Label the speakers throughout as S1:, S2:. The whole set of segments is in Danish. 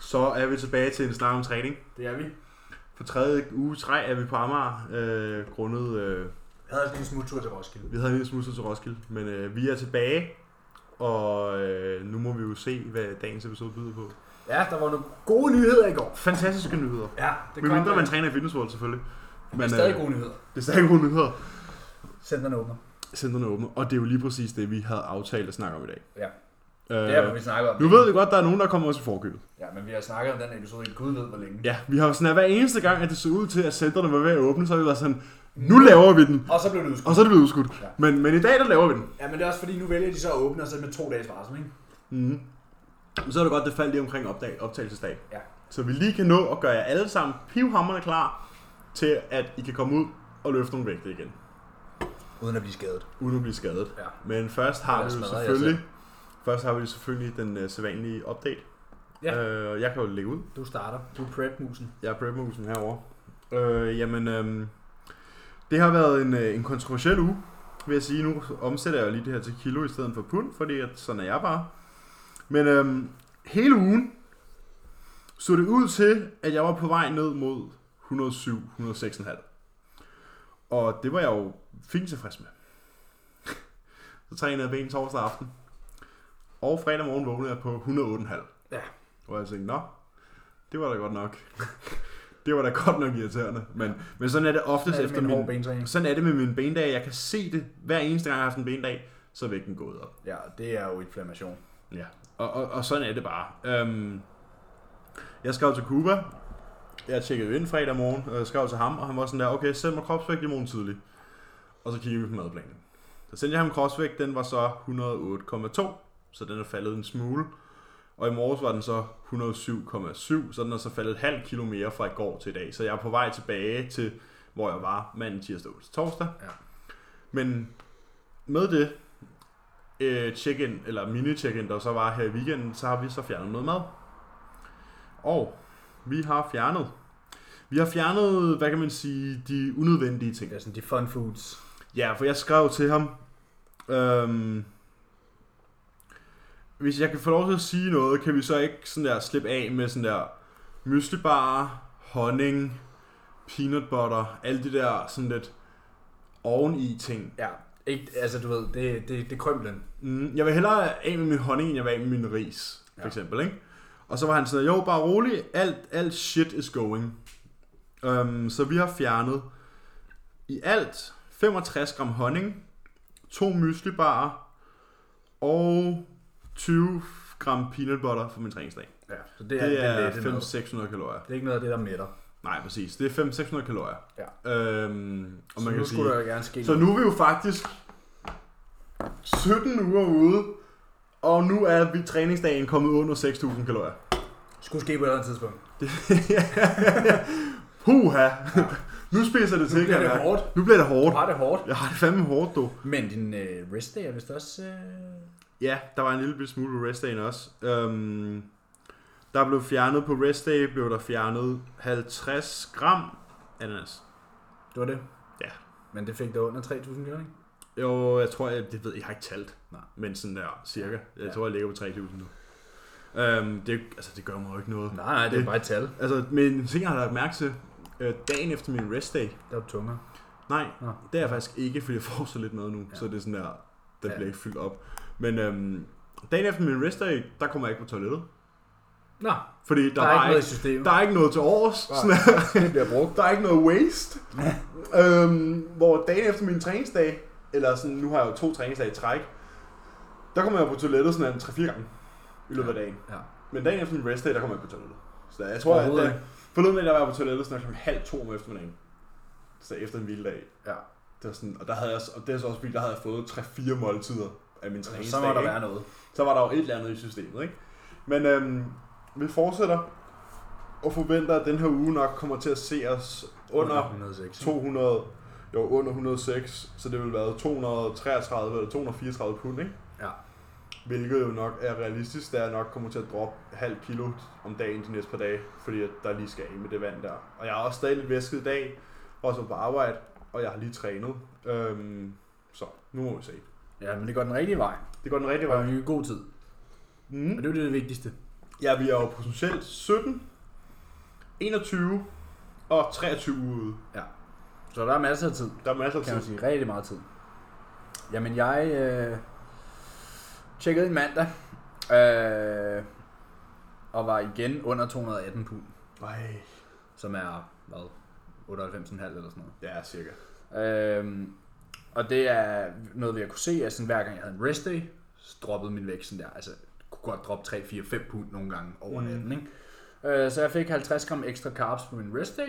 S1: Så er vi tilbage til en snak om træning.
S2: Det er vi.
S1: For tredje uge i træ er vi på Amager, øh, grundet... Øh,
S2: Jeg havde altså en smuttur til Roskilde.
S1: vi havde en lille smule til Roskilde, men øh, vi er tilbage, og øh, nu må vi jo se, hvad dagens episode byder på.
S2: Ja, der var nogle gode nyheder i går.
S1: Fantastiske nyheder.
S2: Ja, det
S1: Men mindre man træner i Fitness World, selvfølgelig. Men, øh,
S3: Det er stadig gode nyheder.
S1: det er stadig gode nytheder.
S2: Centerne åbner.
S1: Centrene åbne, og det er jo lige præcis det, vi havde aftalt at snakke om i dag.
S3: Ja.
S1: Øh,
S3: Det er, hvad vi snakker om.
S1: nu ved vi godt, at der er nogen, der kommer os i forkøbet.
S3: Ja, men vi har snakket om den her episode i Gud ved hvor længe.
S1: Ja, vi har jo sådan, at hver eneste gang, at det så ud til, at centrene var ved at åbne, så har vi været sådan, nu laver vi den,
S3: Og så blev det udskudt.
S1: og så er det blevet udskudt.
S3: Ja.
S1: Men, men i dag, der laver vi den.
S3: Ja, men det er også fordi, nu vælger de så at åbne og så med to dages varsel, ikke?
S1: Mm. Så er det godt, det faldt lige omkring opdag, optagelsesdag.
S3: Mhm. Ja.
S1: Så vi lige kan nå at gøre jer alle sammen pivhammerne klar til, at I kan komme ud og løfte nogle vægte igen,
S2: Uden at blive skadet.
S1: uden at blive skadet.
S3: Ja.
S1: Men først har
S3: Ellers
S1: vi jo
S3: smadrer jeg
S1: selvfølgelig, først har vi jo selvfølgelig den uh, sædvanlige update.
S3: Ja.
S1: Øh, jeg kan jo lægge ud.
S2: Du starter. Du er prep-musen.
S1: Jeg er prepmusen herovre. Øh, jamen, øh, det har været en, øh, en kontroversiel uge, vil jeg sige. Nu omsætter jeg jo lige det her til kilo i stedet for pund, fordi at, sådan er jeg bare. Men øh, hele ugen så det ud til, at jeg var på vej ned mod 107, 106,5. Og det var jeg jo fint tilfreds med. så trænede jeg ben torsdag aften. Og fredag morgen vågnede jeg på 108,5.
S2: Ja.
S1: Og jeg tænkte, nå, det var da godt nok. det var da godt nok irriterende. Men, men sådan er det oftest
S2: Sådan er det
S1: efter
S2: med
S1: min...
S2: en hård bentræning.
S1: Sådan er det med mine bendag. Jeg kan se det hver eneste gang, jeg har haft en bendag, så er vægten gået op.
S3: Ja, det er jo inflammation.
S1: Ja. Og, og, og sådan er det bare. Øhm, jeg skrev til Cuba. Jeg tjekkede jo ind fredag morgen, og jeg skrev til ham, og han var sådan der, okay, send mig kropsvægt i morgen tidlig. Og så kiggede vi på madplanen. Så sendte jeg ham kropsvægt, den var så 108,2, så den er faldet en smule. Og i morges var den så 107,7, så den er så faldet et halvt kilo mere fra i går til i dag. Så jeg er på vej tilbage til, hvor jeg var mandag, tirsdag, onsdag, torsdag.
S3: Ja.
S1: Men med det, øh, check-in, eller mini-check-in, der så var her i weekenden, så har vi så fjernet noget mad. Og vi har fjernet, vi har fjernet, hvad kan man sige, de unødvendige ting.
S2: Det er sådan de fun foods.
S1: Ja, for jeg skrev til ham, øhm, hvis jeg kan få lov til at sige noget, kan vi så ikke sådan der slippe af med sådan der myslibar, honning, peanut butter, alle de der sådan lidt oveni ting.
S2: Ja. Ikke, altså du ved, det, det, det krømlen.
S1: Mm, jeg vil hellere af med min honning, end jeg vil af med min ris, for
S2: Ja.
S1: eksempel, ikke? Og så var han sådan, jo, bare rolig, alt, alt shit is going. Um, så vi har fjernet i alt 65 gram honning, to myslibarer og 20 gram peanut butter for min træningsdag.
S2: Ja. Så det er,
S1: Det er,
S2: lette mad.
S1: 500-600 kalorier.
S2: Det er ikke noget af det, der mætter.
S1: Nej, præcis. Det er 500-600 kalorier. Ja. Øhm, og
S2: Så
S1: man
S2: nu
S1: kan sige,
S2: skulle der gerne ske
S1: så
S2: noget.
S1: nu er vi jo faktisk 17 uger ude, og nu er vi træningsdagen kommet under 6.000 kalorier.
S2: Skulle ske på et eller andet tidspunkt.
S1: Puha! nu spiser det til,
S2: bliver
S1: kan
S2: det
S1: jeg mærke.
S2: hårdt.
S1: Nu bliver det
S2: Du
S1: hårdt.
S2: har det hårdt.
S1: Jeg har det fandme hårdt, du.
S2: Men din øh, rest day er vist også... Øh...
S1: Ja, der var en lille bitte smule på restdagen også. Øhm, der blev fjernet på restdag, blev der fjernet 50 gram ananas.
S2: Det var det.
S1: Ja.
S2: Men det fik du under 3.000 kroner, ikke?
S1: Jo, jeg tror, jeg, det ved jeg, jeg har ikke talt.
S2: Nej.
S1: Men sådan der, cirka. Jeg
S2: Ja.
S1: tror, jeg ligger på 3.000 nu. Øhm, det, altså, det gør mig jo ikke noget.
S2: Nej, nej, det er
S1: Det-
S2: bare et tal.
S1: Altså, men en ting, jeg har lagt mærke til, øh, dagen efter min rest day,
S2: Der er tungere.
S1: nej,
S2: Nå.
S1: det er jeg faktisk ikke, fordi jeg får så lidt mad nu, ja.
S2: Ja.
S1: så det er sådan der, den
S2: Ja.
S1: bliver ikke fyldt op. Men øhm, dagen efter min rest day, der kommer jeg ikke på toilettet,
S2: Nå,
S1: fordi der,
S2: der, der er ikke noget
S1: ikke,
S2: i systemet.
S1: der er ikke noget til overs,
S2: Nej.
S1: sådan,
S2: det bliver brugt.
S1: der er ikke noget waste. øhm, hvor dagen efter min træningsdag, eller sådan, nu har jeg jo to træningsdage i træk, der kommer jeg på toilettet sådan en 3-4 gange i løbet af dagen.
S2: Ja.
S1: Men dagen efter min rest day, der kommer jeg på toilettet. Så jeg tror, at
S2: Overhovedet
S1: det, forleden dag, der var jeg på toilettet sådan klokken halv to om eftermiddagen. Så efter en hviledag.
S2: Ja.
S1: Det var sådan, og der havde jeg, også- og det er så også fordi, der havde jeg fået 3-4 måltider af min træningsdag.
S3: Altså, Så må der
S1: ikke?
S3: være noget.
S1: så var der jo et eller andet i systemet, ikke? Men øhm, vi fortsætter og forventer, at den her uge nok kommer til at se os under
S2: 106.
S1: 200, jo under 106, så det vil være 233 eller 234 pund, ikke?
S2: Ja.
S1: Hvilket jo nok er realistisk, da jeg nok kommer til at droppe halv kilo om dagen de næste par dage, fordi at der lige skal af med det vand der. Og jeg har også stadig lidt væsket i dag, også på arbejde, og jeg har lige trænet. Øhm, så nu må vi se.
S2: Ja, men det går den rigtige vej.
S1: Det går den rigtige
S2: Det
S1: vej.
S2: var en god tid.
S1: Mm.
S2: Og det er jo det vigtigste.
S1: Ja, vi er jo potentielt 17, 21 og 23 ude.
S2: Så der er masser af tid,
S1: Der er masser af
S2: kan man
S1: tid.
S2: sige. Rigtig meget tid. Jamen, jeg øh, tjekkede en mandag, øh, og var igen under 218 pund,
S1: Nej.
S2: som er, hvad, 98,5 eller sådan noget.
S1: Ja, cirka.
S2: Øhm, og det er noget, vi har kunne se, at sådan, hver gang jeg havde en rest day, så droppede min vægt sådan der. Altså, jeg kunne godt droppe 3, 4, 5 pund nogle gange over
S1: Mm.
S2: natten, ikke? Øh, så jeg fik 50 gram ekstra carbs på min rest day,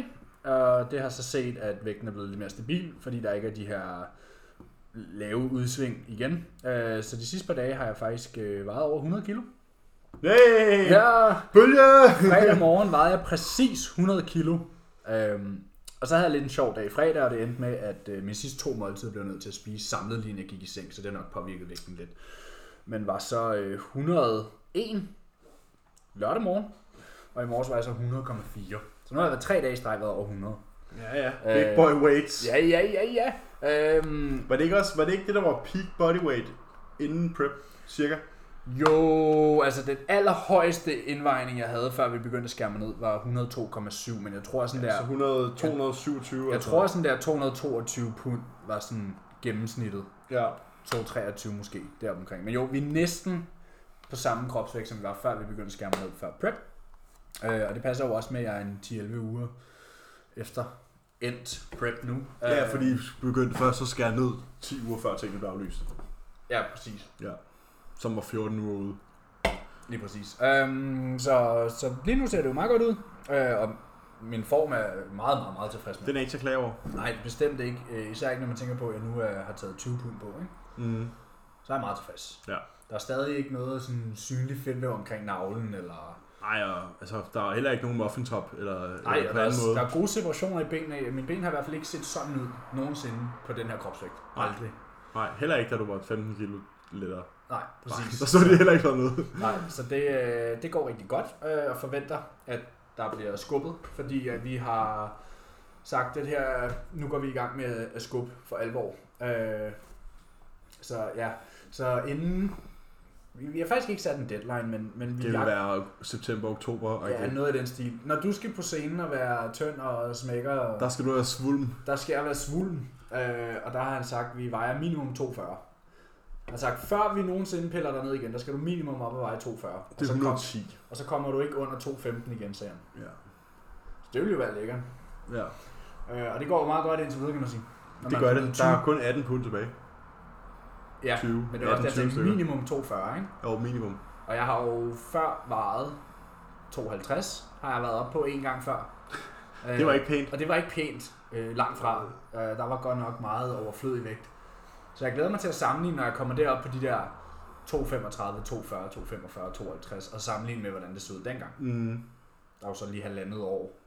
S2: og det har så set, at vægten er blevet lidt mere stabil, fordi der ikke er de her lave udsving igen. Øh, så de sidste par dage har jeg faktisk øh, vejet over 100 kilo.
S1: Hey! Ja.
S2: Ja,
S1: Bølge!
S2: fredag morgen vejede jeg præcis 100 kilo. Øhm, og så havde jeg lidt en sjov dag i fredag, og det endte med, at øh, mine sidste to måltider blev jeg nødt til at spise samlet lige inden jeg gik i seng, så det har nok påvirket vægten lidt. Men var så øh, 101 lørdag morgen, og i morges var jeg så 100,4. Så nu har jeg været tre dage i streg været over 100.
S1: Ja, ja. Big boy weights.
S2: Øh, Ja, ja, ja, ja. Øhm,
S1: Var det, ikke også, var det ikke det, der var peak body weight inden prep, cirka?
S2: Jo, altså den allerhøjeste indvejning, jeg havde, før vi begyndte at skærme ned, var 102,7, men jeg tror sådan
S1: Ja.
S2: der...
S1: Så 100, 227
S2: Jeg tror sådan der 222 pund var sådan gennemsnittet.
S1: Ja.
S2: 223 måske, deromkring. Men jo, vi er næsten på samme kropsvægt, som vi var før vi begyndte at skærme ned før prep. Øh, og det passer jo også med, at jeg er en 10-11 uger efter endt prep nu.
S1: Ja,
S2: Øh,
S1: fordi vi begyndte først at skære ned 10 uger før tingene blev aflyst.
S2: Ja, præcis.
S1: Ja. Som var 14 uger ude.
S2: Lige præcis. Øhm, så, så lige nu ser det jo meget godt ud. Øh, og min form er meget, meget, meget tilfreds med.
S1: Den er ikke så klar over.
S2: Nej, bestemt ikke. Øh, Især ikke, når man tænker på, at jeg nu øh, har taget 20 pund på, ikke?
S1: Mm.
S2: så er jeg meget tilfreds.
S1: Ja.
S2: Der er stadig ikke noget sådan synligt fedtvæv omkring navlen, eller...
S1: Ej, og, altså, der er heller ikke nogen muffintop, eller,
S2: Nej,
S1: eller
S2: og
S1: på
S2: der,
S1: anden
S2: er,
S1: måde.
S2: der er gode separationer i benene. Mine ben har i hvert fald ikke set sådan ud nogensinde på den her kropsvægt.
S1: Nej.
S2: Aldrig.
S1: Nej, heller ikke, da du var 15 kilo lettere.
S2: Nej, præcis.
S1: Der så det heller ikke dernede.
S2: Nej, så det, øh, det går rigtig godt, øh, og forventer, at der bliver skubbet, fordi at vi har sagt, at her, nu går vi i gang med at skubbe for alvor. Øh, så ja, så inden... Vi vi har faktisk ikke sat en deadline, men, men vi
S1: Det vil være september, oktober. Og
S2: Ja,
S1: ja,
S2: noget af den stil. Når du skal på scenen og være tynd og smækker,
S1: der
S2: der,
S1: skal du være svulm.
S2: der skal jeg være svulden. Øh, og der har han sagt, at vi vejer minimum 240. Han har sagt, før vi nogensinde piller dig ned igen, der skal du minimum op og veje 240.
S1: Det
S2: Og
S1: er
S2: så, kom,
S1: 110.
S2: og så kommer du ikke under 215 igen, sagde han.
S1: Ja.
S2: Så det ville jo være lækkert.
S1: ja.
S2: Øh, og det går jo meget godt indtil videre, kan man sige. Når
S1: Det
S2: man
S1: gør
S2: er
S1: det.
S2: blevet
S1: Der
S2: 20.
S1: er kun 18 pund tilbage.
S2: Ja,
S1: 20.
S2: men det er
S1: 18,
S2: også derfor,
S1: 20
S2: jeg
S1: stykker.
S2: tænkte minimum 240, ikke?
S1: Jo, minimum.
S2: Og jeg har jo før vejet 52, har jeg været op på en gang før.
S1: Det var ikke pænt.
S2: Og det var ikke pænt øh, langt fra. Øh, der var godt nok meget overflødig vægt. Så jeg glæder mig til at sammenligne, når jeg kommer derop på de der 235, 240, 245, 52, og sammenligne med, hvordan det så ud dengang.
S1: Mm.
S2: Der var så lige halvandet år.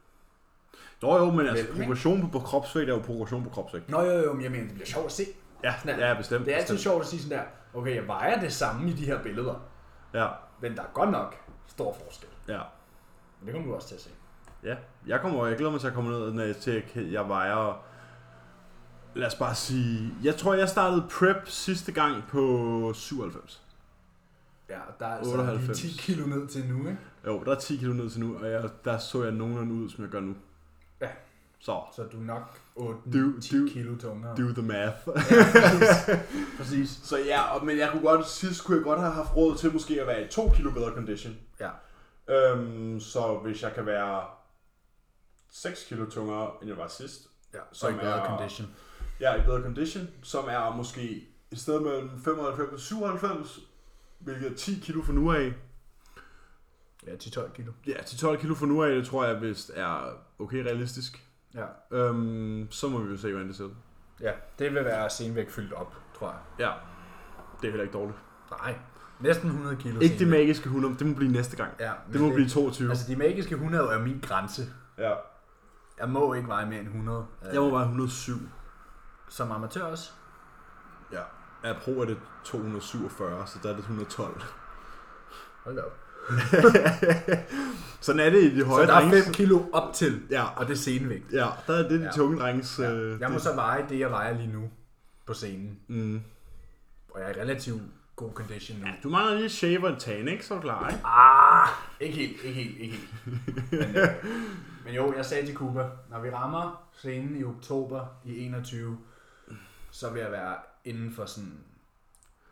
S1: Nå jo, men altså,
S2: Vel,
S1: progression på, på kropsvægt er jo progression på kropsvægt.
S2: Nå jo, jo, men jeg mener, det bliver sjovt at se.
S1: Ja,
S2: Sådan
S1: ja bestemt.
S2: Det er altid
S1: bestemt.
S2: sjovt at sige sådan der, okay, jeg vejer det samme i de her billeder,
S1: Ja,
S2: men der er godt nok stor forskel.
S1: ja.
S2: Men det kommer du også til at se.
S1: Ja, jeg, kommer, jeg glæder mig til at komme ned når jeg, til, at jeg vejer... Lad os bare sige... Jeg tror, jeg startede prep sidste gang på 97.
S2: Ja, og der er altså
S1: 98.
S2: lige 10 kilo ned til nu, ikke?
S1: Jo, der er 10 kilo ned til nu, og jeg, der så jeg nogenlunde ud, som jeg gør nu.
S2: Ja.
S1: Så,
S2: Så du er nok 8
S1: Du-
S2: 10
S1: du-
S2: kilo tungere.
S1: do the math.
S2: Præcis.
S1: så ja, og- men jeg kunne godt, sidst kunne jeg godt have haft råd til måske at være i 2 kilo bedre condition.
S2: Ja.
S1: Øhm, så hvis jeg kan være 6 kilo tungere, end jeg var sidst,
S2: ja
S1: som
S2: og i bedre
S1: er-
S2: condition.
S1: Jeg er i bedre condition, som er måske et sted mellem 95 og 97, hvilket er 10 kilo for nu af.
S2: Ja, 10-12 kilo.
S1: Ja, 10-12 kilo for nu af, det tror jeg vist er okay realistisk.
S2: Ja.
S1: Øhm, så må vi jo se, hvordan det ser ud.
S2: Ja, det vil være senvæk fyldt op, tror jeg.
S1: Ja, det er heller ikke dårligt.
S2: Nej, næsten 100 kilo.
S1: Ikke det
S2: senvæk.
S1: magiske 100, det må blive næste gang.
S2: Ja, men
S1: Det må blive 22.
S2: Altså, de magiske 100 er min grænse.
S1: Ja.
S2: Jeg må ikke veje mere end 100. øh,
S1: Jeg må være 107.
S2: Som amatør også.
S1: Ja. Ja, pro er det 247, så der er det 112.
S2: Hold da op.
S1: Sådan er det i de
S2: Så
S1: høje
S2: der er
S1: drenges.
S2: 5 kilo op til,
S1: Ja,
S2: og det er senvægt.
S1: ja, der er det de
S2: Ja.
S1: tunge drenges.
S2: Ja.
S1: øh,
S2: Jeg må
S1: det-
S2: så veje det, jeg vejer lige nu på scenen.
S1: Mm.
S2: Og jeg er relativt
S4: god condition nu. Ja.
S1: Du mangler lige shaver og tan, ikke? Så er du klar, ikke?
S4: Ah,
S2: Ikke helt, ikke helt, ikke helt. Men, øh, men jo, jeg sagde til Cuba, når vi rammer scenen i oktober i 21, så vil jeg være inden for sådan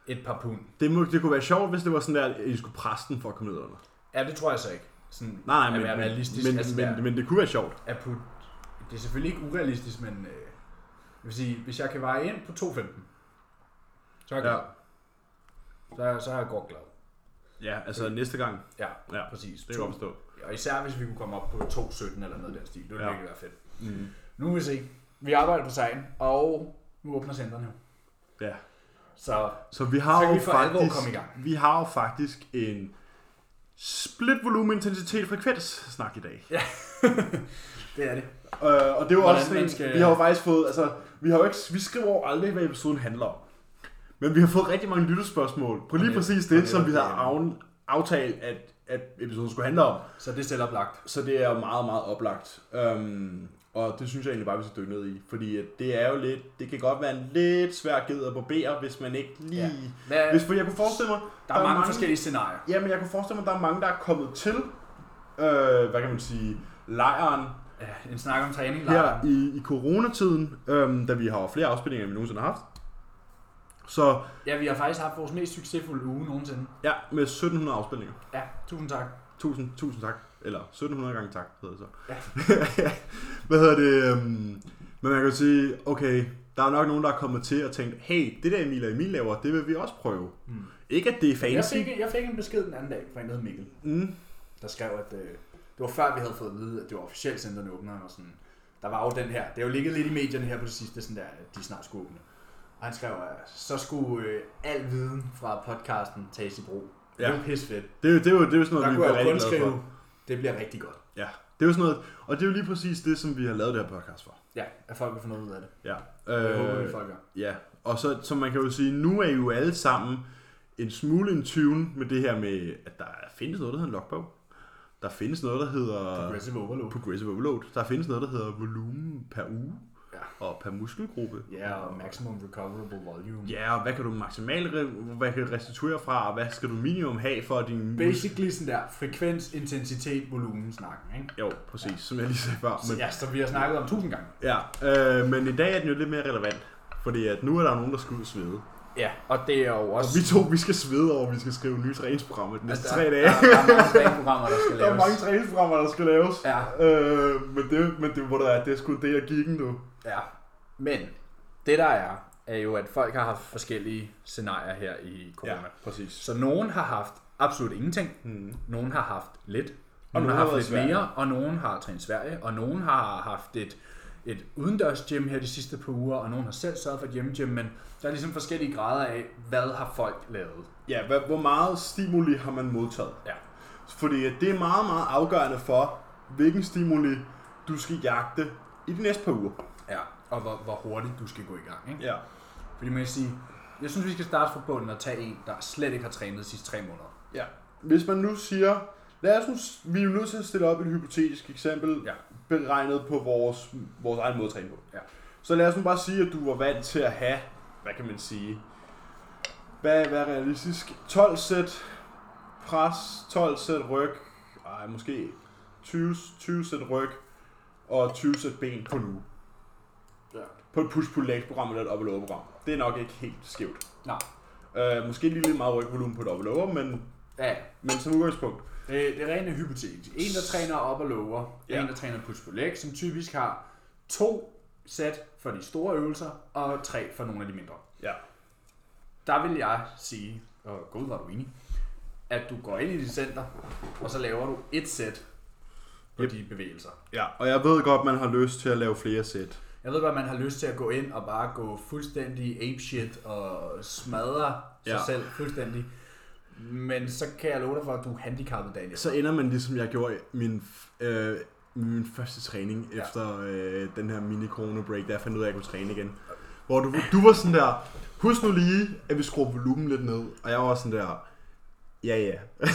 S2: et par pund.
S1: Det, må, det kunne være sjovt, hvis det var sådan der, at I skulle presse den for at komme ned under.
S2: Ja, det tror jeg så ikke. Sådan,
S1: Nej, nej,
S2: at
S1: men,
S2: være
S1: men,
S2: realistisk.
S1: men,
S2: altså,
S1: men,
S2: være-
S1: men, men, det kunne være sjovt.
S2: at putte... Det er selvfølgelig ikke urealistisk, men øh, jeg vil sige, hvis jeg kan veje ind på 2.15, så er jeg
S1: Ja.
S2: glad. Så, er- så er jeg godt glad.
S1: Ja, altså næste gang.
S2: Ja,
S1: Ja,
S2: præcis.
S1: det kan jeg forstå.
S2: Og især hvis vi kunne komme op på 2.17 eller noget i den stil. Det ville
S1: Ja.
S2: ja. virkelig være fedt.
S1: Mm.
S2: Nu vil vi se. Vi arbejder på sagen, og nu åbner centrene jo.
S1: Ja.
S2: Så
S1: Så vi har
S2: Så
S1: jo
S2: kan vi for alvor
S1: faktisk,
S2: komme i gang.
S1: vi har jo faktisk en split volumen intensitet frekvens snak i dag.
S2: det er det.
S1: Øh, og det er jo
S2: Hvordan
S1: også sådan, skal...
S2: man skal-
S1: vi har jo faktisk fået, altså, vi har jo ikke, vi skriver jo aldrig, hvad episoden handler om. Men vi har fået rigtig mange lyttespørgsmål på lige
S2: det-
S1: præcis
S2: og
S1: det,
S2: det
S1: som
S2: var
S1: vi
S2: det,
S1: har af, aftalt, at, at episoden skulle handle om.
S2: Så det er selvoplagt.
S1: Så det er jo meget, meget oplagt. Øhm, og det synes jeg egentlig bare, vi skal dykke ned i. Fordi at det er jo lidt, det kan godt være en lidt svær ged at barbere, hvis man ikke lige...
S2: Ja.
S1: Ja.
S2: Hvad,
S1: Hvis, for jeg kunne forestille mig,
S2: der er mange forskellige scenarier.
S1: Ja, men jeg kunne forestille mig, at der er mange, der er kommet til, øh, hvad kan man sige, lejren
S2: Ja, en snak om træning.
S1: her
S2: lejren.
S1: i, i coronatiden, øhm, da vi har flere afspilninger, end vi nogensinde har haft. Så
S2: Ja, vi har faktisk haft vores mest succesfulde uge nogensinde.
S1: ja, med 1700 afspilninger.
S2: Ja, tusind tak.
S1: Tusind, tusind tak. Eller 1700 gange tak, hedder det så.
S2: Ja.
S1: Hvad hedder det? Øhm, men man kan jo sige, okay, der er nok nogen, der er kommet til og tænkt, hey, det der Emil og Emil laver, det vil vi også prøve.
S2: Mm.
S1: Ikke at det er
S2: Jeg
S1: fancy.
S2: fik, jeg fik en besked den anden dag fra en, der hed Mikkel,
S1: Mm,
S2: der skrev, at øh, det var før, vi havde fået at vide, at det var officielt centerne åbner, og sådan, der var jo den her, det har jo ligget lidt i medierne her på det sidste, sådan der, at de snart skulle åbne. Og han skrev, at så skulle øh, al viden fra podcasten tages i brug. Ja.
S1: Ja.
S2: Det var pisse fedt.
S1: det, er jo- det, er jo, det er jo sådan
S2: Der
S1: noget, vi
S2: kunne
S1: bliver
S2: jeg jo
S1: rigtig
S2: kun
S1: glade for.
S2: skrive, det bliver rigtig godt.
S1: Ja, det er jo sådan noget, og det er jo lige præcis det, som vi har lavet det her podcast for.
S2: Ja, at folk vil få noget ud af det.
S1: Ja. Øh,
S2: Jeg håber, vi folk gør.
S1: Ja, og så, så man kan jo sige, nu er I jo alle sammen en smule in tune med det her med, at der findes noget, der hedder en logbog. Der findes noget, der hedder
S2: Progressive overload.
S1: progressive overload. Der findes noget, der hedder volumen per uge
S2: Ja.
S1: og per muskelgruppe.
S2: Ja, og maximum recoverable volume.
S1: Ja, og hvad kan du maksimalt re- hvad kan du restituere fra, og hvad skal du minimum have for at din... mus-
S2: Basically sådan der, frekvens, intensitet, volumen snakken, ikke?
S1: Jo, præcis, som jeg lige sagde før.
S2: Så,
S1: Men,
S2: ja, så vi har snakket om tusind gange.
S1: ja, øh, men i dag er den jo lidt mere relevant, fordi at nu er der nogen, der skal ud og svede.
S2: Ja, og det er jo
S1: Og
S2: også...
S1: vi to, vi skal svede over, at vi skal skrive nye træningsprogrammer de næste
S2: Altså,
S1: tre
S2: der-
S1: dage.
S2: Der, der er mange træningsprogrammer, der skal
S1: Der er
S2: laves.
S1: mange træningsprogrammer, der skal laves.
S2: Ja.
S1: Øh, men det, men det, hvor der er, det er sgu det, jeg gik nu.
S2: Ja.
S4: men det der er, er jo, at folk har haft forskellige scenarier her i corona. Ja.
S1: præcis.
S4: Så nogen har haft absolut ingenting,
S1: Mm.
S4: nogen har haft lidt, og
S1: Nogen
S4: nogen
S1: har
S4: har haft
S1: været i
S4: lidt
S1: Sverige.
S4: mere, og nogen har trænet i Sverige, og nogen har haft et, et udendørs gym her de sidste par uger, og nogen har selv sørget for et hjemmegym, men der er ligesom forskellige grader af, hvad har folk lavet?
S1: Ja, hvad, hvor meget stimuli har man modtaget?
S4: Ja.
S1: Fordi at det er meget, meget afgørende for, hvilken stimuli du skal jagte i de næste par uger.
S4: ja. Og hvor, hvor hurtigt du skal gå i gang, ikke?
S1: Ja.
S4: Fordi man kan sige, jeg synes, vi skal starte fra bunden og tage en, der slet ikke har trænet de sidste tre måneder.
S1: ja. Hvis man nu siger, lad os nu, s- vi er jo nødt til at stille op et hypotetisk eksempel,
S4: Ja.
S1: beregnet på vores, vores egen måde at træne på.
S4: Ja.
S1: Så lad os nu bare sige, at du var vant til at have, hvad kan man sige, hvad, hvad er realistisk? 12 sæt pres, 12 sæt ryg, ej, måske 20, 20 sæt ryg og 20 sæt ben på nu.
S2: Ja.
S1: På et push-pull-legs-program eller et up and program Det er nok ikke helt skævt.
S2: Nej.
S1: Øh, måske lige lidt meget rygvolumen på et up and over, men,
S2: Ja,
S1: men som udgangspunkt.
S2: det, det er rent hypotetisk. En, der træner op og lower,
S1: Ja.
S2: ja. en, der træner push på leg, som typisk har to sæt for de store øvelser, og tre for nogle af de mindre.
S1: Ja.
S2: Der vil jeg sige, og gud var du enig, at du går ind i dit center, og så laver du et sæt på
S1: Yep.
S2: yep. de bevægelser.
S1: ja. Og jeg ved godt, man har lyst til at lave flere sæt.
S2: Jeg ved godt, man har lyst til at gå ind og bare gå fuldstændig apeshit og smadre sig
S1: Ja.
S2: selv fuldstændig. Men så kan jeg love dig for, at du er handicappet dagen efter.
S1: Så ender man ligesom jeg gjorde i min, øh, min første træning ja.
S2: Ja.
S1: efter øh, den her mini corona break, der jeg fandt ud af, at jeg kunne træne igen. Hvor du, du var sådan der, husk nu lige, at vi skruer volumen lidt ned. Og jeg var sådan der, Ja, ja.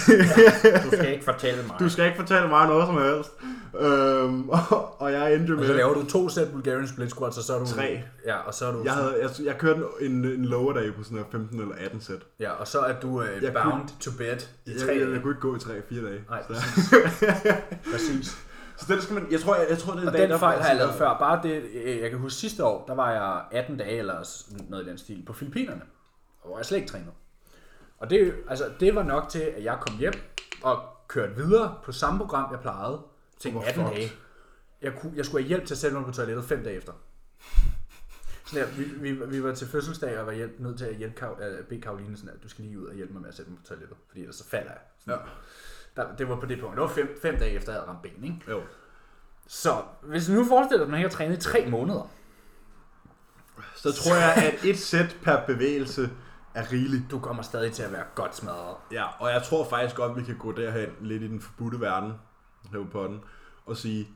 S5: Du skal ikke fortælle mig.
S1: Du skal ikke fortælle mig noget som helst. Øhm, og, og jeg endte jo
S2: Og så
S1: med...
S2: laver du to sæt Bulgarian split squats, og så er du...
S1: Tre.
S2: Ja, og så er du...
S1: Jeg, havde, jeg, jeg kørte en, en lower day på sådan noget 15 eller 18 sæt.
S2: Ja, og så er du øh,
S1: Jeg
S2: bound to bed i
S1: Jeg,
S2: tre
S1: jeg, jeg
S2: dage.
S1: kunne ikke gå i 3-4 dage.
S2: Nej,
S1: så,
S2: Præcis.
S1: så den skal man... Jeg tror, jeg, jeg tror det er en
S2: Og
S1: dag,
S2: den
S1: der
S2: fejl
S1: får
S2: har
S1: sådan
S2: jeg
S1: noget-
S2: lavet før. Bare det, øh, jeg kan huske sidste år, der var jeg 18 dage eller sådan noget i den stil på Filippinerne, og hvor jeg slet ikke trænede. Og det, altså, det var nok til, at jeg kom hjem og kørte videre på samme program, jeg plejede, til
S1: Du var
S2: 18
S1: fucked.
S2: dage. Jeg, kunne, jeg skulle have hjælp til at sætte mig på toilettet fem dage efter. Sådan der, vi, vi, vi, var til fødselsdag og var hjælp, nødt til at hjælpe, Kar- øh, bede Karoline sådan der, du skal lige ud og hjælpe mig med at sætte mig på toilettet, fordi ellers så falder jeg. Sådan. Der, det var på det punkt. Det var fem, fem dage efter, jeg havde ramt ben, ikke?
S1: Jo.
S2: Så hvis du nu forestiller dig, at man ikke har trænet i tre måneder.
S1: Så tror jeg, at et sæt per bevægelse er rigeligt.
S2: Du kommer stadig til at være godt smadret.
S1: Ja, og jeg tror faktisk godt, vi kan gå derhen lidt i den forbudte verden, hæve på den, og sige,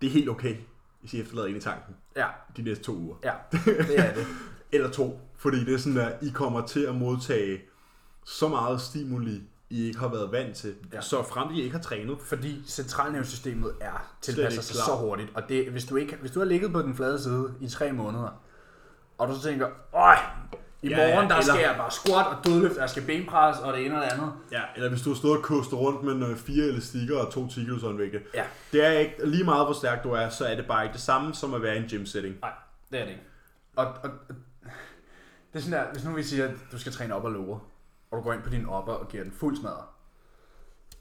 S1: det er helt okay, hvis I efterlader en i tanken
S2: Ja,
S1: de næste to uger.
S2: ja, det er det.
S1: Eller to, fordi det er sådan, at I kommer til at modtage så meget stimuli, I ikke har været vant til,
S2: Ja.
S1: ja. så frem I ikke har trænet.
S2: Fordi centralnervesystemet er tilpasser
S1: ikke
S2: sig
S1: klar.
S2: så hurtigt. Og det, hvis, du ikke, hvis du har ligget på den flade side i tre måneder, og du så tænker, øj, i
S1: Ja,
S2: morgen der
S1: ja, eller-
S2: skal jeg bare squat og dødløft, og jeg skal benpres og det ene og det andet.
S1: Ja, eller hvis du har stået og kostet rundt med øh, fire elastikker og to 10 kilos håndvægte.
S2: Ja.
S1: Det er ikke, lige meget hvor stærk du er, så er det bare ikke det samme som at være i en gym setting.
S2: Nej, det er det ikke. Og, og, og det er sådan der, hvis nu vi siger, at du skal træne op og lover, og du går ind på din opper og giver den fuld smadret,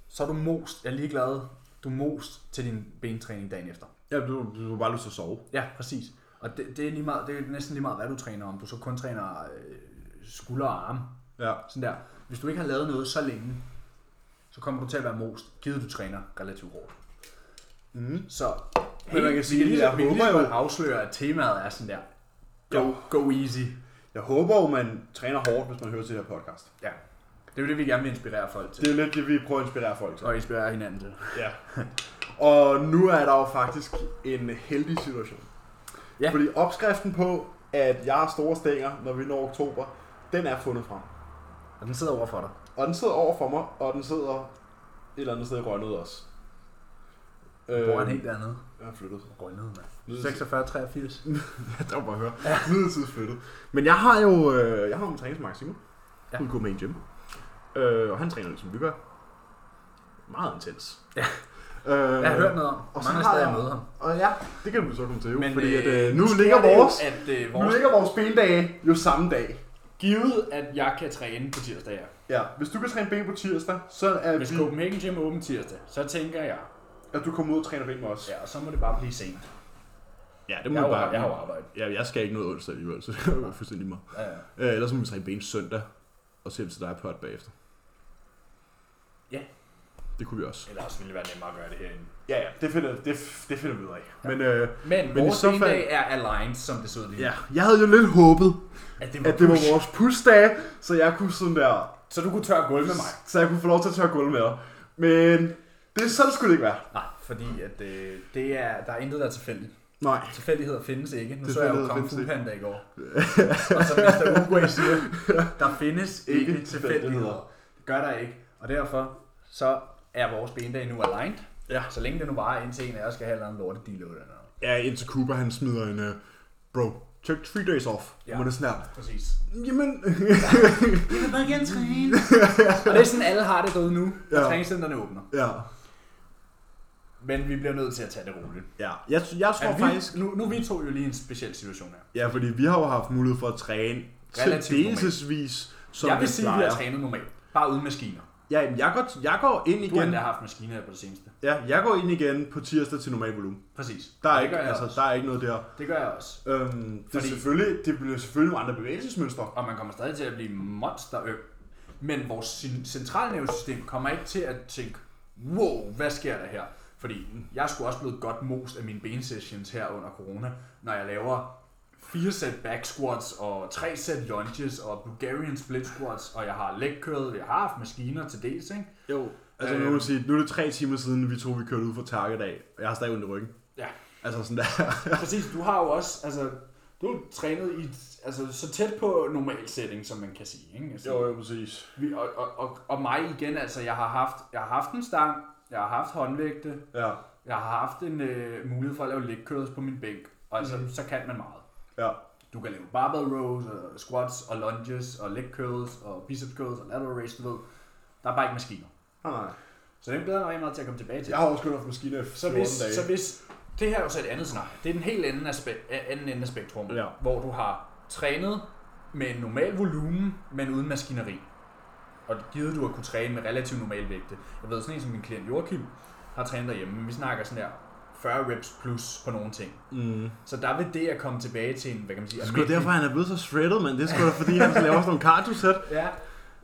S2: så er du most, jeg er ligeglad, du er most til din bentræning dagen efter.
S1: Ja, du, du har bare lyst til at sove.
S2: Ja, præcis. Og det, det, er lige meget, det er næsten lige meget, hvad du træner om. Du så kun træner øh, skulder og arme.
S1: Ja.
S2: Sådan der. Hvis du ikke har lavet noget så længe, så kommer du til at være most, givet du træner relativt hårdt. Mm. Så
S1: Mm-hmm. man kan
S2: vi
S1: sige,
S2: lige,
S1: jeg
S2: vi kan lige
S1: håber
S2: så
S1: jo-
S2: godt afsløre, at temaet er sådan der. Go,
S1: Jo.
S2: go easy.
S1: Jeg håber jo, man træner hårdt, hvis man hører til det her podcast.
S2: Ja. Det er jo det, vi gerne vil inspirere folk til.
S1: Det er jo lidt det, vi prøver at inspirere folk til.
S2: Og inspirere hinanden til.
S1: Ja. Og nu er der jo faktisk en heldig situation.
S2: Ja.
S1: Fordi opskriften på, at jeg har store stænger, når vi når oktober, den er fundet frem.
S2: Og den sidder over for dig.
S1: Og den sidder over for mig, og den sidder et eller andet sted i Rønnede også. Øhm,
S2: Øh, Bor han helt dernede?
S1: Jeg har flyttet.
S2: Rønnede, mand.
S1: Lyder-
S2: 46, 83.
S1: Der var bare at høre. Midlertidigt flyttet. Men jeg har jo øh, jeg har jo en træner som Max Simon. Ja.
S2: Ja.
S1: Hun går med i en gym. Øh, og han træner ligesom vi gør. Meget intens.
S2: Ja.
S1: Øh,
S2: Jeg har hørt noget om.
S1: og så
S2: Mange
S1: har
S2: steder jeg
S1: jeg-
S2: møder ham.
S1: Og ja, det kan du så komme til jo.
S2: Men,
S1: Men, fordi at,
S2: øh,
S1: øh, nu,
S2: nu sker
S1: ligger
S2: det jo,
S1: vores,
S3: At, øh,
S1: nu
S3: vores,
S1: ligger vores bendage jo samme dag.
S3: givet, at jeg kan træne på tirsdag, ja.
S1: Ja, hvis du kan træne ben på tirsdag, så er
S3: Hvis
S1: vi,
S3: Copenhagen Gym er åben tirsdag, så tænker jeg,
S1: at du kommer ud og træner ben med os.
S3: ja, og så må det bare blive sent.
S1: Ja, det
S3: Jeg har jo- jeg har jo arbejde.
S1: Ja, jeg skal ikke noget onsdag alligevel, så det er jo fuldstændig mig.
S3: Ja, ja.
S1: Øh, ellers må vi træne ben søndag, og se til dig på et bagefter.
S3: Ja.
S1: Det kunne vi også.
S3: Ellers ville det være nemmere at gøre det herinde.
S1: Ja, ja, det finder, det, det finder vi ud af. Men øh,
S2: Men,
S1: Men
S2: Men
S1: i
S2: vores
S1: så fald-
S2: bendag er aligned, som det sidder lige. nu.
S1: ja, jeg havde jo lidt håbet,
S2: At det var,
S1: at det var
S2: push.
S1: vores push-dage, så jeg kunne sådan der,
S3: Så du kunne tørre gulv med mig.
S1: så jeg kunne få lov til at tørre gulv med dig. Men det, sådan skulle det ikke være.
S2: Nej, fordi at, øh, det er, der er intet, der er tilfældigt.
S1: Nej.
S2: Tilfældigheder findes ikke. Nu så jeg jo
S1: Tilfældigheder
S2: Kung
S1: findes
S2: Fu
S1: ikke.
S2: Panda i går. og som Mr. Uruguay siger, der findes
S1: Ikke
S2: ikke tilfældigheder.
S1: tilfældigheder.
S2: Det gør der ikke. Og derfor så er vores bendag nu aligned.
S1: Ja.
S2: Så længe det nu varer, indtil en af jer skal have en eller anden lortet deal eller noget.
S1: Ja, indtil Cooper han smider en, uh, bro, take three days off.
S2: Ja.
S1: Ja. Og man er sådan her,
S2: Præcis.
S1: jamen,
S2: Jeg vil bare gerne træne. og det er sådan, alle har det derude nu, når ja.
S1: Ja.
S2: træningscenterne åbner.
S1: ja.
S2: Men vi bliver nødt til at tage det roligt.
S1: Ja, jeg, jeg tror
S2: Ja,
S1: ja,
S2: vi,
S1: faktisk,
S2: nu, nu er vi to jo lige i en speciel situation her.
S1: ja, fordi vi har jo haft mulighed for at træne
S2: Relativt
S1: til delsesvis, som
S2: jeg vil
S1: vi
S2: sige, at vi
S1: plejer.
S2: har trænet normalt. Bare uden maskiner.
S1: Ja, jamen, jeg går, jeg går ind
S3: Du har
S1: igen.
S3: endda haft maskiner her på det seneste.
S1: Ja, jeg går ind igen på tirsdag til normal volumen.
S2: Præcis.
S1: Der er,
S2: Og det
S1: ikke,
S2: gør jeg
S1: altså,
S2: også.
S1: der er ikke noget der.
S2: Det gør jeg også.
S1: Øhm, det,
S2: Fordi-
S1: er selvfølgelig, det bliver selvfølgelig nogle andre bevægelsesmønstre.
S2: Og man kommer stadig til at blive monsterøm. Men vores cin- centralnervesystem kommer ikke til at tænke, wow, hvad sker der her? Fordi jeg skulle også blevet godt most af mine bensessions her under corona, når jeg laver fire sæt back squats og tre sæt lunges og Bulgarian split squats, og jeg har leg curl, jeg har haft maskiner til dels, ikke?
S1: Jo. Altså,
S2: øhm.
S1: nu, kan man sige, nu er det tre timer siden, vi to vi kørte ud for Target af. Jeg har stadig ondt i ryggen.
S2: Ja.
S1: Altså sådan der.
S3: Præcis, du har jo også, altså,
S2: Du trænede i et- altså, så tæt på normal setting, som man kan sige. Ikke? Altså,
S1: Jo, jo, præcis.
S2: Vi, og, og, og, og, mig igen, altså jeg har, haft, jeg har haft en stang, jeg har haft håndvægte,
S1: Ja,
S2: jeg har haft en øh, mulighed for at lave leg curls på min bænk, og altså, mm. så kan man meget.
S1: ja.
S2: Du kan lave barbell rows, og squats, og lunges, og leg curls, og biceps curls, og lateral raise, du ved. Der er bare ikke maskiner.
S1: Nej, nej.
S2: Så den glæder jeg mig rigtig meget til at komme tilbage til.
S1: Jeg har også kun haft maskiner i 14
S2: Ah, Så hvis,
S1: dage.
S2: så hvis, det her er jo så et andet scenarie. Det er den helt anden, aspe- a- anden ende af spektrum,
S1: Ja.
S2: hvor du har trænet med en normal volumen, men uden maskineri. Og givet du at kunne træne med relativt normal vægte. Jeg ved sådan en som min klient Joachim har trænet derhjemme, men vi snakker sådan der 40 reps plus på nogle ting.
S1: Mm.
S2: Så der vil det at komme tilbage til en, hvad kan man sige,
S1: Det er sgu da derfor, han er blevet så shredded, men det er sgu da fordi, han laver sådan nogle cardio set.
S2: Ja,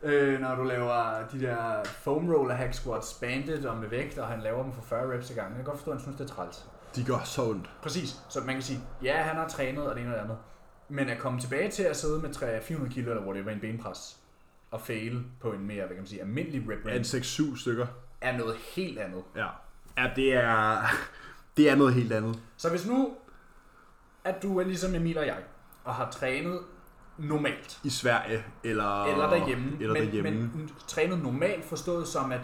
S2: øh, når du laver de der foam roller hack squats banded og med vægt, og han laver dem for 40 reps i gangen. Jeg kan godt forstå, at han synes, det er træls.
S1: De gør så ondt.
S2: Præcis, så man kan sige, ja, han har trænet og det ene og det andet. Men at komme tilbage til at sidde med 300-400 kilo, eller hvor det var en benpres, og fail på en mere, hvad kan man sige, almindelig rep
S1: Ja, en
S2: range,
S1: 6-7 stykker.
S2: er noget helt andet.
S1: Ja. Ja, det er... Det er noget helt andet.
S2: Så hvis nu, at du er ligesom Emil og jeg, og har trænet normalt,
S1: I Sverige, eller...
S2: eller derhjemme,
S1: Ah, Eller
S2: men,
S1: derhjemme.
S2: men trænet normalt forstået som, at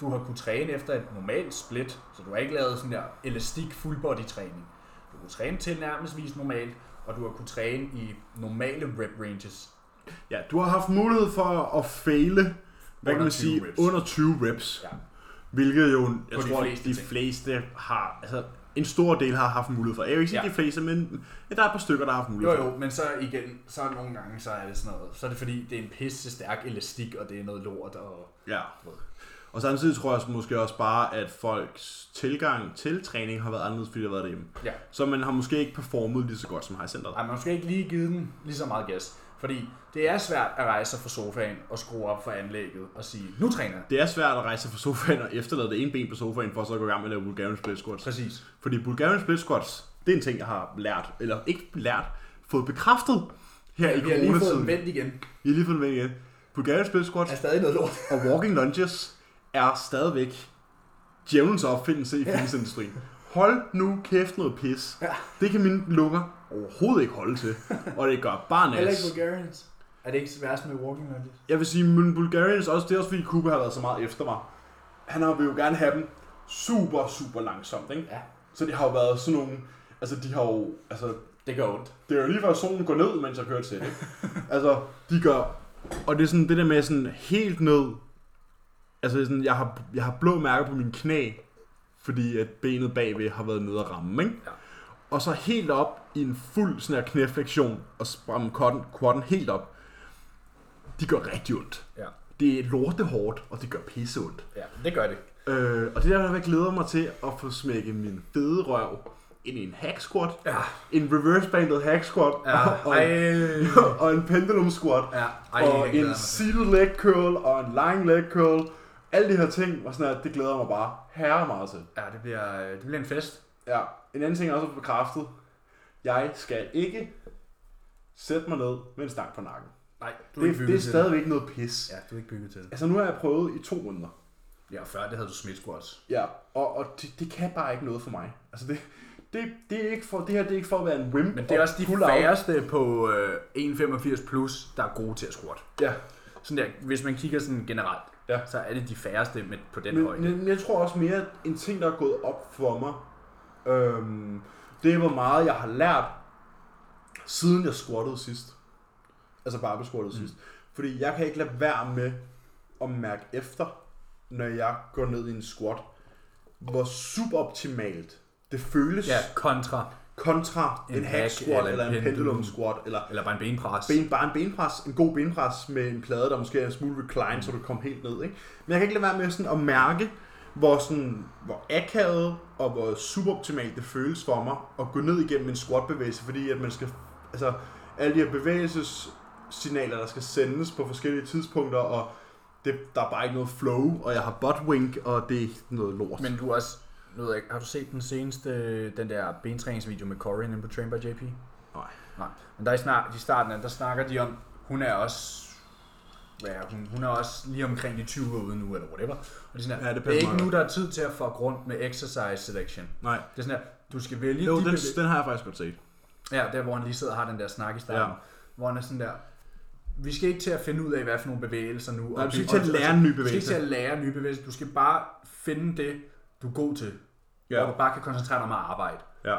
S2: du har kunnet træne efter et normalt split, så du har ikke lavet sådan der elastik full body træning. Du kunne træne tilnærmelsesvis normalt, og du har kunnet træne i normale rep ranges,
S1: Ja, du har haft mulighed for at fejle, hvad kan
S2: Under
S1: man
S2: 20
S1: sige,
S2: reps.
S1: under 20 reps.
S2: Ja.
S1: Hvilket jo, jeg
S2: På de
S1: tror,
S2: fleste
S1: de
S2: ting.
S1: fleste har, altså en stor del har haft mulighed for. Jeg vil ikke sige
S2: Ja.
S1: de fleste, men der er et par stykker, der har haft
S2: Jo
S1: mulighed for.
S2: jo, men så igen, så nogle gange, så er det sådan noget, så er det fordi, det er en pisse stærk elastik, og det er noget lort, og
S1: Ja. Og samtidig tror jeg måske også bare, at folks tilgang til træning har været anderledes, fordi de har været derhjemme.
S2: ja,
S1: Så man har måske ikke performet lige så godt, som har i centret.
S2: Ej, man har måske ikke lige givet den lige så meget gas, fordi det er svært at rejse sig fra sofaen og skrue op for anlægget og sige, nu træner jeg.
S1: Det er svært at rejse sig fra sofaen og efterlade det ene ben på sofaen, for så at gå i gang med at lave Bulgarian split squats.
S2: Præcis.
S1: Fordi Bulgarian split squats, det er en ting, jeg har lært, eller ikke lært, fået bekræftet her i
S2: Vi har lige fået den
S1: coronatiden.
S2: vendt igen.
S1: I har lige fået den med igen. Bulgarian split
S2: Der
S1: squats
S2: er stadig noget lort.
S1: og walking lunges er stadigvæk djævelens opfindelse i fitnessindustrien. Hold nu kæft noget pis.
S2: Ja.
S1: Det kan mine lunger overhovedet ikke holde til. Og det gør bare
S2: Heller
S1: nas.
S2: ikke Bulgarians. Er det ikke værst med walking lunges?
S1: Jeg vil sige, men Bulgarians også, det er også fordi Kuba har været så meget efter mig. Han har vil jo gerne have dem super, super langsomt, ikke?
S2: Ja.
S1: Så det har jo været sådan nogle, altså de har jo, altså
S2: Det gør ondt.
S1: det er jo lige før solen går ned, mens jeg kører til det. altså, de gør... Og det er sådan det der med sådan helt ned... Altså, det er sådan, jeg, har, jeg har blå mærker på mine knæ, fordi at benet bagved har været nede at ramme, ikke?
S2: Ja.
S1: Og så helt op i en fuld sådan her knæflektion, og spramme quaden, quaden helt op. De gør rigtig ondt.
S2: Ja.
S1: Det er lortehårdt, og det gør pisse ondt.
S2: Ja, det gør det.
S1: Øh, og det er derfor, jeg glæder mig til at få smækket min fede røv ind i en hack squat,
S2: Ja.
S1: en reverse banded hack squat, og,
S2: Ej.
S1: og, og en pendulum squat,
S2: Ja. Ej,
S1: og
S2: jeg glæder
S1: en
S2: mig.
S1: seated leg curl, og en lying leg curl. Alle de her ting, og sådan her, det glæder jeg mig bare herre meget til.
S2: Ja, det bliver, det bliver en fest.
S1: Ja. En anden ting, jeg også har fået bekræftet. Jeg skal ikke sætte mig ned med en stang på nakken.
S2: Nej, du er
S1: Det, det,
S2: ikke bygget
S1: er
S2: til
S1: stadigvæk noget pis.
S2: Ja, du er ikke bygget til det.
S1: Altså nu har jeg prøvet i to måneder.
S2: Ja, og før det havde du smidt squats.
S1: Ja, og, og det, det, kan bare ikke noget for mig. Altså det, det, det, er ikke for, det her det er ikke for at være en wimp.
S2: Men det er
S1: og
S2: også de
S1: pull out.
S2: færreste på øh, 1,85 plus, der er gode til at squat.
S1: Ja,
S2: Sådan der, hvis man kigger sådan generelt,
S1: Ja.
S2: ja. så er det de færreste med, på den højde.
S1: men, men jeg tror også mere, at en ting, der er gået op for mig, øhm, det er, hvor meget jeg har lært, siden jeg squattede sidst. Altså bare squattede mm. sidst. Fordi jeg kan ikke lade være med at mærke efter, når jeg går ned i en squat, hvor suboptimalt det føles
S2: Ja,
S1: ja.
S2: kontra,
S1: kontra en,
S2: En
S1: en hack
S2: hack
S1: squat
S2: eller
S1: eller
S2: en
S1: en pendulum
S2: pendulum.
S1: squat eller
S2: eller bare en benpres.
S1: ben, bare en benpres, en god benpres med en plade, der måske er en smule recline, så du kommer helt ned. Ikke? Men jeg kan ikke lade være med sådan at mærke, hvor, sådan, hvor akavet og hvor suboptimalt det føles for mig at gå ned igennem en squat-bevægelse, fordi at man skal, altså, alle de her bevægelsessignaler, der skal sendes på forskellige tidspunkter, og det, der er bare ikke noget flow, og jeg har butt wink, og det er noget lort.
S2: Men du er også, nu ved jeg, ikke, har du set den seneste, øh, den der bentræningsvideo med Cory inde på Train by JP?
S1: Nej.
S2: Nej. Men der i, snart, i starten, af- der snakker de om, hun er også hvad er hun? Hun er også lige omkring de 20 år ude nu, eller whatever. Og det er, sådan,
S1: Ja,
S2: ja,
S1: det
S2: det, det er
S1: passer
S2: ikke
S1: meget
S2: nu, der er tid til at fuck rundt med exercise selection.
S1: Nej.
S2: Det er sådan her, du skal vælge
S1: Jo,
S2: de
S1: den,
S2: bevæ-
S1: den har jeg faktisk godt set.
S2: Ja, der hvor han lige sidder og har den der snak i starten.
S1: Ja.
S2: Ja. Hvor han er sådan der, vi skal ikke til at finde ud af, hvad for nogle bevægelser nu.
S1: Nej,
S2: og
S1: du skal
S2: vi-
S1: ikke til at
S2: og-
S1: lære en ny
S2: Du skal ikke
S1: bevægelse.
S2: til at lære nye bevægelser. Du skal bare finde det, du er god til.
S1: Ja.
S2: Ja. Hvor du bare kan koncentrere dig om at arbejde.
S1: Ja.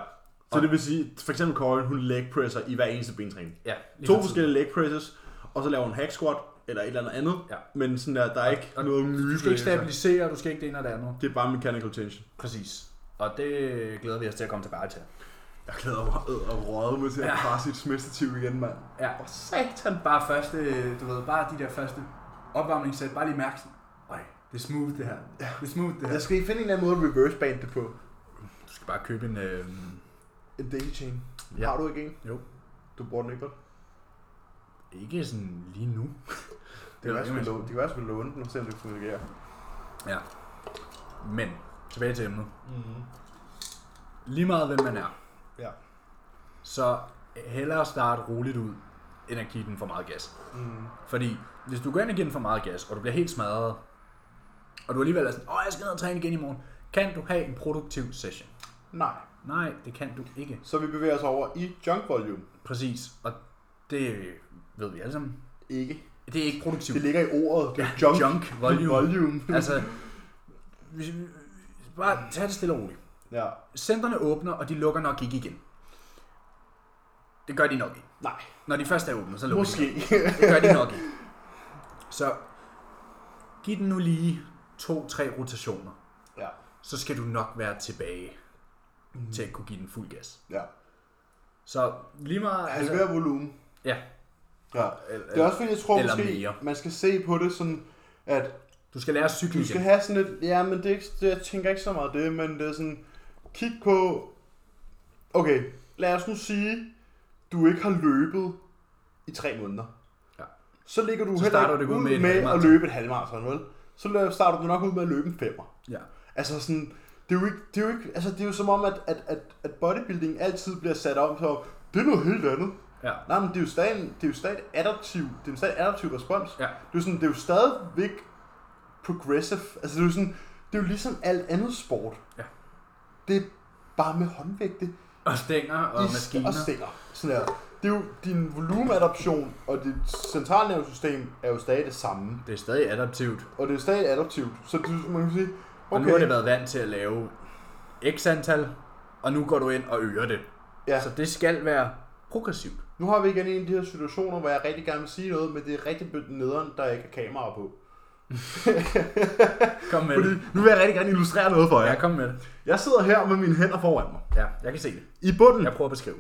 S1: Så det vil sige, for eksempel Corin, hun leg presser i hver eneste bentræning.
S2: Ja, lige
S1: To
S2: præcis.
S1: forskellige leg presses, og så laver hun hack squat, eller et eller andet andet.
S2: Ja.
S1: Men sådan der, der er ikke
S2: og
S1: noget nye
S2: Du skal ikke
S1: bevægelser.
S2: stabilisere, du skal ikke det ene og det andet.
S1: Det er bare mechanical tension.
S2: Præcis. Og det glæder vi os til at komme tilbage til.
S1: Jeg glæder mig ad og røde med til at
S2: Ja.
S1: krasse et smestetiv igen, mand.
S2: Ja, og satan bare første, du ved, bare de der første opvarmningssæt, bare lige mærke sådan, Øj, det er smooth det her. Det er smooth det her.
S1: Jeg skal finde en eller anden måde at reverse band det på.
S2: Du skal bare købe en... Øh...
S1: En daily chain.
S2: Ja.
S1: Har du ikke en?
S2: Jo.
S1: Du bruger den ikke, vel?
S2: Ikke sådan lige nu.
S1: Det kan være,
S2: jo
S1: at låne, det kan være, at låne den, og se om det fungerer.
S2: Ja. Men, tilbage til emnet.
S1: Mm.
S2: Lige meget hvem man er.
S1: Ja.
S2: Så hellere starte roligt ud, end at give den for meget gas.
S1: Mm.
S2: Fordi hvis du går ind og giver den for meget gas, og du bliver helt smadret, og du alligevel er sådan, åh, jeg skal ned og træne igen i morgen, kan du have en produktiv session?
S1: Nej.
S2: Nej, det kan du ikke.
S1: Så vi bevæger os over i junk volume.
S2: Præcis, og det ved vi alle sammen.
S1: Ikke.
S2: Det er ikke produktivt.
S1: Det ligger i ordet. Det er junk,
S2: junk volume.
S1: volume.
S2: Altså, hvis, bare tag det stille og roligt.
S1: ja.
S2: Centerne åbner, og de lukker nok ikke igen. Det gør de nok ikke.
S1: Nej.
S2: Når de først er åbne, så lukker
S1: Måske.
S2: de. nok. Det gør de nok ikke. Så giv den nu lige to-tre rotationer.
S1: ja.
S2: Så skal du nok være tilbage
S1: Mhm.
S2: mm. til at kunne give den fuld gas.
S1: Ja.
S2: Så lige meget... altså,
S1: Halver volumen.
S2: ja,
S1: Ja.
S2: eller-
S1: Det er også fordi, jeg tror
S2: eller
S1: måske,
S2: mere.
S1: man skal se på det sådan, at
S2: du skal lære at cykle
S1: du skal
S2: igen.
S1: have sådan lidt, ja, men det er ikke, det, jeg tænker ikke så meget det, men det er sådan, kig på, okay, lad os nu sige, du ikke har løbet i tre måneder.
S2: Ja.
S1: Så ligger du
S2: Så
S1: heller
S2: starter du
S1: ikke
S2: ikke
S1: ud
S2: ud med
S1: med, at
S2: et halvmaraton.
S1: løbe et halvmarathon, vel? Så la- starter du nok ud med at løbe en femmer.
S2: Ja.
S1: Altså sådan, det er jo ikke, det er jo ikke, altså det er jo som om, at, at, at, at bodybuilding altid bliver sat om, så det er noget helt andet.
S2: Ja.
S1: Nej, men det er jo stadig, en- det er jo stadig et adaptiv, det er jo stadig en adaptiv respons.
S2: Ja.
S1: Det er jo sådan, det er jo stadigvæk progressive. Altså det er jo sådan, det er jo ligesom alt andet sport.
S2: Ja.
S1: Det er bare med håndvægte
S2: Og stænger og
S1: i-
S2: maskiner.
S1: og stænger. Sådan her. Det er jo din volumeadaption og dit centralnervesystem er jo stadig det samme.
S2: Det er stadig adaptivt.
S1: Og det er jo stadig adaptivt. Så det, man kan sige,
S2: Og
S1: okay,
S2: nu har det været vant til at lave x antal, og nu går du ind og øger det.
S1: Ja.
S2: Så det skal være progressivt.
S1: nu har vi igen en af de her situationer, hvor jeg rigtig gerne vil sige noget, men det er rigtig nederen, der ikke er kamera på.
S2: Kom med
S1: Fordi
S2: det.
S1: nu vil jeg rigtig gerne illustrere noget for jer.
S2: Ja, kom med det.
S1: Jeg sidder her med mine hænder foran mig.
S2: Ja, jeg kan se det.
S1: I bunden,
S2: Jeg prøver at beskrive.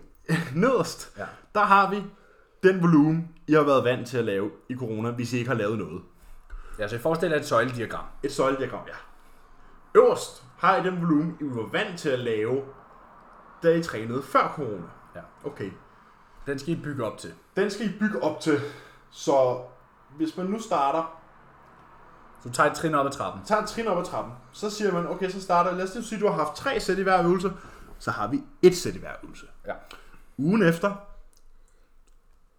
S1: nederst,
S2: Ja.
S1: der har vi den volumen, I har været vant til at lave i corona, hvis I ikke har lavet noget.
S2: Ja, så jeg forestiller jer et søjlediagram.
S1: Et søjlediagram, ja. Øverst har I den volumen, I var vant til at lave, da I trænede før corona.
S2: Ja.
S1: Okay.
S2: Den skal I bygge op til.
S1: Den skal I bygge op til. Så hvis man nu starter,
S2: Så du tager et trin op ad trappen.
S1: tager en trin op ad trappen, så siger man, okay, så starter, lad os lige sige, du har haft tre sæt i hver øvelse, så har vi et sæt i hver øvelse.
S2: Ja.
S1: Ugen efter,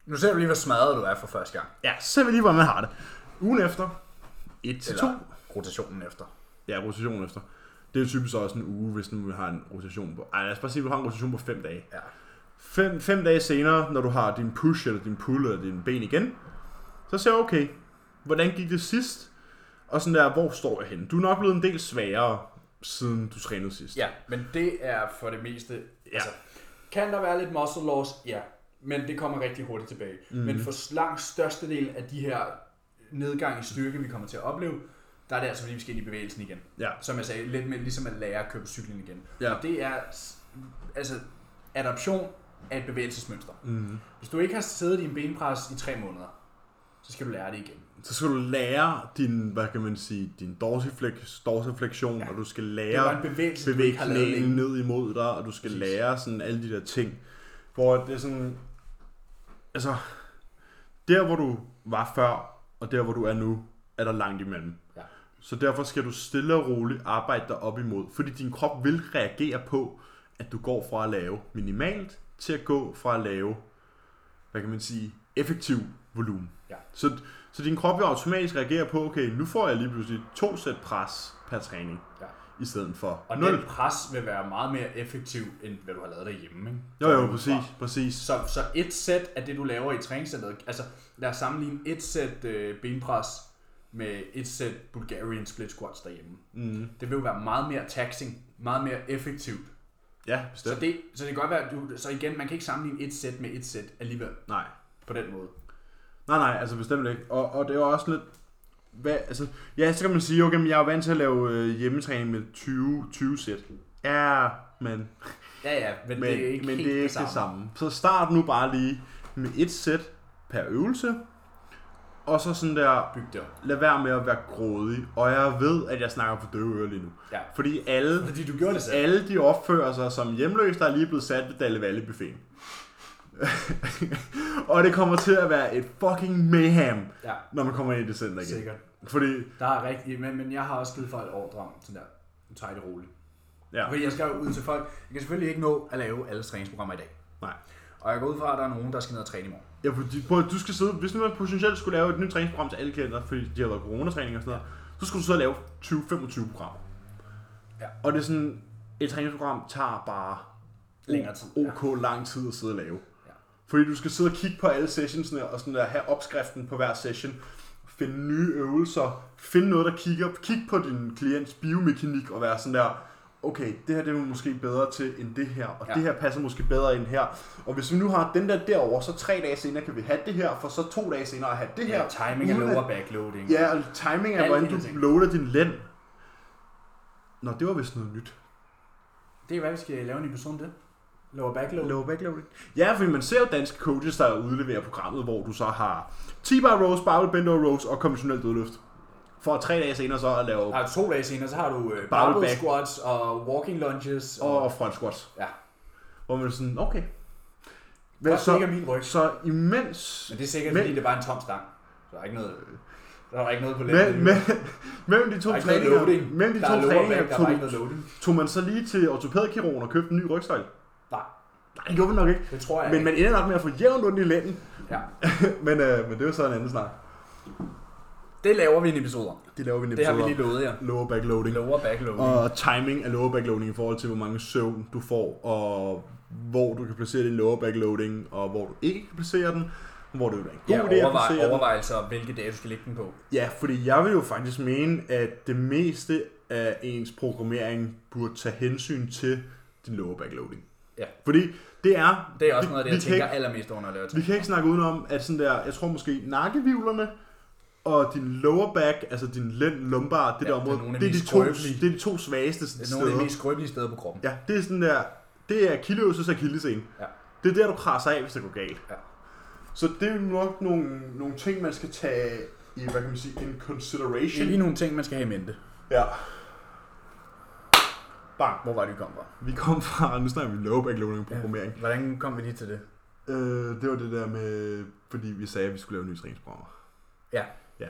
S2: Nu ser du lige, hvor smadret du er for første gang.
S1: ja, så ser vi lige, hvordan man har det. Ugen efter, et til to,
S2: Eller rotationen efter.
S1: Ja, rotation efter. Det er jo typisk også en uge, hvis nu vi har en rotation på... Ej, lad os bare sige, at du har en rotation på 5 dage.
S2: Ja.
S1: 5 fem dage senere, når du har din push, eller din pull, eller din ben igen, så ser jeg, okay, hvordan gik det sidst? Og sådan der, hvor står jeg henne? Du er nok blevet en del sværere, siden du trænede sidst.
S2: Ja, men det er for det meste...
S1: Ja. altså,
S2: kan der være lidt muscle loss? Ja, men det kommer rigtig hurtigt tilbage. Mm. Men for langt størstedelen af de her nedgang i styrke, vi kommer til at opleve, der er det altså fordi, vi skal ind i bevægelsen igen.
S1: ja.
S2: som jeg sagde, lidt med ligesom at lære at køre på cyklen igen.
S1: Ja.
S2: Og det er s- altså adaption af et bevægelsesmønster. Mm. Hvis du ikke har siddet i en benpres i tre måneder, så skal du lære det igen.
S1: Så skal du lære din, hvad kan man sige, din dorsiflex, dorsiflektion, ja. og du skal
S2: Det er bare
S1: lære
S2: en bevægelse, du
S1: bevæge
S2: ikke har lavet
S1: knæene
S2: længe.
S1: ned imod dig, og du skal Præcis. lære sådan alle de der ting. Hvor det er sådan, altså, der hvor du var før, og der hvor du er nu, er der langt imellem.
S2: Ja.
S1: Så derfor skal du stille og roligt arbejde dig op imod, fordi din krop vil reagere på, at du går fra at lave minimalt, til at gå fra at lave, hvad kan man sige, effektiv volumen.
S2: Ja.
S1: Så, så din krop vil automatisk reagere på, okay, nu får jeg lige pludselig to sæt pres per træning
S2: Ja.
S1: i stedet for
S2: Og
S1: 0.
S2: den pres vil være meget mere effektiv, end hvad du har lavet derhjemme. Ikke?
S1: Jo, jo,
S2: Derudefra.
S1: præcis, præcis.
S2: Så, så et sæt af det, du laver i træningscenteret, altså lad os sammenligne et sæt øh, benpres med et sæt Bulgarian split squats derhjemme.
S1: Mm.
S2: Det vil jo være meget mere taxing, meget mere effektivt.
S1: Ja,
S2: Så
S1: bestemt.
S2: det, så det kan godt være, at du, så igen, man kan ikke sammenligne et sæt med et sæt alligevel
S1: Nej.
S2: på den måde.
S1: Nej, nej, altså bestemt ikke. Og, og det var også lidt... Hvad, altså, ja, så kan man sige, okay, men jeg er jo vant til at lave øh, hjemmetræning med 20, 20 sæt. Ja, men,
S2: Ja, ja, men,
S1: men
S2: det er ikke
S1: men
S2: helt
S1: det er ikke det samme. Så start nu bare lige med et sæt per øvelse. Og så sådan der,
S2: Byg det op.
S1: lad være med at være grådig. Og jeg ved, at jeg snakker for døve ører lige nu.
S2: Ja.
S1: Fordi alle
S2: Fordi du gjorde det selv.
S1: alle de opfører sig som hjemløse, der er lige blevet sat ved Dalle Valle buffeten. og det kommer til at være et fucking mayhem,
S2: Ja,
S1: når man kommer ind i december igen.
S2: sikkert.
S1: Fordi,
S2: Der er rigtig, men, men jeg har også givet folk ordre om sådan der, nu tager I det roligt.
S1: ja,
S2: Fordi jeg skal jo ud til folk, jeg kan selvfølgelig ikke nå at lave alle træningsprogrammer i dag.
S1: nej.
S2: Og jeg går ud fra, at der er nogen, der skal ned og træne i morgen.
S1: Ja, fordi, prøv, at- du skal sidde, hvis nu man potentielt skulle lave et nyt træningsprogram til alle klienter, fordi de har været coronatræning og sådan noget, så skulle du sidde og lave 20-25 programmer.
S2: Ja.
S1: Og det er sådan, et træningsprogram tager bare
S2: Længere tid, ja.
S1: OK lang tid at sidde og lave.
S2: Ja.
S1: Fordi du skal sidde og kigge på alle sessionsne og sådan der, have opskriften på hver session, finde nye øvelser, finde noget, der kigger, kig på din klients biomekanik og være sådan der, okay, det her det er vi måske bedre til end det her, og ja.
S2: Ja.
S1: det her passer måske bedre end her. Og hvis vi nu har den der derover, så tre dage senere kan vi have det her, for så to dage senere have det her.
S2: Ja, timing og
S1: uden at-
S2: lower backloading.
S1: Ja, og timing er,
S2: Alle
S1: hvordan
S2: de
S1: du
S2: her ting.
S1: loader din lænd. Nå, det var vist noget nyt.
S2: Det er, hvad vi skal lave en episode om det. Lower backload.
S1: Low backloading. Ja, fordi man ser jo danske coaches, der udleverer programmet, hvor du så har T-bar rows, barbell bend over rows og konventionel dødløft. For tre dage senere så at lave
S2: Har to dage senere, så har du øh,
S1: Barbell
S2: barbell
S1: back.
S2: squats og walking lunges. Og,
S1: og front squats.
S2: ja,
S1: Hvor man er sådan, okay.
S2: Hvad
S1: Hvad
S2: så?
S1: så,
S2: ligger min ryg.
S1: så imens...
S2: Men det er sikkert,
S1: Men-
S2: fordi det var en tom stang. Så der er ikke noget, der er ikke noget på
S1: Men,
S2: lænden.
S1: men, mellem de to
S2: der er ikke noget loading.
S1: træninger, mellem de
S2: der er
S1: to
S2: lower back,
S1: træninger
S2: der var ikke
S1: tog,
S2: noget loading.
S1: tog, man så lige til ortopædkirurgen og købte en ny rygsøjle.
S2: Nej,
S1: Nej, det gjorde vi nok ikke.
S2: det tror jeg
S1: Men
S2: ikke.
S1: man ender nok med at få jævnt ondt i lænden.
S2: Ja.
S1: men, øh, men det er jo så en anden snak.
S2: Det laver vi en episode om.
S1: Det laver vi en
S2: Det har vi
S1: episode
S2: lige lovet jer.
S1: om. Lower backloading.
S2: Lower backloading.
S1: Og timing af lower backloading i forhold til, hvor mange søvn du får, og hvor du kan placere din lower backloading, og hvor du ikke kan placere den, og hvor det vil være en god
S2: ja,
S1: idé at
S2: overvej,
S1: placere den.
S2: overvejelser om, hvilke dage du skal lægge den på.
S1: Ja, fordi jeg vil jo faktisk mene, at det meste af ens programmering burde tage hensyn til din lower backloading.
S2: Ja.
S1: Fordi det er...
S2: Det er også noget af
S1: vi
S2: det, jeg
S1: kan
S2: tænker allermest under at lave
S1: Vi kan ikke snakke udenom, at sådan der, jeg tror måske nakkevivlerne og din lower back, altså din lænd, lumbar, det
S2: Ja,
S1: der område,
S2: det er nogle af
S1: det, er
S2: de
S1: de
S2: mest
S1: to,
S2: skrøbelige.
S1: det er de to svageste
S2: Det er
S1: steder.
S2: nogle af de mest skrøbelige steder på kroppen.
S1: Ja, det er sådan der, det er kileøvelses akillescene.
S2: Ja.
S1: Det er der, du krasser af, hvis det går galt.
S2: Ja.
S1: Så det er jo nok nogle, nogle ting, man skal tage i, hvad kan man sige, in
S2: Det er
S1: consideration.
S2: lige nogle ting, man skal have i mente.
S1: Ja. Bang.
S2: Hvor var det, vi kom fra?
S1: Vi kom fra, nu snakker vi low back loading programmering.
S2: Hvordan kom vi lige til det?
S1: Øh, det var det der med, fordi vi sagde, at vi skulle lave nye træningsprogrammer.
S2: Ja.
S1: Ja.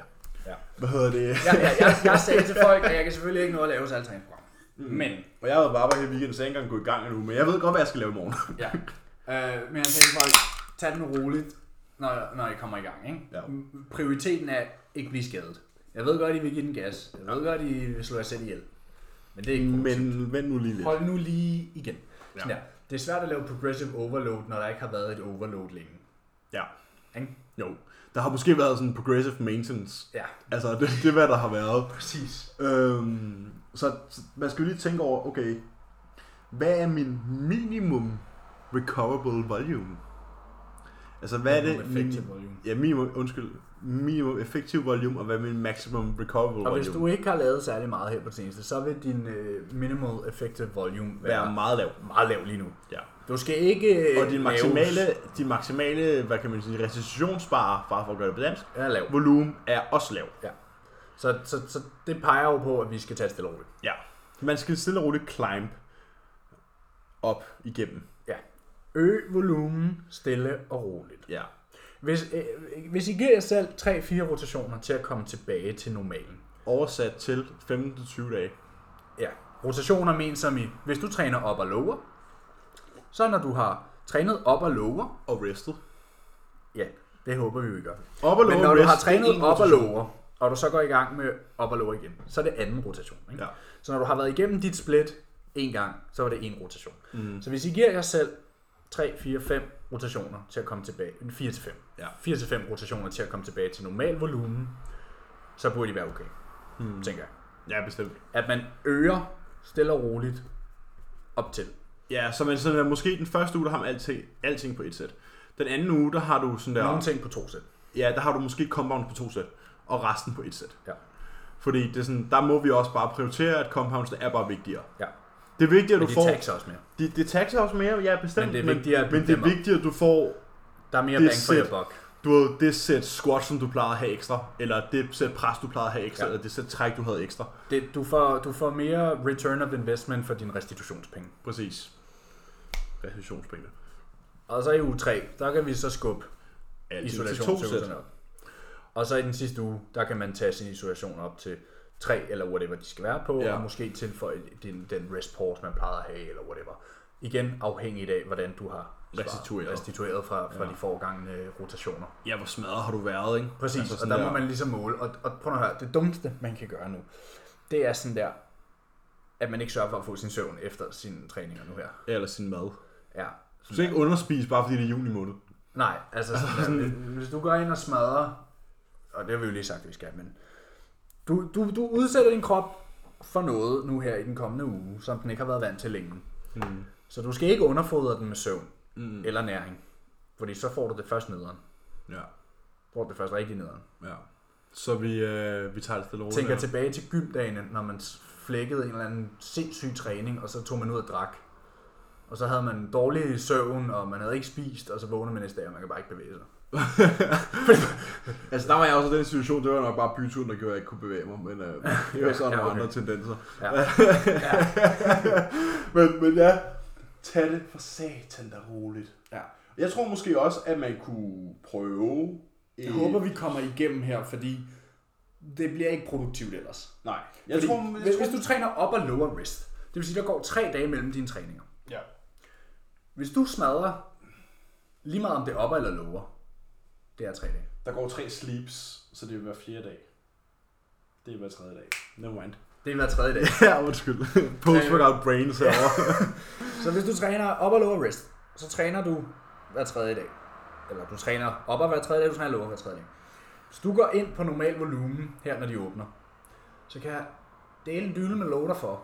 S2: Ja.
S1: Hvad hedder det?
S2: Jeg, jeg, jeg, jeg sagde til folk, at jeg kan selvfølgelig ikke nå at lave så alle træningsprogram.
S1: Mm-hmm.
S2: Men,
S1: Og jeg har været på arbejde hele weekenden, så jeg er ikke engang gået i gang endnu, men jeg ved godt, hvad jeg skal lave i morgen.
S2: ja. Øh, men jeg sagde til folk, tag den roligt, når, når I kommer i gang. Ikke?
S1: Ja.
S2: M- Prioriteten er ikke blive skadet. Jeg ved godt, I vil give den gas. Jeg ved godt, I vil slå jer selv ihjel. Men det er ikke
S1: Men vent nu lige lidt.
S2: Hold nu lige igen.
S1: Ja.
S2: Ja. Det er svært at lave progressive overload, når der ikke har været et overload længe.
S1: Ja.
S2: Ikke?
S1: Jo. Der har måske været sådan progressive maintenance.
S2: Ja,
S1: Altså, det, det er, hvad der har været.
S2: præcis.
S1: Øhm, så så man skal jo lige tænke over, okay, hvad er min minimum recoverable volume? Altså, hvad er det?
S2: Effective volume.
S1: Ja, minimum, undskyld, minimum effektiv volume, og hvad er min maximum recoverable
S6: Og hvis
S1: volume?
S6: du ikke har lavet særlig meget her på det seneste, så vil din øh, minimal effective volume være
S1: Være meget lav.
S6: meget lav lige nu.
S1: Ja.
S6: Du skal ikke øh,
S1: Og din
S6: lave-
S1: maksimale, din maksimale, hvad kan man sige, recessionsbare, bare for at gøre det på dansk,
S6: er lav.
S1: volumen er også lav.
S6: Så, så, så det peger jo på, at vi skal tage det stille og roligt.
S1: Ja. Man skal stille og roligt climb op igennem.
S6: Øg volumen stille og roligt.
S1: Ja.
S6: Hvis, øh, hvis I giver jer selv 3-4 rotationer til at komme tilbage til normalen.
S1: Oversat til 15-20 dage.
S6: Ja, rotationer men som i, hvis du træner op og lower, så når du har trænet op og lower,
S1: Og restet.
S6: ja, det håber vi jo ikke gør.
S1: Op og
S6: Men
S1: lower
S6: når du har
S1: rest, det er
S6: trænet
S1: en
S6: op og
S1: rotation.
S6: lower,
S2: og du så går i gang med op og lower igen, så er det anden rotation. Ikke?
S1: Ja.
S2: Så når du har været igennem dit split en gang, så var det en rotation. Mm. Så hvis I giver jer selv 3, 4, 5 rotationer til at komme tilbage, 4 til 5,
S1: Ja.
S2: 4 til 5 rotationer til at komme tilbage til normal volumen, så burde I være okay, mm. tænker jeg.
S1: Ja, bestemt.
S2: At man øger stille og roligt op til.
S1: Ja, så man sådan der, måske den første uge, der har man alting, alting på et sæt. Den anden uge, der har du sådan der,
S2: Nogle ting på to sæt.
S1: ja, der har du måske compound på to sæt, og resten på et sæt.
S2: Ja.
S1: Fordi det er sådan, der må vi også bare prioritere, at compounds er bare vigtigere.
S2: Ja.
S1: Det er vigtigt, at
S2: Men
S1: du
S2: de
S1: får...
S2: taxer også mere.
S1: Det, det taxer også mere, ja, bestemt.
S2: Men det er vigtigere,
S1: vigtigere,
S2: at
S1: men, men det er
S2: bestemmer.
S1: vigtigt, at du får
S2: Der er mere
S1: Det er
S2: bang for your
S1: sæt.
S2: buck.
S1: du ved, det sæt squat, som du plejede at have ekstra, eller det sæt pres, du plejede at have ekstra,
S2: Ja.
S1: ja. eller det sæt træk, du havde ekstra.
S2: Det, du, får, du får mere return of investment for din restitutionspenge.
S1: Præcis. Restitutionspenge.
S2: Og så i uge 3, der kan vi så skubbe
S1: Altid til to sæt.
S2: isolationsøvelserne op. Og så i den sidste uge, der kan man tage sin isolation op til 3 eller whatever de skal være på, ja.
S1: Ja.
S2: og måske tilføje den, den rest pause, man plejede at have, eller whatever. Igen afhængigt af, hvordan du har svaret-
S1: Restitueret.
S2: restitueret fra, fra ja. de foregangne rotationer.
S1: Ja, hvor smadret har du været, ikke?
S2: Præcis, altså og
S1: sådan
S2: der, der må man ligesom måle. Og, og prøv nu at høre, det dummeste, man kan gøre nu, det er sådan der, at man ikke sørger for at få sin søvn efter sine træninger nu her.
S1: Eller sin mad.
S2: Ja.
S1: Du skal ikke underspise, bare fordi det er juni måned.
S2: Nej, altså sådan der, hvis du går ind og smadrer, og det har vi jo lige sagt, at vi skal, men du, du, du udsætter din krop for noget nu her i den kommende uge, som den ikke har været vant til længe.
S1: Mm.
S2: Så du skal ikke underfodre den med søvn
S1: Mm.
S2: eller næring, fordi så får du det først nederen.
S1: Ja,
S2: Får du det først rigtig nederen.
S1: ja. Så vi, øh, vi tager det stille og roligt.
S2: tænker
S1: her.
S2: tilbage til gymdagene, når man flækkede en eller anden sindssyg træning, og så tog man ud og drak. Og så havde man dårlig søvn, og man havde ikke spist, og så vågnede man næste dag, og man kan bare ikke bevæge sig.
S1: Altså, der var jeg også i den situation, det var nok bare byturen, der gjorde, at jeg ikke kunne bevæge mig, men øh, det var sådan
S2: Ja,
S1: nogle
S2: okay.
S1: andre tendenser.
S2: Ja.
S1: men, men ja, tag det for satan da roligt.
S3: Ja.
S1: Jeg tror måske også, at man kunne prøve...
S3: Jeg
S1: Øh,
S3: håber, vi kommer igennem her, fordi det bliver ikke produktivt ellers.
S1: Nej, jeg
S3: Fordi
S1: tror... Jeg
S2: Hvis,
S1: tror
S2: hvis du træner op og lower wrist, det vil sige, der går tre dage mellem dine træninger.
S3: Ja.
S2: Hvis du smadrer, lige meget om det er op eller lower, det er tre dage.
S1: Der går tre sleeps, så det vil være fjerde dag. Det er hver tredje dag. Never mind.
S2: Det er hver tredje dag.
S1: Ja, undskyld. Post-workout brains herovre.
S2: Så hvis du træner op og lower wrist, så træner du hver tredje dag. Eller du træner op og hver tredje dag, du træner lower hver tredje dag. Hvis du går ind på normal volumen her, når de åbner, så kan jeg dele en dyne med lov dig for,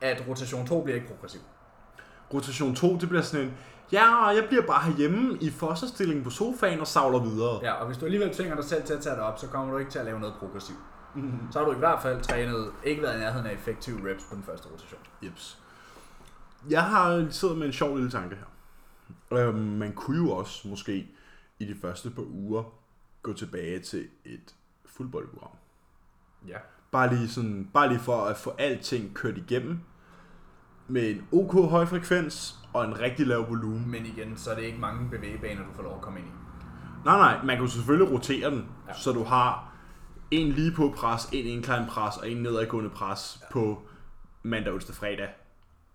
S2: at rotation 2 bliver ikke progressiv.
S1: Rotation 2, det bliver sådan en... Ja, og jeg bliver bare herhjemme i fosterstillingen på sofaen og savler videre.
S2: Ja, og hvis du alligevel tvinger dig selv til at tage det op, så kommer du ikke til at lave noget progressivt.
S3: Mhm.
S2: Så har du i hvert fald trænet, ikke været i nærheden af effektive reps på den første rotation.
S1: Jeps. Jeg har siddet med en sjov lille tanke her. Øhm, man kunne jo også måske i de første par uger gå tilbage til et fuldboldprogram.
S2: Ja.
S1: Bare lige, sådan, bare lige for at få alting kørt igennem med en OK høj frekvens og en rigtig lav volumen.
S2: Men igen, så er det ikke mange bevægebaner, du får lov at komme ind i.
S1: Nej, nej, man kan jo selvfølgelig rotere den, ja. så du har en lige på pres, en incline pres og en nedadgående pres ja. på mandag, onsdag, fredag.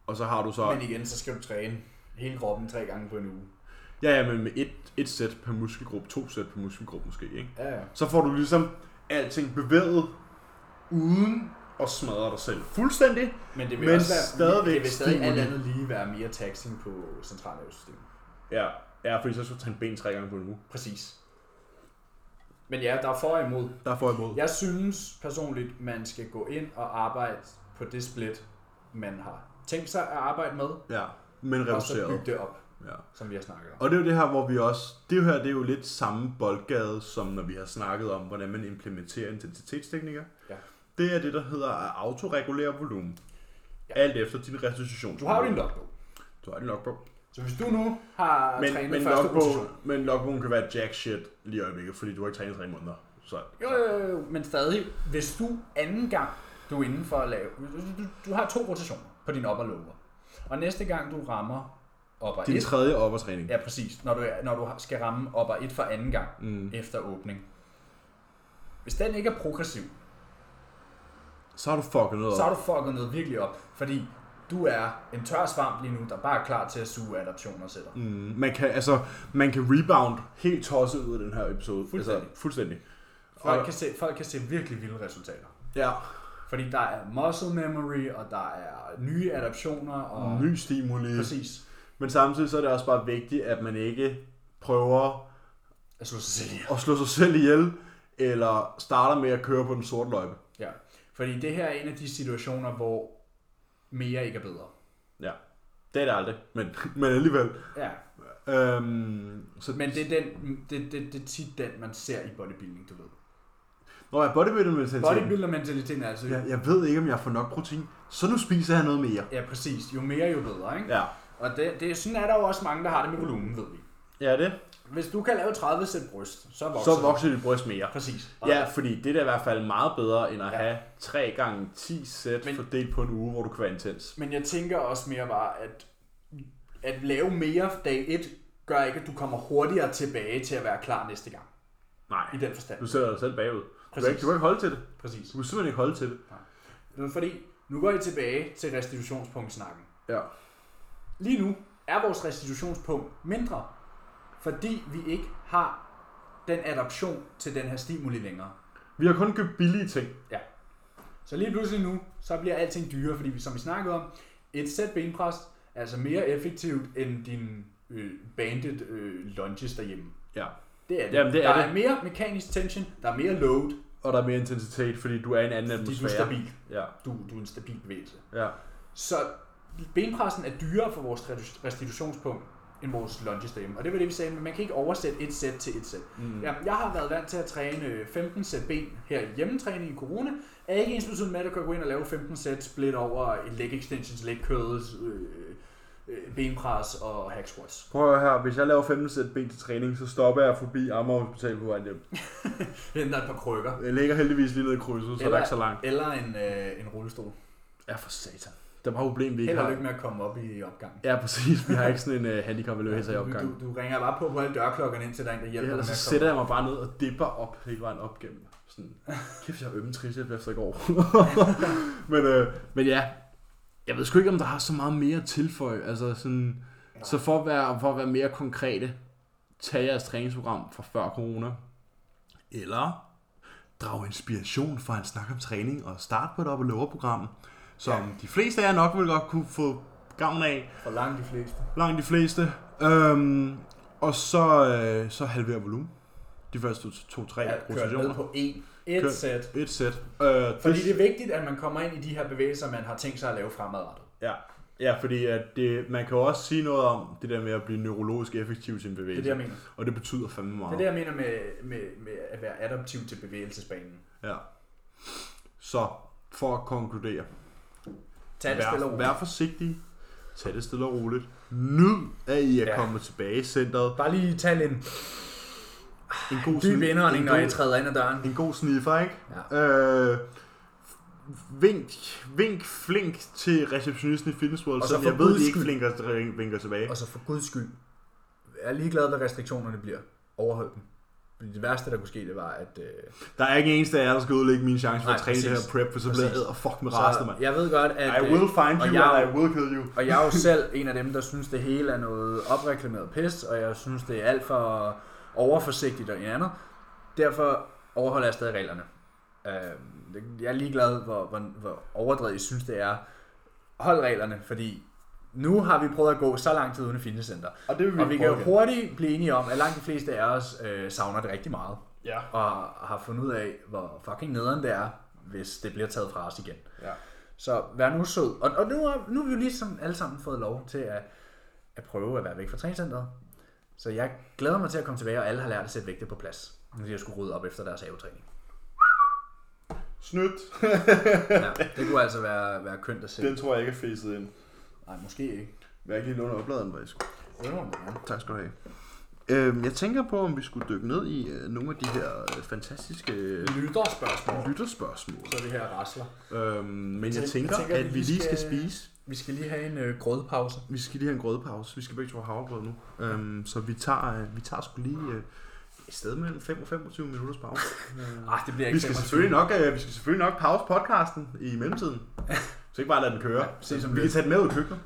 S1: Og så har du så...
S3: Men igen, så skal du træne hele kroppen tre gange på en uge.
S1: Ja, ja, men med et, et sæt per muskelgruppe, to sæt per muskelgruppe måske, ikke?
S3: Ja, ja.
S1: Så får du ligesom alting bevæget uden at smadre dig selv fuldstændig.
S3: Men det vil,
S1: Men
S3: også være,
S1: stadigvæk
S3: det vil stadig alt
S1: stimuli.
S3: andet lige være mere taxing på centralnervesystemet.
S1: Ja, ja fordi så skulle du tage en ben tre gange på en uge.
S3: Præcis. Men ja, der er for og imod.
S1: Der får jeg imod.
S3: Jeg synes personligt, man skal gå ind og arbejde på det split, man har tænkt sig at arbejde med,
S1: Ja, men
S3: og så
S1: reduceret.
S3: bygge det op,
S1: Ja.
S3: som vi har snakket om.
S1: Og det er jo det her, hvor vi også... Det her det er jo lidt samme boldgade, som når vi har snakket om, hvordan man implementerer intensitetsteknikker.
S3: Ja.
S1: Det er det, der hedder at autoregulere volumen.
S3: Ja.
S1: Ja. Alt efter din restitution.
S3: Du har jo din logbog.
S1: Du har din logbog.
S3: Så hvis du nu har
S1: men,
S3: trænet
S1: men,
S3: første
S1: logbogen,
S3: position,
S1: men logbogen kan være jack shit lige i øjeblikket, fordi du har ikke trænet i tre måneder. Så
S2: Jo, jo, jo, jo, men stadig, hvis du anden gang, du er inden for at lave, du, du, du har to rotationer på din op og lower, og næste gang du rammer op og
S1: din
S2: et,
S1: tredje oppertræning. Ja.
S2: ja præcis, når du, er- når du har- skal ramme op og et for anden gang
S1: Mm.
S2: efter åbning, hvis den ikke er progressiv,
S1: Så har du fucket noget
S2: så har
S1: op.
S2: du fucket noget virkelig op, fordi du er en tør svamp lige nu, der bare er klar til at suge adaptioner til dig.
S1: Mm, man, kan, altså, man kan rebound helt tosset ud af den her episode.
S2: Fuldstændig.
S1: Altså, fuldstændig.
S2: Folk
S1: Og-
S2: kan, se, folk kan se virkelig vilde resultater.
S3: Ja.
S2: Fordi der er muscle memory, og der er nye adaptioner, og
S1: Ny stimuli.
S2: præcis.
S1: Men samtidig så er det også bare vigtigt, at man ikke prøver
S2: Jeg slår sig selv ihjel.
S1: at slå sig selv ihjel, eller starter med at køre på den sorte løjpe.
S2: Ja. Fordi det her er en af de situationer, hvor mere ikke er bedre.
S1: Ja, det er det aldrig, men, men alligevel.
S2: Ja.
S1: Øhm, så,
S2: Men det er, den, det, det, det er tit den, man ser i bodybuilding, du ved.
S1: Nå, jeg bodybuilder mentaliteten.
S2: Bodybuilder-mentaliteten er altså... Ja.
S1: Jeg, jeg ved ikke, om jeg får nok protein, så nu spiser jeg noget mere.
S2: ja, præcis. Jo mere, jo bedre, ikke?
S1: Ja,
S2: Og det, det, sådan er der jo også mange, der har det med volumen, ved vi.
S1: ja det.
S2: Hvis du kan lave 30 sæt bryst, så vokser
S1: Så
S2: du.
S1: vokser dit bryst mere.
S2: Præcis. Og
S1: Ja, fordi det er da i hvert fald meget bedre, end at
S2: Ja.
S1: have 3 gange 10 sæt
S3: Men-
S1: fordelt på en uge, hvor du kan være intens.
S3: Men jeg tænker også mere bare, at at lave mere dag 1, gør ikke, at du kommer hurtigere tilbage til at være klar næste gang.
S1: Nej,
S3: I den forstand.
S1: du sætter dig selv bagud. Du kan,
S3: Præcis.
S1: ikke, du kan ikke holde til det.
S3: Præcis.
S1: Du kan simpelthen ikke holde til det.
S3: Men Fordi nu går I tilbage til restitutionspunktsnakken.
S1: Ja.
S3: Lige nu er vores restitutionspunkt mindre, fordi vi ikke har den adaption til den her stimuli længere.
S1: Vi har kun købt billige ting.
S3: Så lige pludselig nu, så bliver alting dyrere, fordi vi, som vi snakkede om, et sæt benpres er altså mere effektivt end din øh, banded øh, lunges derhjemme.
S1: Ja.
S3: Det er det.
S1: Jamen, det er
S3: der
S1: det.
S3: er mere mekanisk tension, der er mere load,
S1: Og der er mere intensitet, fordi du er i en anden
S3: fordi du er
S1: atmosfære.
S3: stabil.
S1: Ja,
S3: Du, du er en stabil bevægelse.
S1: ja.
S3: Så benpressen er dyrere for vores redu- restitutionspunkt end vores lunges derhjemme. Og det var det, vi sagde, men man kan ikke oversætte et sæt til et sæt.
S1: Mm.
S3: Jamen, jeg har været vant til at træne øh, 15 sæt ben her i hjemmetræning i corona. Er ikke ens betydende med, at jeg kan gå ind og lave 15 sæt split over et leg extensions, leg curls, øh, øh, benpres og hack squats.
S1: Prøv at høre her, hvis jeg laver 15 sæt ben til træning, så stopper jeg forbi Amager Hospital på vejen hjem.
S3: Henter et par krykker.
S1: Jeg ligger heldigvis lige nede i krydset, så det er
S3: Eller-
S1: ikke så langt.
S3: Eller en, øh, en rullestol.
S1: Ja, for satan. Der var et problem, vi ikke
S3: Held og
S1: har.
S3: lykke med at komme op i opgangen.
S1: Ja, præcis. Vi har ikke sådan en uh, handicap i opgangen.
S3: Du, du, ringer bare på på alle dørklokkerne ind til dig, der
S1: Ja, altså,
S3: hjælper dig med
S1: ellers
S3: at
S1: så
S3: komme.
S1: sætter jeg mig bare ned og dipper op hele vejen op gennem. Sådan, kæft, jeg har ømme tricep efter i går. men, øh, men ja, jeg ved sgu ikke, om der har så meget mere at tilføje. Altså sådan, så for at, være, for at være mere konkrete, tag jeres træningsprogram fra før corona. Eller drag inspiration fra en snak om træning og start på et op- og løberprogram, som ja. de fleste af jer nok vil godt kunne få gavn af.
S3: For langt de fleste.
S1: Langt de fleste. Øhm, og så, øh, så halver volumen. De første to-tre to,
S3: Ja,
S1: to,
S3: kørt ned
S1: rotationer.
S3: på én. Et
S1: Kør-
S3: sæt.
S1: Et sæt. Øh,
S3: Fordi det er vigtigt, at man kommer ind i de her bevægelser, man har tænkt sig at lave fremadrettet.
S1: Ja. ja, fordi at det, man kan jo også sige noget om det der med at blive neurologisk effektiv i sin
S3: Det er
S1: bevægelse.
S3: det, jeg mener.
S1: Og det betyder fandme meget.
S3: Det er det, jeg mener med, med, med at være adaptiv til bevægelsesbanen.
S1: Ja. Så for at konkludere.
S3: Tag det stille og
S1: Vær,
S3: roligt.
S1: vær forsigtig. Tag det stille og roligt. Nyd at I er ja. kommet tilbage i centret.
S2: Bare lige tag en
S1: En god
S2: dyb
S1: sn-
S2: indånding,
S1: en
S2: når
S1: god-
S2: jeg træder ind ad døren.
S1: En god sniffer, ikke?
S2: Ja.
S1: Øh, vink, vink flink til receptionisten i Fitness World,
S2: Og så
S1: så
S2: for
S1: jeg ved,
S2: guds
S1: de ikke
S2: skyld.
S1: flinker, vinker tilbage.
S2: Og så for guds skyld, jeg er ligeglad, hvad restriktionerne bliver. Overhold dem. Fordi det værste, der kunne ske, det var, at... Øh,
S1: Der er ikke en eneste af jer, der skal udlægge min chance for
S2: Nej,
S1: at træne det
S2: præcis.
S1: her prep, for så bliver jeg
S2: Præcis.
S1: æder fuck med
S2: så,
S1: resten, mand.
S2: jeg ved godt, at...
S1: I
S3: øh,
S1: will find
S2: og
S1: you,
S2: jeg-
S1: and I will kill you.
S2: og jeg er jo selv en af dem, der synes, det hele er noget opreklameret pis, og jeg synes, det er alt for overforsigtigt og andet. Derfor overholder jeg stadig reglerne. Øh, det- jeg er ligeglad, hvor, hvor, hvor overdrevet I synes, det er. Hold reglerne, fordi nu har vi prøvet at gå så lang tid uden et fitnesscenter.
S1: Og det vil
S2: Og vi kan jo hurtigt blive enige om, at langt de fleste af os øh, savner det rigtig meget.
S1: Ja.
S2: Og har fundet ud af, hvor fucking nederen det er, hvis det bliver taget fra os igen.
S1: Ja.
S2: Så vær nu sød. Og, og nu, er, nu har vi jo ligesom alle sammen fået lov til at, at prøve at være væk fra træningscenteret. Så jeg glæder mig til at komme tilbage, og alle har lært at sætte vægte på plads. Nu de har skulle rydde op efter deres havetræning.
S1: Snydt.
S2: Ja, det kunne altså være, være kønt at se.
S1: Den tror jeg ikke er fæset ind.
S2: Nej, måske ikke.
S1: Jeg har ikke lige låne opladeren, hvor jeg skulle.
S2: Ja.
S1: Tak skal du have. Øhm, jeg tænker på, om vi skulle dykke ned i øh, nogle af de her øh, fantastiske øh,
S3: Lytterspørgsmål,
S1: lytterspørgsmål.
S3: så det her rasler.
S1: Øhm, men jeg
S3: tænker-
S1: tænker,
S3: jeg tænker,
S1: at vi lige skal spise.
S2: Vi skal lige have en øh, grødpause.
S1: Vi skal lige have en grødepause. Vi skal begge to have havregrød nu. Øhm, så vi tager, øh, vi tager sgu lige øh, et sted mellem 5 og 25 minutters pause.
S2: Ah, det bliver ikke
S1: vi, skal
S2: 25.
S1: selvfølgelig nok, øh, vi skal selvfølgelig nok pause podcasten i mellemtiden. Så ikke bare lade den køre.
S2: Ja, se
S1: vi
S2: som det.
S1: kan tage den med ud i køkkenet.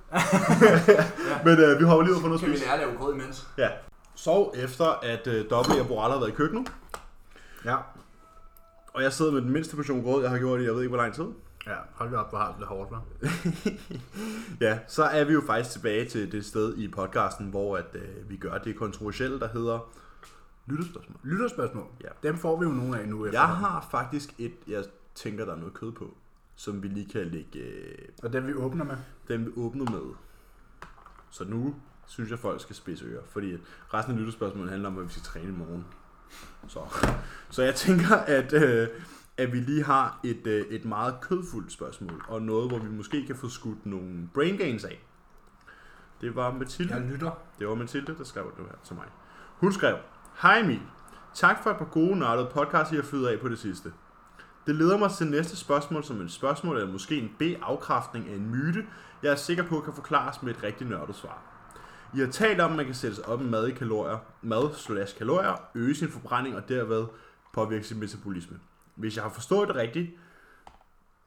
S1: Men øh, vi hopper lige ud på noget at
S3: Kan vi
S1: spise.
S3: lære at lave grød imens?
S1: Ja. Sov efter, at øh, Dobby og Boralla har været i køkkenet.
S2: Ja.
S1: Og jeg sidder med den mindste portion grød, jeg har gjort i, jeg ved ikke hvor lang tid.
S2: Ja, hold da op, hvor har du det hårdt, hva'?
S1: Ja, så er vi jo faktisk tilbage til det sted i podcasten, hvor at, øh, vi gør det kontroversielle, der hedder lyttespørgsmål.
S2: Lytterspørgsmål.
S1: Ja.
S2: Dem får vi jo nogle af nu efter.
S1: Jeg har faktisk et, jeg tænker, der er noget kød på, som vi lige kan lægge øh,
S2: Og dem vi åbner med.
S1: den, vi åbner med. Så nu synes jeg, folk skal spidse ører, fordi at resten af lyttespørgsmålet handler om, hvad vi skal træne i morgen. Så, så jeg tænker, at, øh, at vi lige har et, øh, et meget kødfuldt spørgsmål, og noget, hvor vi måske kan få skudt nogle brain gains af. Det var Mathilde.
S2: Jeg lytter.
S1: Det var Mathilde, der skrev det her til mig. Hun skrev, Hej Emil, tak for et par gode nørdede podcasts, I har fyret af på det sidste. Det leder mig til næste spørgsmål som et spørgsmål, eller måske en B-afkræftning af en myte, jeg er sikker på kan forklares med et rigtigt nørdet svar. I har talt om, at man kan sættes op med mad i kalorier, mad slash kalorier, øge sin forbrænding og derved påvirke sin metabolisme. Hvis jeg har forstået det rigtigt,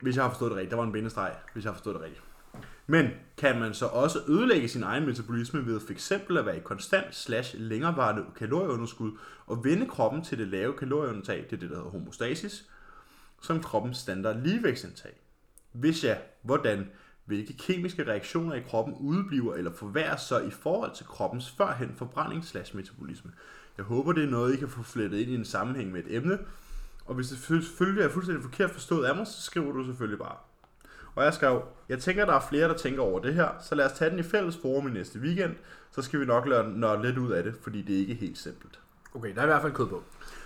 S1: hvis jeg har forstået det rigtigt, der var en bindestreg, hvis jeg har forstået det rigtigt. Men kan man så også ødelægge sin egen metabolisme ved f.eks. at være i konstant slash længerevarende kalorieunderskud og vende kroppen til det lave kalorieindtag, det er det, der hedder homostasis, som kroppens standard ligevægtsindtag? Hvis ja, hvordan? Hvilke kemiske reaktioner i kroppen udebliver eller forværres så i forhold til kroppens førhen forbrænding slash metabolisme? Jeg håber, det er noget, I kan få flettet ind i en sammenhæng med et emne. Og hvis det selvfølgelig er fuldstændig forkert forstået af mig, så skriver du selvfølgelig bare. Og jeg skrev, jeg tænker, der er flere, der tænker over det her, så lad os tage den i fælles forum i næste weekend, så skal vi nok lade nørde lidt ud af det, fordi det er ikke helt simpelt.
S2: Okay, der er i hvert fald kød på.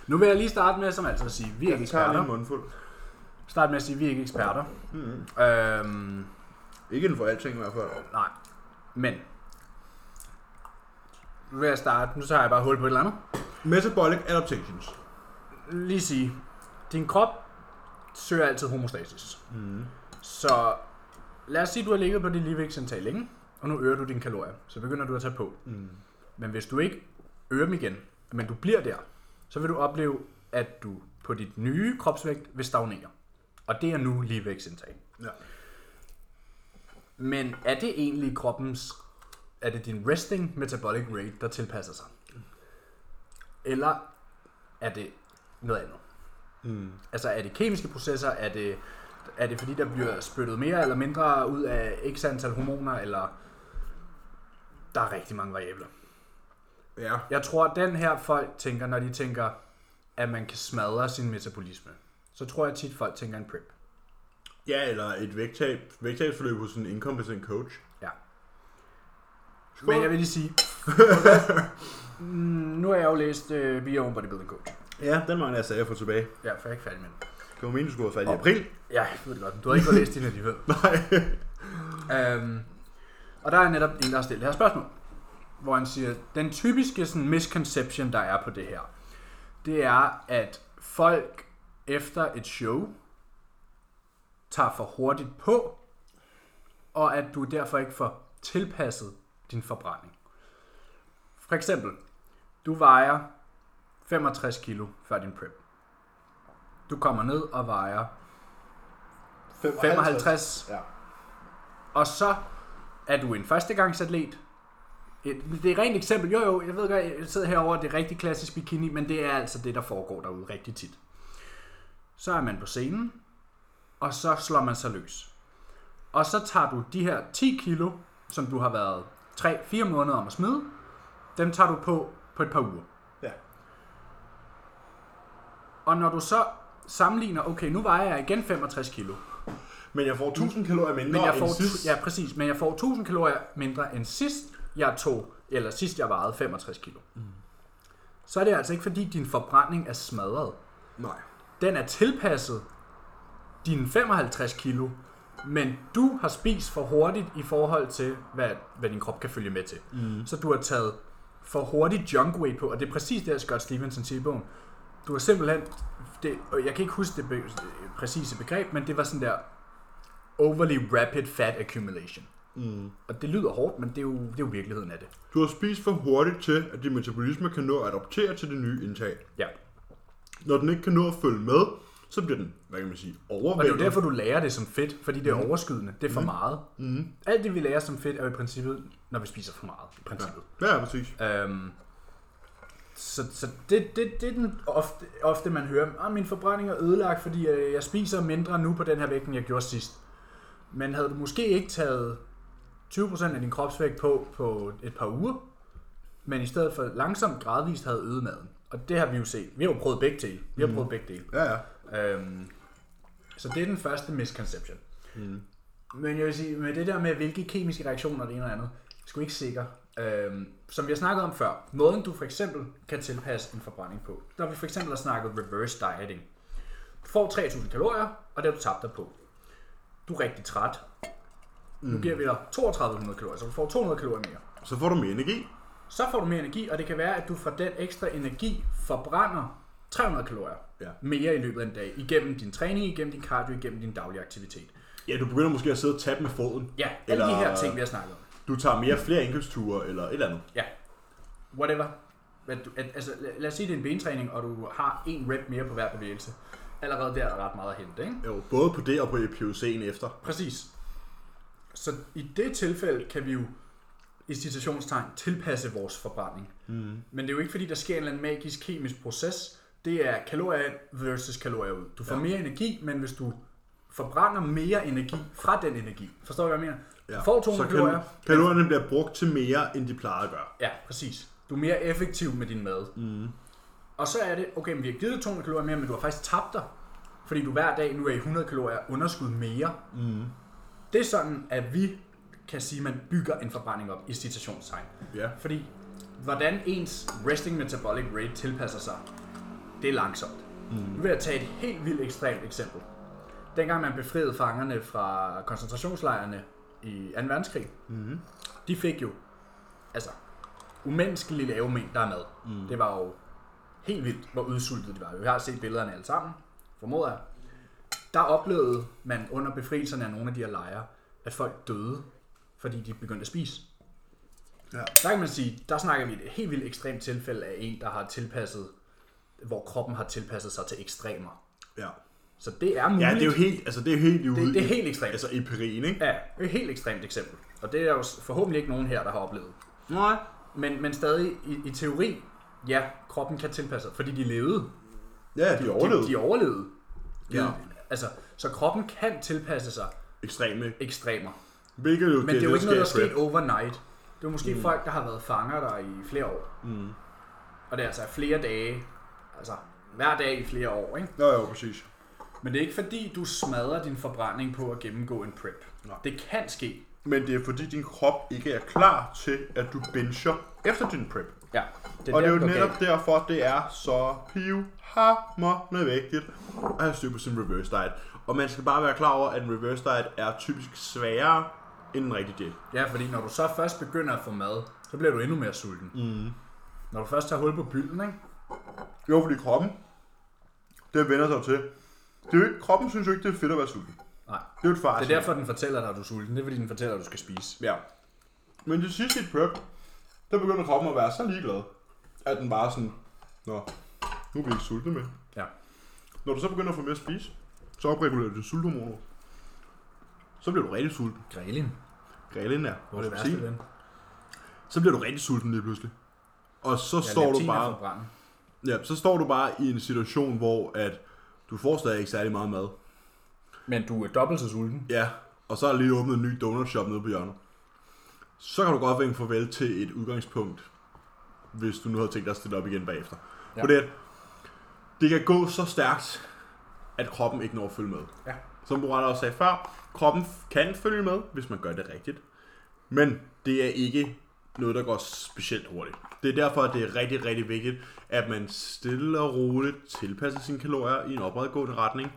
S2: Nu vil jeg lige starte med, som altid, at sige, vi er ikke eksperter.
S1: mundfuld.
S2: Start med at sige, vi er ikke eksperter. Mm. Øhm,
S1: Mm-hmm. Ikke inden for alting i hvert fald.
S2: nej. Men. Nu vil jeg starte. Nu tager jeg bare hul på et eller andet.
S1: Metabolic adaptations.
S2: Lige sige. Din krop søger altid homostasis. Mm. Så lad os sige, at du har ligget på dit ligevægtsindtag længe, og nu øger du dine kalorier. Så begynder du at tage på. Mm. Men hvis du ikke øger dem igen, men du bliver der, så vil du opleve, at du på dit nye kropsvægt vil stagnere. Og det er nu ligevægtsindtag.
S1: Ja.
S2: Men er det egentlig kroppens, er det din resting metabolic rate, der tilpasser sig? Eller er det noget andet? Mm. Altså er det kemiske processer, er det, er det fordi, der bliver spyttet mere eller mindre ud af x antal hormoner, eller der er rigtig mange variabler.
S1: ja.
S2: Jeg tror, at den her folk tænker, når de tænker, at man kan smadre sin metabolisme, så tror jeg tit, folk tænker en prep.
S1: Ja, eller et vægttab, vægttabsforløb hos en incompetent coach.
S2: Ja. Men jeg vil lige sige, Mm, nu har jeg jo læst øh, Be Your Own Bodybuilding Coach.
S1: Ja, den mangler jeg sagde at få tilbage.
S2: Ja, for jeg er ikke færdig med den.
S1: Det var meningen, du skulle have fat i april.
S2: Ja, jeg ved det godt. men Du har ikke fået læst din alligevel.
S1: Nej.
S2: Øhm, og der er netop en, der har stillet det her spørgsmål, hvor han siger, den typiske sådan, misconception, der er på det her, det er, at folk efter et show tager for hurtigt på, og at du derfor ikke får tilpasset din forbrænding. For eksempel, du vejer 65 kilo før din prep. Du kommer ned og vejer 55
S1: Ja.
S2: og så er du en førstegangsatlet. Et- Det er et rent eksempel. Jo, jo, jeg ved godt, jeg sidder herovre, det er rigtig klassisk bikini, men det er altså det, der foregår derude rigtig tit. Så er man på scenen, og så slår man sig løs. Og så tager du de her 10 kilo, som du har været 3-4 måneder om at smide, dem tager du på på et par uger.
S1: Ja.
S2: Og når du så sammenligner, okay, nu vejer jeg igen 65 kilo,
S1: Men jeg får 1000 kalorier mindre
S2: men jeg
S1: end
S2: får,
S1: sidst.
S2: ja, præcis, men jeg får 1000 kalorier mindre end sidst jeg tog, eller sidst jeg vejede 65 kilo. Mm. Så er det altså ikke fordi din forbrænding er smadret.
S1: Nej.
S2: Den er tilpasset dine 55 kilo, men du har spist for hurtigt i forhold til, hvad, hvad din krop kan følge med til. Mm. Så du har taget for hurtigt junk weight på, og det er præcis det, Scott Stevenson siger i bogen. Du har simpelthen, det, og jeg kan ikke huske det, be, det præcise begreb, men det var sådan der overly rapid fat accumulation. Mm. Og det lyder hårdt, men det er, jo, det er jo virkeligheden af det.
S1: Du har spist for hurtigt til, at din metabolisme kan nå at adoptere til det nye indtag.
S2: Ja.
S1: Når den ikke kan nå at følge med, så bliver den, hvad kan man sige,
S2: Og det er jo
S1: overvældet.
S2: derfor, du lærer det som fedt, fordi det er overskydende. Det er for meget. Mm. Alt det, vi lærer som fedt, er jo i princippet, når vi spiser for meget. I princippet.
S1: Ja, præcis.
S2: Øhm, Så, så det, det, det er den ofte, ofte man hører, at min forbrænding er ødelagt, fordi øh, jeg spiser mindre nu på den her vægt, end jeg gjorde sidst. Men havde du måske ikke taget 20% af din kropsvægt på på et par uger, men i stedet for langsomt gradvist havde øget maden. Og det har vi jo set. Vi har jo prøvet begge dele. Vi har prøvet begge dele.
S1: Ja, ja.
S2: Øhm, så det er den første misconception. Mm. Men jeg vil sige, med det der med, hvilke kemiske reaktioner det ene og andet, sgu ikke sikker. Øhm, som vi har snakket om før, måden du for eksempel kan tilpasse en forbrænding på, der har vi for eksempel har snakket reverse dieting. Du får 3000 kalorier, og det har du tabt dig på. Du er rigtig træt. Mm. Nu giver vi dig 3200 kalorier, så du får 200 kalorier mere.
S1: Så får du mere energi.
S2: Så får du mere energi, og det kan være, at du fra den ekstra energi forbrænder 300 kalorier
S1: Ja.
S2: mere i løbet af en dag. Igennem din træning, igennem din cardio, igennem din daglige aktivitet.
S1: Ja, du begynder måske at sidde og tabe med foden.
S2: Ja, alle de
S1: Eller-
S2: her ting, vi har snakket om.
S1: Du tager mere flere indkøbsture eller et eller andet.
S2: Ja, whatever. Hvad du- At, altså, lad- lad os sige, det er en bentræning, og du har en rep mere på hver bevægelse. Allerede der er der ret meget at hente, ikke?
S1: Jo, både på det og på PUC'en efter.
S2: Præcis. Så i det tilfælde kan vi jo i citationstegn tilpasse vores forbrænding. Mm. Men det er jo ikke fordi, der sker en eller anden magisk kemisk proces. Det er kalorier ind versus kalorier ud. Du får ja. mere energi, men hvis du forbrænder mere energi fra den energi. Forstår du, hvad jeg mener? Du får 200
S1: kalor-
S2: kalorier.
S1: kalorierne bliver brugt til mere, end de plejer at gøre.
S2: Ja, præcis. Du er mere effektiv med din mad. Mm. Og så er det, okay, men vi har givet 200 kalorier mere, men du har faktisk tabt dig. Fordi du hver dag nu er i 100 kalorier underskud mere. Mm. Det er sådan, at vi kan sige, at man bygger en forbrænding op i citationstegn.
S1: Ja.
S2: Fordi hvordan ens resting metabolic rate tilpasser sig, det er langsomt. Mm. Nu vil jeg tage et helt vildt ekstremt eksempel. Dengang man befriede fangerne fra koncentrationslejrene i 2. verdenskrig, mm. de fik jo altså umenneskelige lave mængder af mad. Mm. Det var jo helt vildt, hvor udsultet de var. Vi har set billederne alle sammen, formoder jeg. Der oplevede man under befrielserne af nogle af de her lejre, at folk døde, fordi de begyndte at spise.
S1: Ja.
S2: Der kan man sige, der snakker vi et helt vildt ekstremt tilfælde af en, der har tilpasset, hvor kroppen har tilpasset sig til ekstremer.
S1: Ja.
S2: Så det er muligt.
S1: Ja, det er jo helt, altså det er jo helt ude
S2: det, det er
S1: i-
S2: helt ekstremt.
S1: Altså i perien, ikke?
S2: Ja, det er et helt ekstremt eksempel. Og det er der jo forhåbentlig ikke nogen her, der har oplevet.
S1: Nej.
S2: Men, men stadig i, i teori, ja, kroppen kan tilpasse sig, fordi de levede.
S1: Ja, de overlevede.
S2: De, de overlevede.
S1: Ja.
S2: Altså, så kroppen kan tilpasse sig
S1: Ekstreme.
S2: ekstremer.
S1: Hvilket jo
S2: Men det, det er jo ikke noget, der
S1: sker i
S2: er sket
S1: prep.
S2: overnight. Det er måske mm. folk, der har været fanger der i flere år. Mm. Og det er altså flere dage, altså hver dag i flere år, ikke?
S1: Nå, jo, præcis.
S2: Men det er ikke fordi, du smadrer din forbrænding på at gennemgå en prep.
S1: Nej.
S2: Det kan ske.
S1: Men det er fordi, din krop ikke er klar til, at du benger efter din prep.
S2: Ja. Det
S1: Og det er jo
S2: der,
S1: netop
S2: galt.
S1: derfor, det er så pivhammerende vigtigt at have styr på sin reverse diet. Og man skal bare være klar over, at en reverse diet er typisk sværere end en rigtig diæt.
S2: Ja, fordi når du så først begynder at få mad, så bliver du endnu mere sulten. Mm. Når du først tager hul på bylden, ikke?
S1: Jo, fordi kroppen, det vender sig jo til. Det er jo ikke, kroppen synes jo ikke, det er fedt at være sulten.
S2: Nej.
S1: Det er jo et farsignal.
S2: Det er derfor, den fortæller dig, at du er sulten. Det er fordi, den fortæller dig, at du skal spise.
S1: Ja. Men det sidste i et prep, der begynder kroppen at være så ligeglad, at den bare er sådan, Nå, nu er vi ikke sultne med.
S2: Ja.
S1: Når du så begynder at få mere at spise, så opregulerer du sulthormoner. Så bliver du rigtig sulten.
S2: Grelin.
S1: Grillen er.
S2: Hvor er det værste ven.
S1: Så bliver du rigtig sulten lige pludselig. Og så,
S2: Ja,
S1: står du
S2: leptin er
S1: bare,
S2: forbrændt.
S1: ja, så står du bare i en situation, hvor at du får stadig ikke særlig meget mad.
S2: Men du er dobbelt så sulten.
S1: Ja, og så er der lige åbnet en ny donutshop nede på hjørnet. Så kan du godt vinke farvel til et udgangspunkt, hvis du nu havde tænkt dig at stille op igen bagefter. Ja.
S2: Ja.
S1: Fordi at det kan gå så stærkt, at kroppen ikke når at følge med.
S2: Ja.
S1: Som Morata også sagde før, kroppen f- kan følge med, hvis man gør det rigtigt. Men det er ikke noget, der går specielt hurtigt. Det er derfor, at det er rigtig, rigtig vigtigt, at man stille og roligt tilpasser sine kalorier i en opadgående retning,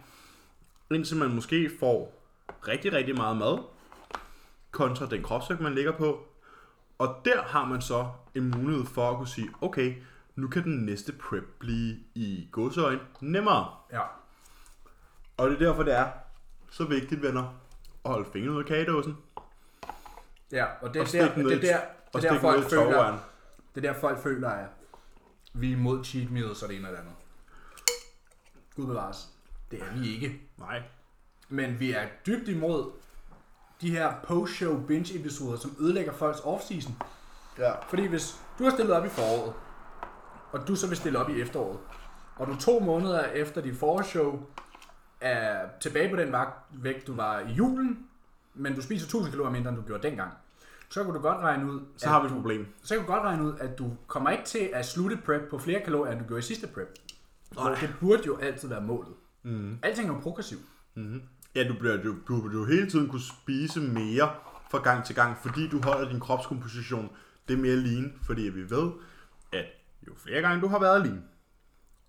S1: indtil man måske får rigtig, rigtig meget mad, kontra den kropsvægt, man ligger på. Og der har man så en mulighed for at kunne sige, okay, nu kan den næste prep blive i godseøjne nemmere.
S2: Ja.
S1: Og det er derfor, det er så vigtigt, venner, at holde fingrene ud af kagedåsen.
S2: Ja, og det er
S1: Og
S2: der,
S1: stik den
S2: det
S1: ned
S2: er
S1: i-
S2: der,
S1: og
S2: det er der
S1: stik den
S2: folk
S1: ned i toghåren.
S2: føler, det er der folk føler, at vi er imod cheat meals og det ene og det andet. Gud bevares. Det er vi ikke.
S1: Nej.
S2: Men vi er dybt imod de her post-show binge-episoder, som ødelægger folks off-season.
S1: Ja.
S2: Fordi hvis du har stillet op i foråret, og du så vil stille op i efteråret, og du to måneder efter dit forårsshow er tilbage på den vagt- vægt, du var i julen, men du spiser 1000 kalorier mindre, end du gjorde dengang, så kan du godt regne ud,
S1: Så har vi et problem.
S2: så kan du godt regne ud, at du kommer ikke til at slutte prep på flere kalorier, end du gjorde i sidste prep. Og det burde jo altid være målet. Mm. Alting er jo progressivt.
S1: Ja, du bliver du, du, du hele tiden kunne spise mere fra gang til gang, fordi du holder din kropskomposition det mere lean, fordi vi ved, at jo flere gange du har været lean,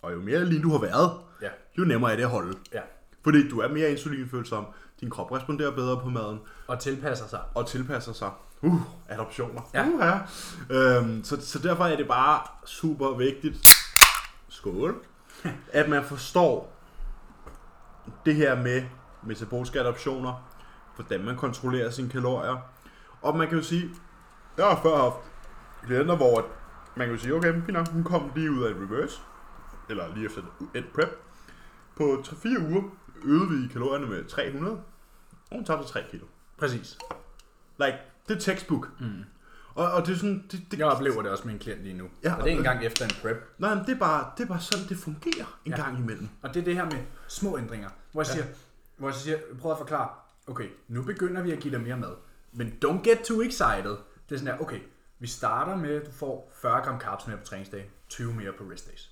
S1: og jo mere lean du har været,
S2: Ja.
S1: jo nemmere er det at holde.
S2: ja.
S1: Fordi du er mere insulinfølsom, din krop responderer bedre på maden,
S2: Og tilpasser sig.
S1: og tilpasser sig. Uh, adoptioner.
S2: Ja.
S1: Uh, ja. Øhm, så, så derfor er det bare super vigtigt, skål, at man forstår det her med metaboliske adoptioner, hvordan man kontrollerer sine kalorier. Og man kan jo sige, jeg har før haft klienter, hvor at man kan jo sige, okay, men fint nok, hun kom lige ud af et reverse, eller lige efter et prep. På 3-4 uger øgede vi kalorierne med 300, og hun tabte 3 kilo.
S2: Præcis.
S1: Like, det er textbook. Mm. Og, og det er sådan, det, det,
S2: Jeg oplever det også med en klient lige nu.
S1: Ja,
S2: Ja, og det er
S1: og-
S2: en gang efter en prep.
S1: nej, men det, er bare, det er bare sådan, det fungerer en ja.
S2: Ja.
S1: gang imellem.
S2: Og det er det her med små ændringer, hvor jeg, siger, hvor jeg siger, prøv at forklare, okay, nu begynder vi at give dig mere mad, men don't get too excited. Det er sådan her, okay, vi starter med, at du får 40 gram carbs mere på træningsdag, 20 mere på rest days.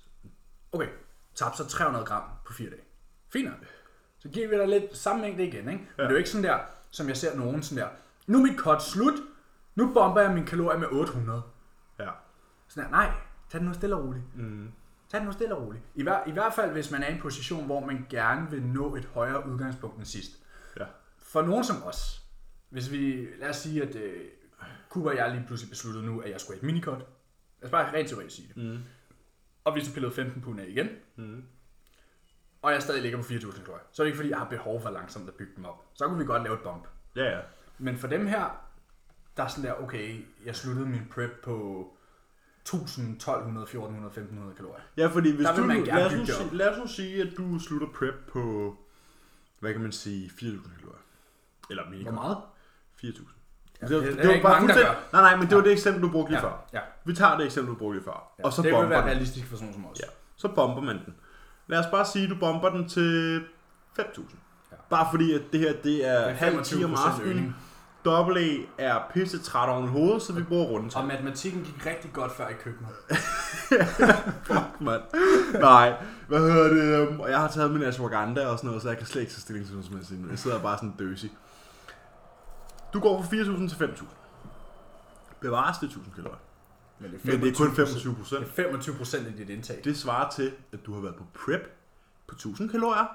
S2: Okay, tab så 300 gram på 4 dage. Fint nok. Så giver vi dig lidt samme mængde igen, ikke? Men det er jo ikke sådan der, som jeg ser nogen sådan der, nu er mit cut slut, nu bomber jeg min kalorie med 800.
S1: Ja.
S2: Sådan her, nej, tag den nu stille og roligt. Mm. Tag den nu stille og roligt. I, hver, I hvert fald, hvis man er i en position, hvor man gerne vil nå et højere udgangspunkt end sidst.
S1: ja.
S2: For nogen som os, hvis vi, lad os sige, at øh, Kuba og jeg lige pludselig besluttede nu, at jeg skulle have et minikot. Lad os bare rent teoretisk sige det. Mm. Og vi så pillede 15 pund af igen. Mm. Og jeg stadig ligger på 4.000 kalorier. Så er det ikke fordi, jeg har behov for langsomt at bygge dem op. Så kunne vi godt lave et bump.
S1: Ja, ja.
S2: Men for dem her, der er sådan der, okay, jeg sluttede min prep på 1000, 1200, 1400, 1500 kalorier.
S1: Ja, fordi hvis
S2: Der vil
S1: du,
S2: man
S1: nu-
S2: gerne
S1: lad, os nu
S2: bygge det op.
S1: sige, lad os nu sige, at du slutter prep på, hvad kan man sige, 4.000 kalorier. Eller minikor.
S2: Hvor meget?
S1: 4.000. var-
S2: Ja, det er ikke mange, der
S1: fuldstændig- Nej, nej, men det var det eksempel, du brugte lige
S2: Ja,
S1: før.
S2: ja.
S1: Vi tager det eksempel, du brugte lige før. Ja, og så
S2: det
S1: bomber
S2: vil være
S1: den.
S2: realistisk for sådan nogen som os.
S1: Ja. Så bomber man den. Lad os bare sige, at du bomber den til 5.000. Ja.
S2: Ja.
S1: Bare fordi, at det her det er
S2: Men
S1: halv 10 om
S2: 25%
S1: aftenen.
S2: øgning.
S1: Double A er pisse træt oven i hovedet, så vi bruger rundt.
S2: Og matematikken gik rigtig godt før i køkkenet.
S1: mand. Nej, hvad hedder det? øhm, Og jeg har taget min ashwagandha og sådan noget, så jeg kan slet ikke tage stilling til noget som helst. lige nu. Jeg sidder bare sådan døsig. Du går fra 4.000 til 5.000. Bevares det er 1.000 kalorier.
S2: Men det
S1: Men det er kun 25 procent.
S2: 25 procent af dit indtag.
S1: Det svarer til, at du har været på prep på 1000 kalorier,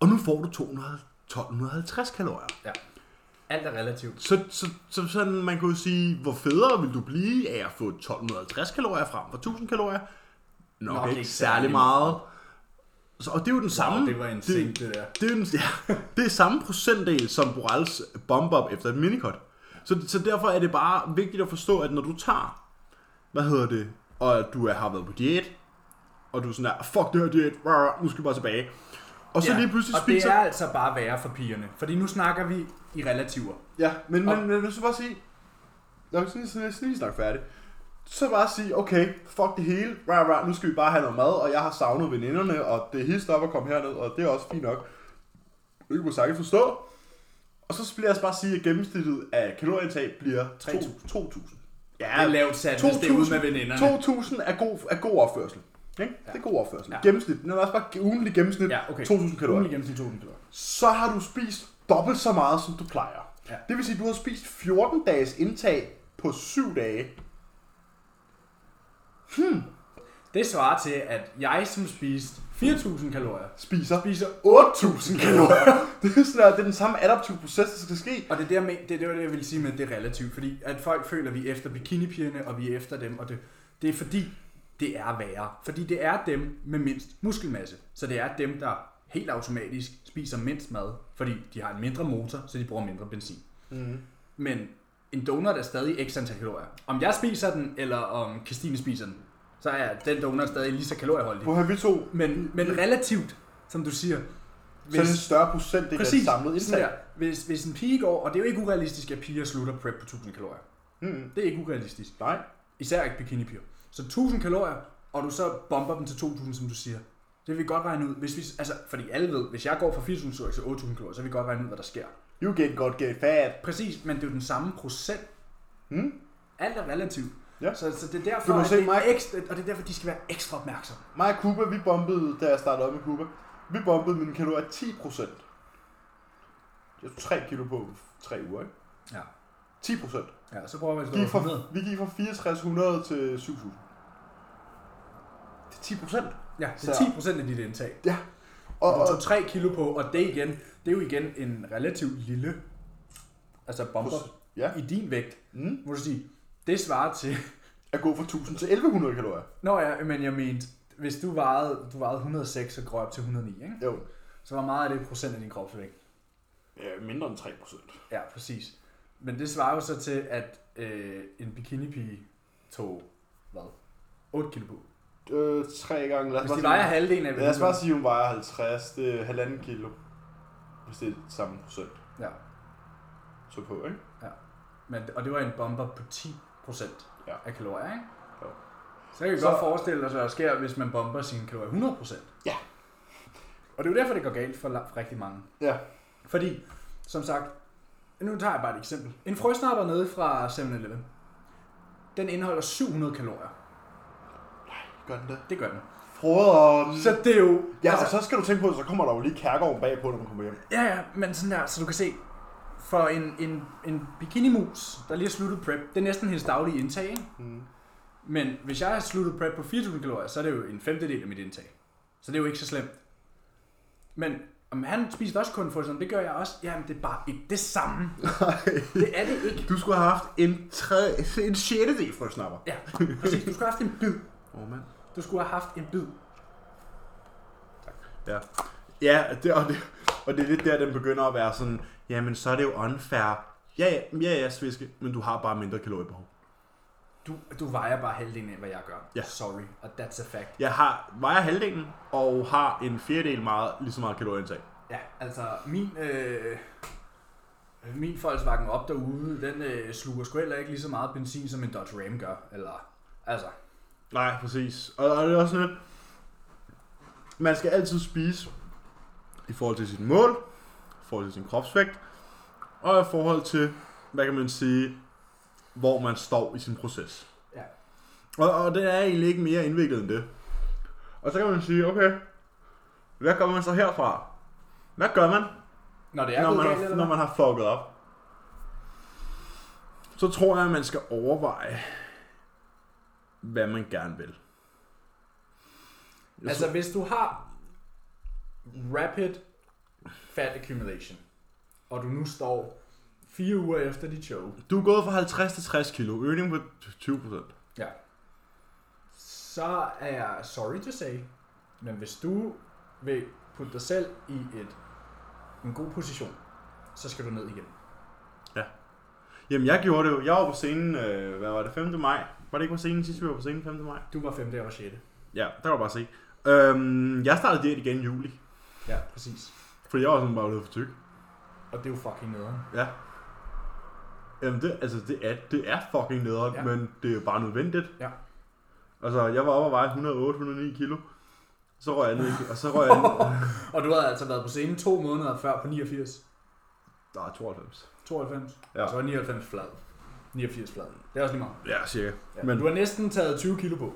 S1: og nu får du 200, 1250 kalorier.
S2: Ja. Alt er relativt.
S1: Så, så, så sådan, man kunne sige, hvor federe vil du blive af at få 1250 kalorier frem for 1000 kalorier? Nok, Nok ikke, ikke særlig meget. Så, og det er jo den samme...
S2: det var insane, det der.
S1: Det er, jo den, ja, det er samme procentdel som Borals bomber op efter et minikot. Så, så derfor er det bare vigtigt at forstå, at når du tager, hvad hedder det, og at du er, har været på diæt, og du er sådan der, fuck det her diæt, rah, nu skal vi bare tilbage. Og så ja, lige pludselig
S2: og
S1: spiser...
S2: det er altså bare værre for pigerne. Fordi nu snakker vi i relativer.
S1: Ja, men, men, men du skal bare sige, når vi sådan, sådan, sådan lige snakke færdig, så bare sige, okay, fuck det hele, rah, rah, nu skal vi bare have noget mad, og jeg har savnet veninderne, og det er helt op at komme herned, og det er også fint nok. Det kan man sagtens forstå. Og så bliver jeg altså bare sige, at gennemsnittet af kalorieindtag bliver
S2: 3.000.
S1: 2- 2.000. Ja,
S2: Det er lavt sat, hvis det er ude med veninderne.
S1: 2.000 er god, er god opførsel. Ikke? Ja. Det er god opførsel. Ja.
S2: Ja.
S1: Gennemsnit, men også bare ugentlig gennemsnit,
S2: Ja, okay.
S1: 2.000 kalorier
S2: Ugentlig gennemsnit 2.000 kalorier.
S1: så har du spist dobbelt så meget, som du plejer. Ja.
S2: Ja.
S1: Det vil sige, at du har spist 14 dages indtag på 7 dage.
S2: Det svarer til, at jeg som spiste 4.000 kalorier,
S1: Spiser
S2: spiser
S1: 8.000 kalorier. det, er sådan, at det er den samme adaptive proces, der skal ske.
S2: Og det er det, jeg men- det, er det, var det, jeg ville sige med, at det er relativt. Fordi at folk føler, at vi er efter bikinipigerne, og vi er efter dem. Og det, det er fordi, det er værre. Fordi det er dem med mindst muskelmasse. Så det er dem, der helt automatisk spiser mindst mad, fordi de har en mindre motor, så de bruger mindre benzin. Mm. Men en donut er stadig x antal kalorier. Om jeg spiser den, eller om Christine spiser den, så er den donut stadig lige så kalorieholdig.
S1: På her vi to,
S2: Men, men relativt, som du siger,
S1: så er det en større procent, det
S2: Præcis.
S1: er samlet indtag.
S2: Sådan der. Hvis, hvis en pige går, og det er jo ikke urealistisk, at piger slutter prep på 1000 kalorier. Mm. Det er ikke urealistisk.
S1: Nej.
S2: Især ikke bikinipiger. Så 1000 kalorier, og du så bomber dem til 2.000, som du siger, det vil vi godt regne ud. Hvis vi, altså, fordi alle ved, hvis jeg går fra 4.000 kalorier til 8.000 kalorier, så vil vi godt regne ud, hvad der sker.
S1: You get godt get fat.
S2: Præcis, men det er jo den samme procent.
S1: Hmm?
S2: Alt er relativt.
S1: Ja.
S2: Så, så det er derfor,
S1: Du må
S2: at
S1: se
S2: det
S1: mig.
S2: er ekstra, og det er derfor, de skal være ekstra opmærksomme.
S1: Mig og Cuba, vi bombede, da jeg startede op i Cuba, vi bombede mine kalorier 10 procent. Jeg tog 3 kilo på 3 uger, ikke?
S2: Ja.
S1: 10 procent.
S2: Ja, så prøver man at
S1: Gik
S2: stå
S1: fra,
S2: med.
S1: vi gik fra 6400 til 7000. Det er 10 procent.
S2: Ja, det er
S1: Så-
S2: 10 procent af dit indtag.
S1: Ja.
S2: Og,
S1: Og,
S2: du
S1: og
S2: tog 3 kilo på, og det igen, det er jo igen en relativt lille altså bomber
S1: ja.
S2: i din vægt.
S1: Mm.
S2: Må du sige, det svarer til...
S1: at gå fra 1000 til 1100 kalorier.
S2: Nå ja, men jeg mente, hvis du vejede, du vejede 106 og går op til 109, ikke?
S1: Jo.
S2: så hvor meget er det i procent af din kropsvægt?
S1: Ja, mindre end 3 procent.
S2: Ja, præcis. Men det svarer jo så til, at øh, en bikinipige tog, hvad? 8 kilo på.
S1: Øh, tre gange. Lad os,
S2: Hvis
S1: bare
S2: de
S1: sige,
S2: vejer halvdelen af
S1: lad os
S2: vægten-
S1: bare sige, hun vejer 50. Det er halvanden kilo. Hvis det er det samme procent.
S2: Ja,
S1: Så på, ikke?
S2: men, og det var en bomber på 10 procent
S1: Ja.
S2: af kalorier, ikke?
S1: Jo.
S2: Så kan vi
S1: Så-
S2: godt forestille os, hvad der sker, hvis man bomber sine kalorier 100 procent.
S1: Ja.
S2: Og det er jo derfor, det går galt for, la- for rigtig mange.
S1: Ja.
S2: Fordi, som sagt, nu tager jeg bare et eksempel. En frøsnatter nede fra 7-Eleven, den indeholder 700 kalorier.
S1: Gør den det? altså-
S2: Det gør den.
S1: Froderen.
S2: Så det er jo...
S1: Mm.
S2: Altså,
S1: Ja, og så skal du tænke på, at så kommer der jo lige kærgården bagpå, når man kommer hjem.
S2: Ja, ja, men sådan der, så du kan se, for en, en, en bikinimus, der lige har sluttet prep, det er næsten hendes daglige indtag, ikke?
S1: Mm.
S2: Men hvis jeg har sluttet prep på 4.000 kalorier, så er det jo en femtedel af mit indtag. Så det er jo ikke så slemt. Men om han spiser også kun for sådan, det gør jeg også. Jamen, det er bare ikke det samme. det er det ikke.
S1: Du skulle have haft en, tredje, en sjette del frøsnapper.
S2: Ja, præcis. Du skulle have haft en bid.
S1: Åh, oh, mand.
S2: Du skulle have haft en bid.
S1: Ja. Ja, det, og, det, og det er lidt der, den begynder at være sådan, jamen så er det jo unfair. Ja, ja, ja, ja sviske, men du har bare mindre kaloriebehov.
S2: Du, du vejer bare halvdelen af, hvad jeg gør.
S1: Ja.
S2: Sorry, og that's a fact.
S1: Jeg har, vejer halvdelen og har en fjerdedel meget, lige så meget kalorieindtag.
S2: Ja, altså min... Øh, min Volkswagen op derude, den øh, sluger sgu heller ikke lige så meget benzin, som en Dodge Ram gør. Eller, altså,
S1: Nej, præcis. Og, og det er også sådan lidt, man skal altid spise i forhold til sit mål, i forhold til sin kropsvægt, og i forhold til, hvad kan man sige, hvor man står i sin proces.
S2: Ja.
S1: Og, og det er egentlig ikke mere indviklet end det. Og så kan man sige, okay, hvad gør man så herfra? Hvad gør man,
S2: når det er
S1: når,
S2: gået
S1: man
S2: galt,
S1: har,
S2: eller
S1: når
S2: hvad?
S1: man har fucket op? Så tror jeg, at man skal overveje, hvad man gerne vil. Jeg
S2: Altså, hvis du har rapid fat accumulation, og du nu står fire uger efter dit show,
S1: Du er gået fra 50 til 60 kilo. Øgning på 20 procent.
S2: ja. så er jeg sorry to say, men hvis du vil putte dig selv i et, en god position, så skal du ned igen.
S1: Jamen, jeg gjorde det jo. Jeg var på scenen, øh, hvad var det, 5. maj? Var det ikke på scenen sidste vi var på scenen 5. maj?
S2: Du var femte, jeg var sjette.
S1: Ja, der kan du bare se. Øhm, jeg startede diæt igen i juli,
S2: Ja, præcis.
S1: fordi jeg var sådan bare blevet for tyk.
S2: Og det er jo fucking nederen.
S1: Ja. Jamen, det, altså, det er, det er fucking nederen, ja.
S2: Ja.
S1: men det er jo bare nødvendigt.
S2: Ja.
S1: Altså, jeg var oppe og veje 108-109 kilo. Så røg jeg ned, i- og så røg jeg ned.
S2: Og du havde altså været på scenen to måneder før på 89.
S1: Der er 92.
S2: 92.
S1: Ja.
S2: Så var 99 flad. 89 flad. Det er også lige meget.
S1: Ja, cirka.
S2: Ja.
S1: Men-
S2: Men du har næsten taget 20 kilo på.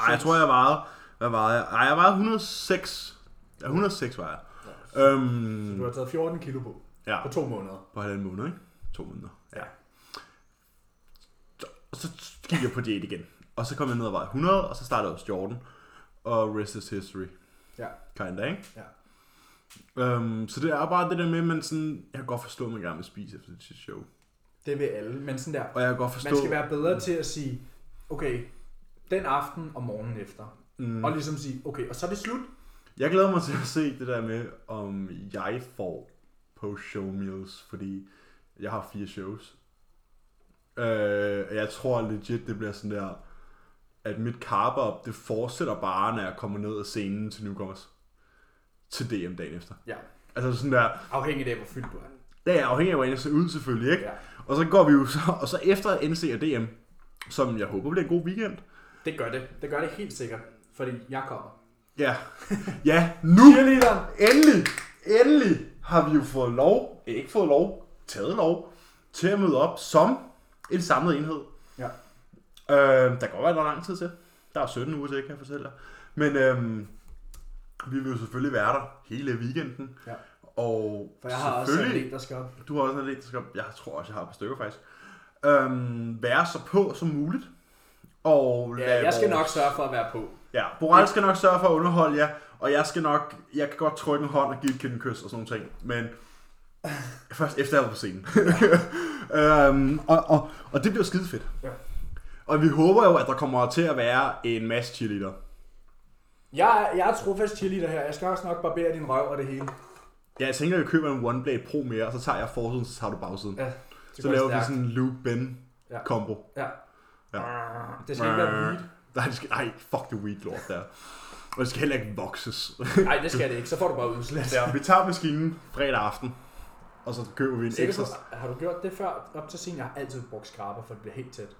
S1: Ej, jeg tror, jeg vejede... Hvad vejede jeg? Ej, jeg vejede 106. Ja, 106 var jeg.
S2: Du
S1: Øhm,
S2: har taget 14 kilo på
S1: ja,
S2: på to måneder.
S1: på halvanden måned, ikke? To måneder.
S2: Ja.
S1: Så, og så gik jeg på diæt igen. Og så kom jeg ned og vejede 100, og så startede jeg hos Jordan. Og rest is history.
S2: Ja.
S1: Kinda, ikke?
S2: Ja.
S1: Øhm, så det er bare det der med, at man sådan, jeg kan godt forstå, at man gerne vil spise efter sit show.
S2: Det vil alle, men sådan der.
S1: Og jeg kan godt forstå...
S2: Man skal være bedre til at sige, okay, den aften og morgenen efter.
S1: mm,
S2: Og ligesom sige, okay, og så er det slut.
S1: Jeg glæder mig til at se det der med, om jeg får post-show meals, fordi jeg har fire shows. Øh, og jeg tror legit, det bliver sådan der, at mit carb op, det fortsætter bare, når jeg kommer ned af scenen til Newcomers. Til DM dagen efter.
S2: Ja,
S1: Altså sådan der,
S2: afhængigt af, hvor fyldt du er.
S1: det er afhængig af, hvordan jeg ser ud selvfølgelig, ikke?
S2: Ja.
S1: Og så går vi jo så, og så efter NC og DM, som jeg håber bliver en god weekend,
S2: Det gør det. Det gør det helt sikkert. Fordi jeg kommer.
S1: Ja. Ja, nu!
S2: Cheerleader!
S1: Endelig, endelig har vi jo fået lov, ikke fået lov, taget lov, til at møde op som en samlet enhed.
S2: Ja.
S1: Øh, der går være, der er lang tid til. Der er 17 uger til, kan jeg fortælle dig. Men øhm, vi vil jo selvfølgelig være der hele weekenden.
S2: Ja.
S1: Og
S2: For jeg har også
S1: selvfølgelig,
S2: en der skal op.
S1: du har også en elektrisk op. Jeg tror også, jeg har et par stykker faktisk. Øhm, være så på som muligt. Og
S2: Ja,
S1: lad
S2: jeg skal
S1: vores-
S2: nok sørge for at være på.
S1: Ja, Boral skal nok sørge for at underholde jer, og jeg skal nok, jeg kan godt trykke en hånd og give et kind kys og sådan nogle ting, men først efter jeg er på scenen. øhm, og, og, og det bliver skide fedt.
S2: Ja.
S1: Og vi håber jo, at der kommer til at være en masse cheerleader.
S2: Jeg, jeg er trofast cheerleader her. Jeg skal også nok barbere din røv og det hele.
S1: Ja, jeg tænker, at jeg køber en One Blade Pro mere, og så tager jeg forsiden, så tager du bagsiden.
S2: Ja,
S1: så laver vi sådan en Luke Ben
S2: Ja.
S1: combo.
S2: Ja.
S1: Ja.
S2: Det skal ikke være weed.
S1: Nej, det skal, ej, fuck det weed lort der. Og det skal heller ikke vokses.
S2: Nej, det skal det ikke. Så får du bare udslæt.
S1: Ja, vi tager maskinen fredag aften, og så køber vi en
S2: Sikker
S1: ekstra...
S2: på, har du gjort det før op til scenen? Jeg har altid brugt skraber, for det bliver helt tæt.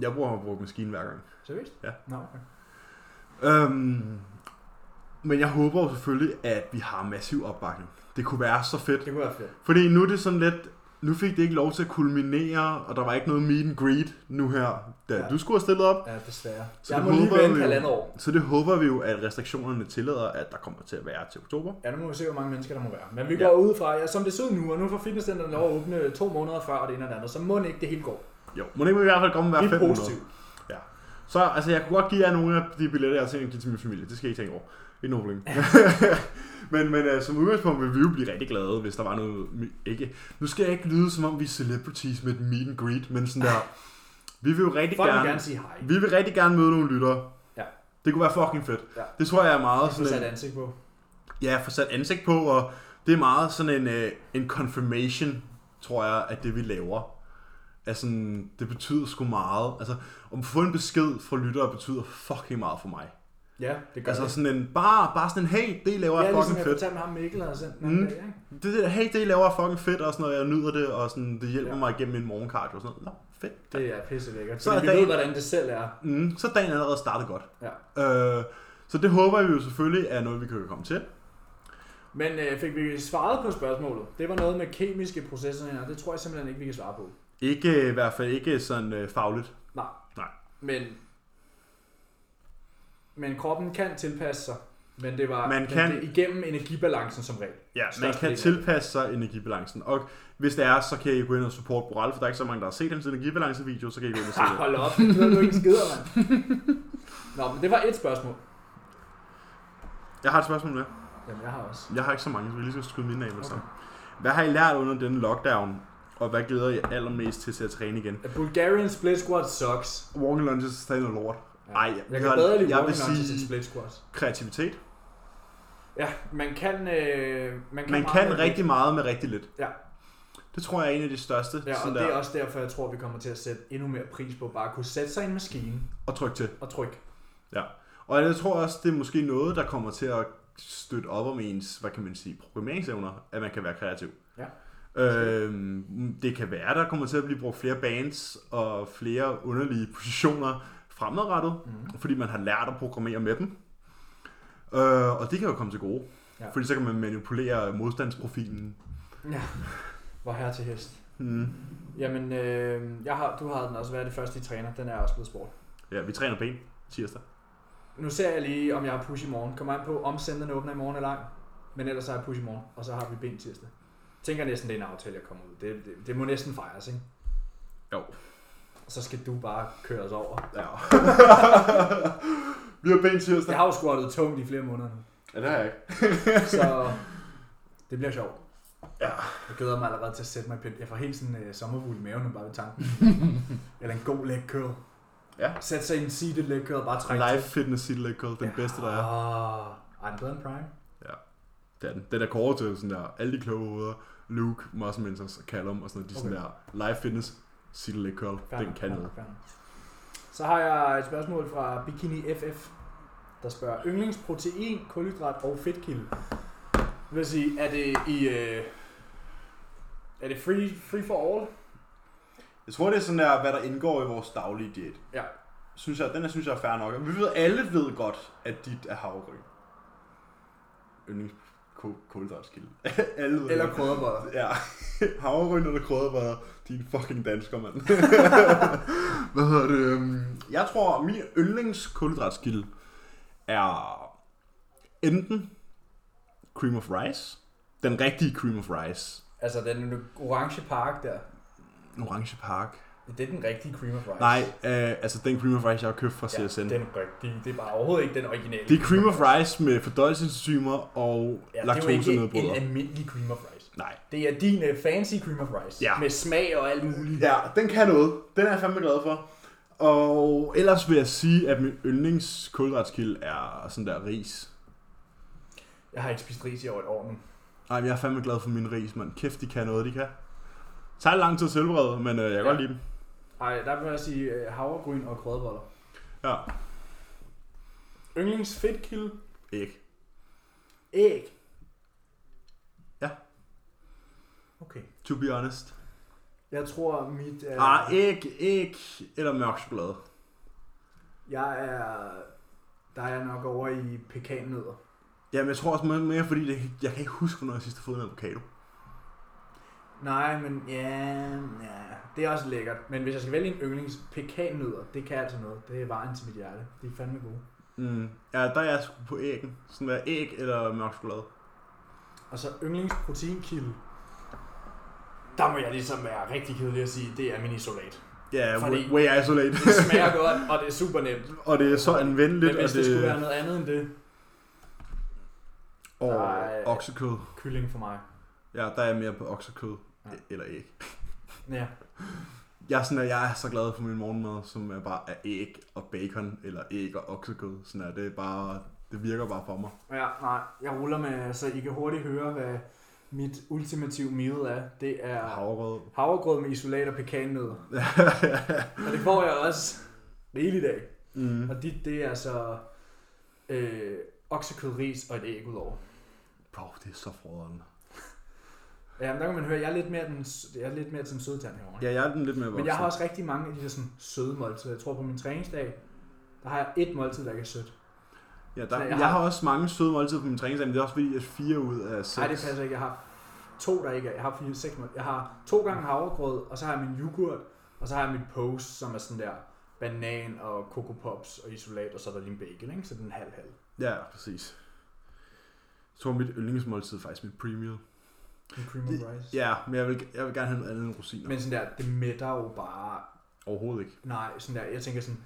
S1: Jeg bruger at bruge maskinen hver gang.
S2: Seriøst?
S1: Ja.
S2: Nå, okay.
S1: Øhm, men jeg håber jo selvfølgelig, at vi har massiv opbakning. Det kunne være så fedt.
S2: Det kunne være fedt.
S1: Fordi nu er det sådan lidt, nu fik det ikke lov til at kulminere, og der var ikke noget meet and greet nu her, da
S2: Ja.
S1: ja. du skulle have stillet op.
S2: Ja, desværre.
S1: Så
S2: Så jeg
S1: det
S2: må lige
S1: håber
S2: vente
S1: vi jo.
S2: halvandet år.
S1: Så det håber vi jo, at restriktionerne tillader, at der kommer til at være til oktober.
S2: Ja, nu må vi se, hvor mange mennesker der må være. Men vi
S1: Ja.
S2: går ud fra, ja, som det ser ud nu, og nu får fitnesscenterne lov at åbne to måneder før, og det ene og det andet, så må det ikke det hele går.
S1: Jo, må det ikke i hvert fald komme
S2: Vi
S1: hver
S2: er
S1: 500.
S2: positive.
S1: Så altså, jeg kunne godt give jer nogle af de billetter, jeg har tænkt at give til min familie. Det skal I ikke tænke over. Ikke noget problem. men men uh, som udgangspunkt vil vi jo blive rigtig glade, hvis der var noget... Ikke. Nu skal jeg ikke lyde, som om vi er celebrities med et meet and greet, men sådan der... Vi vil jo rigtig
S2: Folk
S1: gerne,
S2: vil gerne sige hej.
S1: Vi vil rigtig gerne møde nogle lyttere.
S2: Ja.
S1: Det kunne være fucking fedt.
S2: Ja.
S1: Det tror jeg er meget
S2: Så
S1: sådan
S2: sat
S1: en,
S2: ansigt på.
S1: Ja, få sat ansigt på, og det er meget sådan en, øh, en confirmation, tror jeg, at det vi laver. Altså, det betyder sgu meget. Altså, om få en besked fra lyttere betyder fucking meget for mig.
S2: Ja, det gør
S1: Altså
S2: det.
S1: sådan en, bare, bare sådan en, hey, det I laver
S2: Ja,
S1: er
S2: ligesom
S1: fucking
S2: jeg
S1: fedt.
S2: fortalte med ham Mikkel, og sådan
S1: Mm.
S2: mm. dag, ikke?
S1: Det der, hey, det I laver er fucking fedt, og sådan noget, jeg nyder det, og sådan, det hjælper
S2: Ja.
S1: ja. mig igennem min morgenkardio og sådan noget. Nå, fedt.
S2: Det er pisse lækkert.
S1: Så
S2: Så
S1: er
S2: vi
S1: dagen-
S2: ved, hvordan det selv er.
S1: Mm, så er dagen allerede startet godt.
S2: Ja.
S1: Øh, så det håber vi jo selvfølgelig er noget, vi kan komme til.
S2: Men øh, fik vi svaret på spørgsmålet? Det var noget med kemiske processer, og det tror jeg simpelthen ikke, vi kan svare på.
S1: Ikke, øh, i hvert fald ikke sådan øh, fagligt.
S2: Nej.
S1: Nej.
S2: Men, men kroppen kan tilpasse sig. Men det var
S1: Man
S2: men
S1: kan-
S2: det er igennem energibalancen som regel.
S1: Ja, man
S2: Størst del
S1: kan
S2: af
S1: tilpasse sig energibalancen. Og hvis det er, så kan I gå ind og support Boral, for der er ikke så mange, der har set hans energibalancevideo, så kan I gå ind og se
S2: Ah,
S1: det.
S2: hold op, det ved du ikke en skid om, mand. Nå, men det var et spørgsmål.
S1: Jeg har et spørgsmål med.
S2: Jamen, jeg har også.
S1: Jeg har ikke så mange, så vi lige skal skyde mine af med okay.
S2: Okay.
S1: Hvad har I lært under denne lockdown? Og hvad glæder I allermest til til at træne igen?
S2: A Bulgarian split squat sucks.
S1: Walking lunges er stadig noget lort.
S2: Ja.
S1: Ej,
S2: jeg
S1: jeg-
S2: kan bedre lide
S1: jeg
S2: walking
S1: vil
S2: lunges
S1: sige-
S2: end split squats.
S1: Kreativitet.
S2: Ja, man kan... Øh, man kan,
S1: Man
S2: meget
S1: kan
S2: mere-
S1: rigtig meget med rigtig lidt.
S2: Ja.
S1: Det tror jeg er en af de største.
S2: Ja, og
S1: sådan
S2: det er
S1: der,
S2: også derfor, jeg tror, vi kommer til at sætte endnu mere pris på bare at kunne sætte sig i en maskine
S1: og tryk til.
S2: og trykke.
S1: Og jeg tror også, det er måske noget, der kommer til at støtte op om ens, hvad kan man sige, programmeringsevner, at man kan være kreativ.
S2: Ja.
S1: Øhm, det kan være, der kommer til at blive brugt flere bands og flere underlige positioner fremadrettet,
S2: Mhm.
S1: mm. fordi man har lært at programmere med dem. Øh, og det kan jo komme til gode,
S2: Ja.
S1: ja. fordi så kan man manipulere modstandsprofilen.
S2: Ja, hvor her til hest.
S1: Mm.
S2: Jamen, øh, jeg har, du har den også været det første, I træner. Den er også blevet sport.
S1: Ja, vi træner ben tirsdag.
S2: Nu ser jeg lige, om jeg har push i morgen. Kommer an på, om senderen åbner i morgen eller ej. Men ellers har jeg push i morgen, og så har vi ben tirsdag. Tænker næsten, det er en aftale, jeg kommer ud. Det, det, det må næsten fejres, ikke?
S1: Jo.
S2: Og så skal du bare køre os over.
S1: Ja. vi har ben tirsdag.
S2: Jeg har jo squattet tungt i flere måneder nu,
S1: Ja, det har jeg ikke.
S2: så det bliver sjovt.
S1: Ja.
S2: Jeg glæder mig allerede til at sætte mig i pind. Jeg får helt sådan øh, sommerfugl i maven, nu bare ved tanken. Eller en god leg curl.
S1: Ja.
S2: Sæt sig i en seated leg curl og bare trække
S1: Live fitness city leg curl, den ja. bedste, der er.
S2: Ah, er den bedre end Prime?
S1: Det er den. Den er kåret til sådan der, alle de kloge hoveder, Luke, Muscle Mentors og Callum og sådan noget, de okay. sådan der live fitness, sit leg curl,
S2: Fair
S1: den
S2: nok,
S1: kan
S2: fair
S1: noget.
S2: nok, fair nok. Så har jeg et spørgsmål fra Bikini FF, der spørger, yndlingsprotein, kulhydrat og fedtkilde. Det vil sige, er det i... Øh, er det free, free for all?
S1: Jeg tror, det er sådan der, hvad der indgår i vores daglige diæt.
S2: Ja.
S1: synes jeg, den her synes jeg er fair nok. Og vi ved, alle ved godt, at dit er havregryn. Yndlings ko- kulhydratskilde. alle ved
S2: Eller
S1: det.
S2: krydderbrød.
S1: Ja, havregryn eller krydderbrødder, de er en fucking dansker, mand. Hvad hedder det? øhm, Jeg tror, min yndlings kulhydratskilde er enten cream of rice, den rigtige cream of rice,
S2: Altså den orange park der.
S1: orange park.
S2: Det er den rigtige cream of rice.
S1: Nej, øh, altså den cream of rice, jeg har købt fra
S2: ja,
S1: CSN.
S2: den rigtige. Det er bare overhovedet ikke den originale.
S1: Det er cream of rice med fordøjelsesenzymer og ja,
S2: Det er jo
S1: laktosenedbryder.
S2: ikke en almindelig cream of rice.
S1: Nej.
S2: Det er din øh, fancy cream of rice.
S1: Ja.
S2: Med smag og alt muligt.
S1: Ja, den kan noget. Den er jeg fandme glad for. Og ellers vil jeg sige, at min yndlings kulhydratskilde er sådan der ris.
S2: Jeg har ikke spist ris i over et år nu.
S1: Ej, men jeg er fandme glad for min ris, mand. Kæft, de kan noget, de kan. Det tager lang tid at tilberede, men øh, jeg kan ja. godt lide dem.
S2: Ej, der vil jeg sige øh, havregryn og krødeboller.
S1: Ja,
S2: Yndlings fedtkilde.
S1: ikke.
S2: Æg.
S1: Ja.
S2: Okay.
S1: To be honest.
S2: Jeg tror, mit... Øh,
S1: Ah, ikke, ikke. Eller mørk chokolade.
S2: jeg er... Der er jeg nok over i pekannødder.
S1: Jamen, jeg tror også mere- mere, fordi det, jeg kan ikke huske, hvornår jeg sidst har fået en avocado.
S2: Nej, men ja, ja, det er også lækkert. Men hvis jeg skal vælge en yndlings pekannødder, det kan altså noget. Det er vejen til mit hjerte. De er fandme gode.
S1: Mm. Ja, der er jeg sgu på æggen. Sådan der æg eller mørk chokolade.
S2: Og så yndlings proteinkilde. Der må jeg ligesom være rigtig kedelig at sige, det er min isolat.
S1: Ja, yeah,
S2: Fordi-
S1: way, way isolate.
S2: Det smager godt, og det er super nemt.
S1: og det er så anvendeligt,
S2: Men
S1: og
S2: hvis det skulle
S1: det
S2: være noget andet end det,
S1: og
S2: Nej.
S1: oksekød.
S2: kylling for mig.
S1: Ja, der er jeg mere på oksekød.
S2: Ja.
S1: Eller æg.
S2: Ja,
S1: Jeg er, sådan, at jeg er så glad for min morgenmad, som er bare er æg og bacon, eller æg og oksekød. Sådan er det er bare, det virker bare for mig.
S2: ja nej, jeg ruller med, så I kan hurtigt høre, hvad mit ultimative meal er. Det er
S1: Havregrød.
S2: havregrød med isolat og pekannødder. Og det får jeg også rigeligt af.
S1: mm.
S2: Og dit, det er så øh, oksekød, ris og et æg udover.
S1: Bro, det er så frøderen.
S2: Ja, men der kan man høre, jeg er lidt mere, den, jeg er lidt mere til den søde tand herovre.
S1: Ja, jeg er den lidt mere voksen.
S2: Men jeg har også rigtig mange af de der sådan, søde måltider. Jeg tror på min træningsdag, der har jeg et måltid, der ikke er sødt.
S1: Ja,
S2: Så
S1: der,
S2: jeg
S1: jeg,
S2: har-
S1: har... også mange søde måltider på min træningsdag, men det er også fordi, at fire ud af seks...
S2: Nej, det passer ikke. Jeg har to, der ikke er. Jeg har fire, seks måltider. Jeg har to gange havregrød, og så har jeg min yoghurt, og så har jeg min pose, som er sådan der banan og Coco Pops og isolat, og så er der lige en bacon, ikke? Så den halv-halv.
S1: Ja, præcis. Jeg tror, mit yndlingsmåltid er faktisk mit premium.
S2: En cream of rice.
S1: Ja, men jeg vil, jeg vil gerne have noget andet end rosiner. Men...
S2: Men sådan der, det mætter jo bare
S1: Overhovedet ikke.
S2: Nej, sådan der, jeg tænker sådan,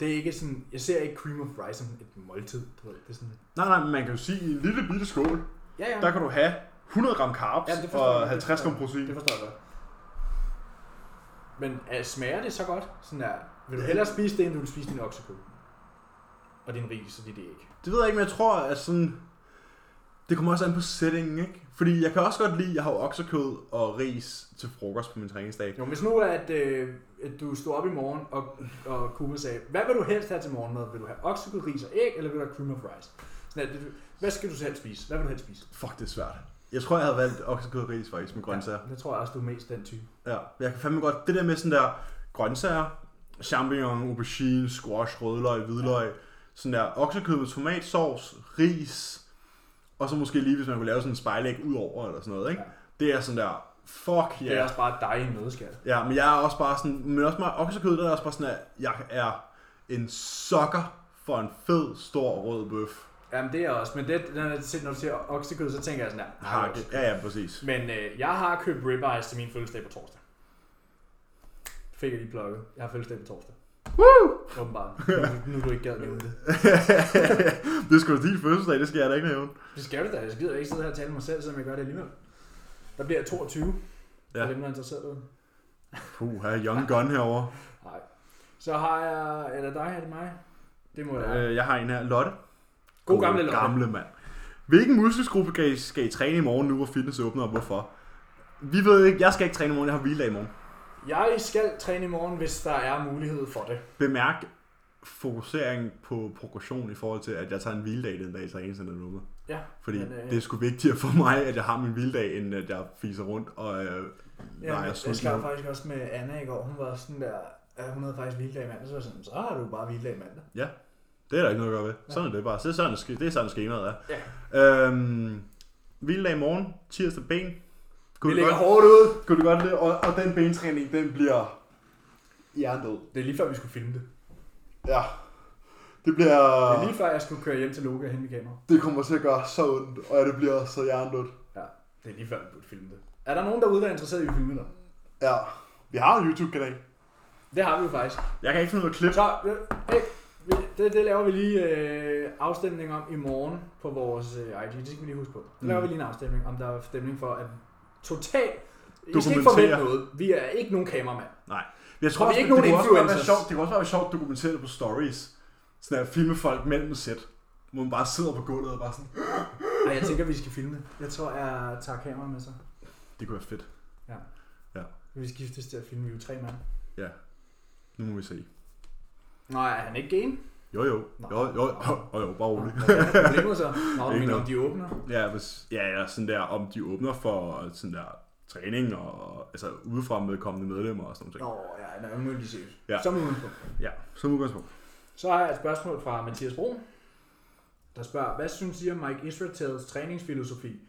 S2: det er ikke sådan, jeg ser ikke cream of rice som et måltid, du ved, det er sådan,
S1: Nej, nej, men man kan jo sige, i en lille bitte skål,
S2: ja, ja,
S1: der kan du have 100 gram carbs
S2: Ja, det
S1: ja,
S2: forstår jeg.
S1: og
S2: Det
S1: 50 gram
S2: forstår
S1: protein.
S2: det forstår jeg godt. Men uh, smager det så godt? Sådan der, vil du hellere spise det, end du vil spise din oksekød? Og din ris og dit æg.
S1: Det ved jeg ikke, men jeg tror, at sådan... Det kommer også an på settingen, ikke? Fordi jeg kan også godt lide, at jeg har jo oksekød og ris til frokost på min træningsdag.
S2: Jo, hvis nu er, at, øh, at du stod op i morgen, og, og Kuma sagde, hvad vil du helst have til morgenmad? Vil du have oksekød, ris og æg, eller vil du have cream of rice? Sådan der, det- hvad skal du selv spise? Hvad vil du helst spise?
S1: Fuck, det er svært. Jeg tror, jeg havde valgt oksekød og ris faktisk med grøntsager.
S2: Ja, det tror jeg også, du er mest den type.
S1: Ja, men jeg kan fandme godt, det der med sådan der grøntsager, champignon, aubergine, squash, rødløg, hvidløg, ja. sådan der oksekød med tomatsovs, ris, og så måske lige, hvis man kunne lave sådan en spejlæg ud over eller sådan noget, ikke? Ja. Det er sådan der, fuck
S2: Det er
S1: ja.
S2: også bare dig i en nødskal.
S1: Ja, men jeg er også bare sådan, men også meget oksekød, der er også bare sådan, at jeg er en sokker for en fed, stor rød bøf.
S2: Jamen det er jeg også, men det, når jeg ser- når du siger oksekød, så tænker jeg sådan der. nej,
S1: Hakke. Ja, ja, præcis.
S2: Men øh, jeg har købt ribeyes til min fødselsdag på torsdag. Fik jeg lige plukket. Jeg har fødselsdag på torsdag. Woo! Åbenbart. Nu, nu er du ikke gad nævne det.
S1: det skal du din fødselsdag, det skal jeg da ikke nævne.
S2: Det skal du da. Jeg gider ikke sidde her og tale mig selv, selvom jeg gør det alligevel. Der bliver jeg 22. Ja.
S1: Ja.
S2: For dem, der er interesseret.
S1: Puh, her er young gun herovre.
S2: Nej. Så har jeg... Eller dig, er det mig? Det må jeg have.
S1: Øh, jeg har en her. Lotte.
S2: God gamle Lotte.
S1: gamle mand. Hvilken muskelgruppe skal I, skal I træne i morgen nu, hvor fitness åbner, og hvorfor? Vi ved ikke, jeg skal ikke træne i morgen, jeg har hviledag i morgen.
S2: Jeg skal træne i morgen, hvis der er mulighed for det.
S1: Bemærk fokusering på progression i forhold til, at jeg tager en hviledag den dag i træningscenteret nu.
S2: Ja.
S1: Fordi
S2: Men, øh,
S1: det er sgu vigtigere for mig, at jeg har min hviledag, end at jeg fiser rundt og øh,
S2: Ja,
S1: leger
S2: jeg, jeg
S1: slut
S2: skrev
S1: nu.
S2: faktisk også med Anna i går. Hun var sådan der, at hun havde faktisk hviledag i mandag, så var jeg sådan, så har du bare hviledag i mandag.
S1: Det er der ikke noget at gøre ved. Sådan er det bare. Det er sådan, ske- det er sådan skemaet er.
S2: Ja.
S1: Øhm, hviledag i morgen, tirsdag ben.
S2: Vi
S1: Kunne du
S2: ligger
S1: godt,
S2: hårdt ud.
S1: kunne du godt lide, og, og den bentræning, den bliver jerndød.
S2: Det er lige før, vi skulle filme det.
S1: Ja. Det bliver...
S2: Det er lige før, jeg skulle køre hjem til Loke og hente mit kamera.
S1: Det kommer til at gøre så ondt, og det bliver så jerndødt.
S2: Det er lige før, vi burde filme det. Er der nogen derude, der er interesseret i at filme det?
S1: Ja. Vi har en YouTube-kanal.
S2: Det har vi jo faktisk.
S1: Jeg kan ikke finde noget klip.
S2: Så, øh, hey, vi- det, det laver vi lige øh, afstemning om i morgen på vores øh, IG. Det skal vi lige huske på. Der laver
S1: Mm.
S2: vi lige en afstemning, om der er stemning for at totalt... I skal ikke
S1: Dokumentere.
S2: forvente noget. Vi er ikke nogen kameramand.
S1: Nej. Men jeg
S2: Og
S1: tror,
S2: vi er
S1: også,
S2: ikke
S1: det,
S2: nogen
S1: kunne også bare være
S2: influencers.
S1: sjovt, det kunne også være sjovt at dokumentere det på stories. Sådan at filme folk mellem sæt. Hvor man bare sidder på gulvet og bare sådan...
S2: Ej, jeg tænker, vi skal filme. det. Jeg tror, jeg tager kameraet med sig.
S1: Det kunne være fedt.
S2: Vi skiftes til at filme, vi er jo tre mand.
S1: Ja. Nu må vi se.
S2: Nej, er han ikke game?
S1: Jo jo.
S2: Nå.
S1: Jo jo. Jo jo. Bare rolig.
S2: Hvad er problemet så? Nå, du
S1: Ikke
S2: mener,
S1: noget.
S2: om de åbner?
S1: Ja, hvis, ja, ja, sådan der, om de åbner for sådan der træning og altså udefra medkommende medlemmer og sådan noget.
S2: Nå, ja, nej, nu er de seriøse.
S1: Ja.
S2: Som udgangspunkt.
S1: Ja, som udgangspunkt.
S2: Så har jeg et spørgsmål fra Mathias Bro, der spørger, hvad synes I om Mike Israels træningsfilosofi?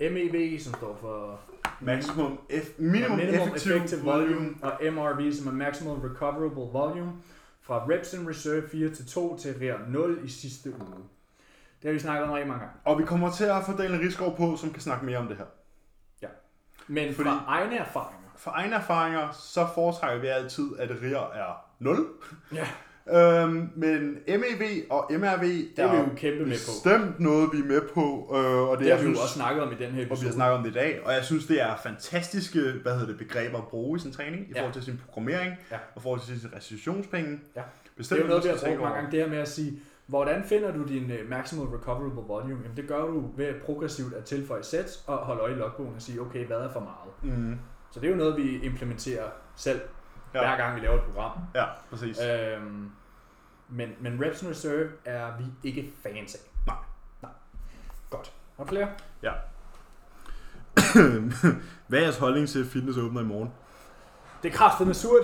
S2: MEV, som står for
S1: Maximum F, minimum,
S2: Minimum
S1: effective,
S2: Effective Volume, og MRV, som er Maximal Recoverable Volume, fra reps and reserve 4 til 2 til RER 0 i sidste uge. Det har vi snakket om rigtig mange gange.
S1: Og vi kommer til at få Daniel Rigsgaard på, som kan snakke mere om det her.
S2: Men
S1: Fordi-
S2: Fordi... fra egne erfaringer.
S1: For egne erfaringer, så foretrækker vi altid, at RIR er 0.
S2: Ja.
S1: Øhm, men MEV og MRV,
S2: Det
S1: der
S2: er vi
S1: er
S2: jo kæmpe med på.
S1: bestemt noget, vi er med på. Øh, og det,
S2: Det
S1: er
S2: har vi jo
S1: synes,
S2: også snakket om i den her
S1: og vi har
S2: episode.
S1: snakket om det i dag, og jeg synes, det er fantastiske hvad hedder det, begreber at bruge i sin træning, i
S2: Ja.
S1: forhold til sin programmering,
S2: Ja.
S1: og i forhold til sin restitutionspenge.
S2: Ja. Det
S1: Bestemt
S2: er jo noget, vi
S1: man
S2: har
S1: skal
S2: brugt
S1: tænke
S2: mange
S1: over.
S2: gange, det her med at sige, hvordan finder du din øh, maximal recoverable volume? Jamen det gør du ved progressivt at tilføje sæt og holde øje i logbogen og sige, okay, hvad er for meget?
S1: Mm.
S2: Så det er jo noget, vi implementerer selv, ja.
S1: Ja.
S2: hver gang vi laver et program.
S1: Ja, præcis. Øh.
S2: Øhm, men, men reps and reserve er vi ikke fans af.
S1: Nej.
S2: Nej. Godt. Har du flere? Øh.
S1: Hvad er jeres holdning til, at fitness åbner i morgen?
S2: Det er kraftet med surt.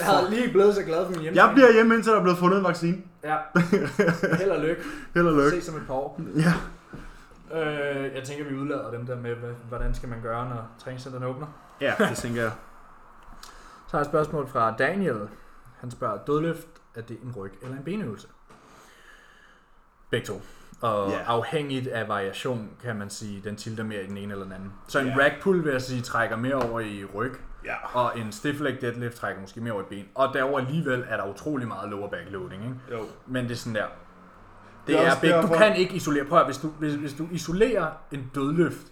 S2: Jeg havde lige blevet så glad for min hjemme.
S1: Jeg bliver hjemme, indtil der er blevet fundet en vaccine.
S2: Ja. Held og lykke.
S1: Held og lykke.
S2: Ses om et par år.
S1: Ja.
S2: Øh, jeg tænker, vi udlader dem der med, hvad- hvordan skal man gøre, når træningscenterne åbner.
S1: ja, det tænker jeg.
S2: Så har jeg et spørgsmål fra Daniel. Han spørger, dødløft, er det en ryg eller en benøvelse? Begge to. Og
S1: Ja.
S2: yeah. afhængigt af variation, kan man sige, den tilter mere i den ene eller den anden. Så en
S1: Ja.
S2: yeah. rack pull, vil jeg sige, trækker mere over i ryg,
S1: Ja.
S2: og en stiff leg deadlift trækker måske mere over i ben. Og derover alligevel er der utrolig meget lower back loading, ikke?
S1: Jo.
S2: Men det er sådan der. Det,
S1: Det er
S2: er,
S1: også
S2: big. Du
S1: derfor-
S2: kan ikke isolere. Prøv at, høre, hvis du, hvis, hvis du isolerer en dødløft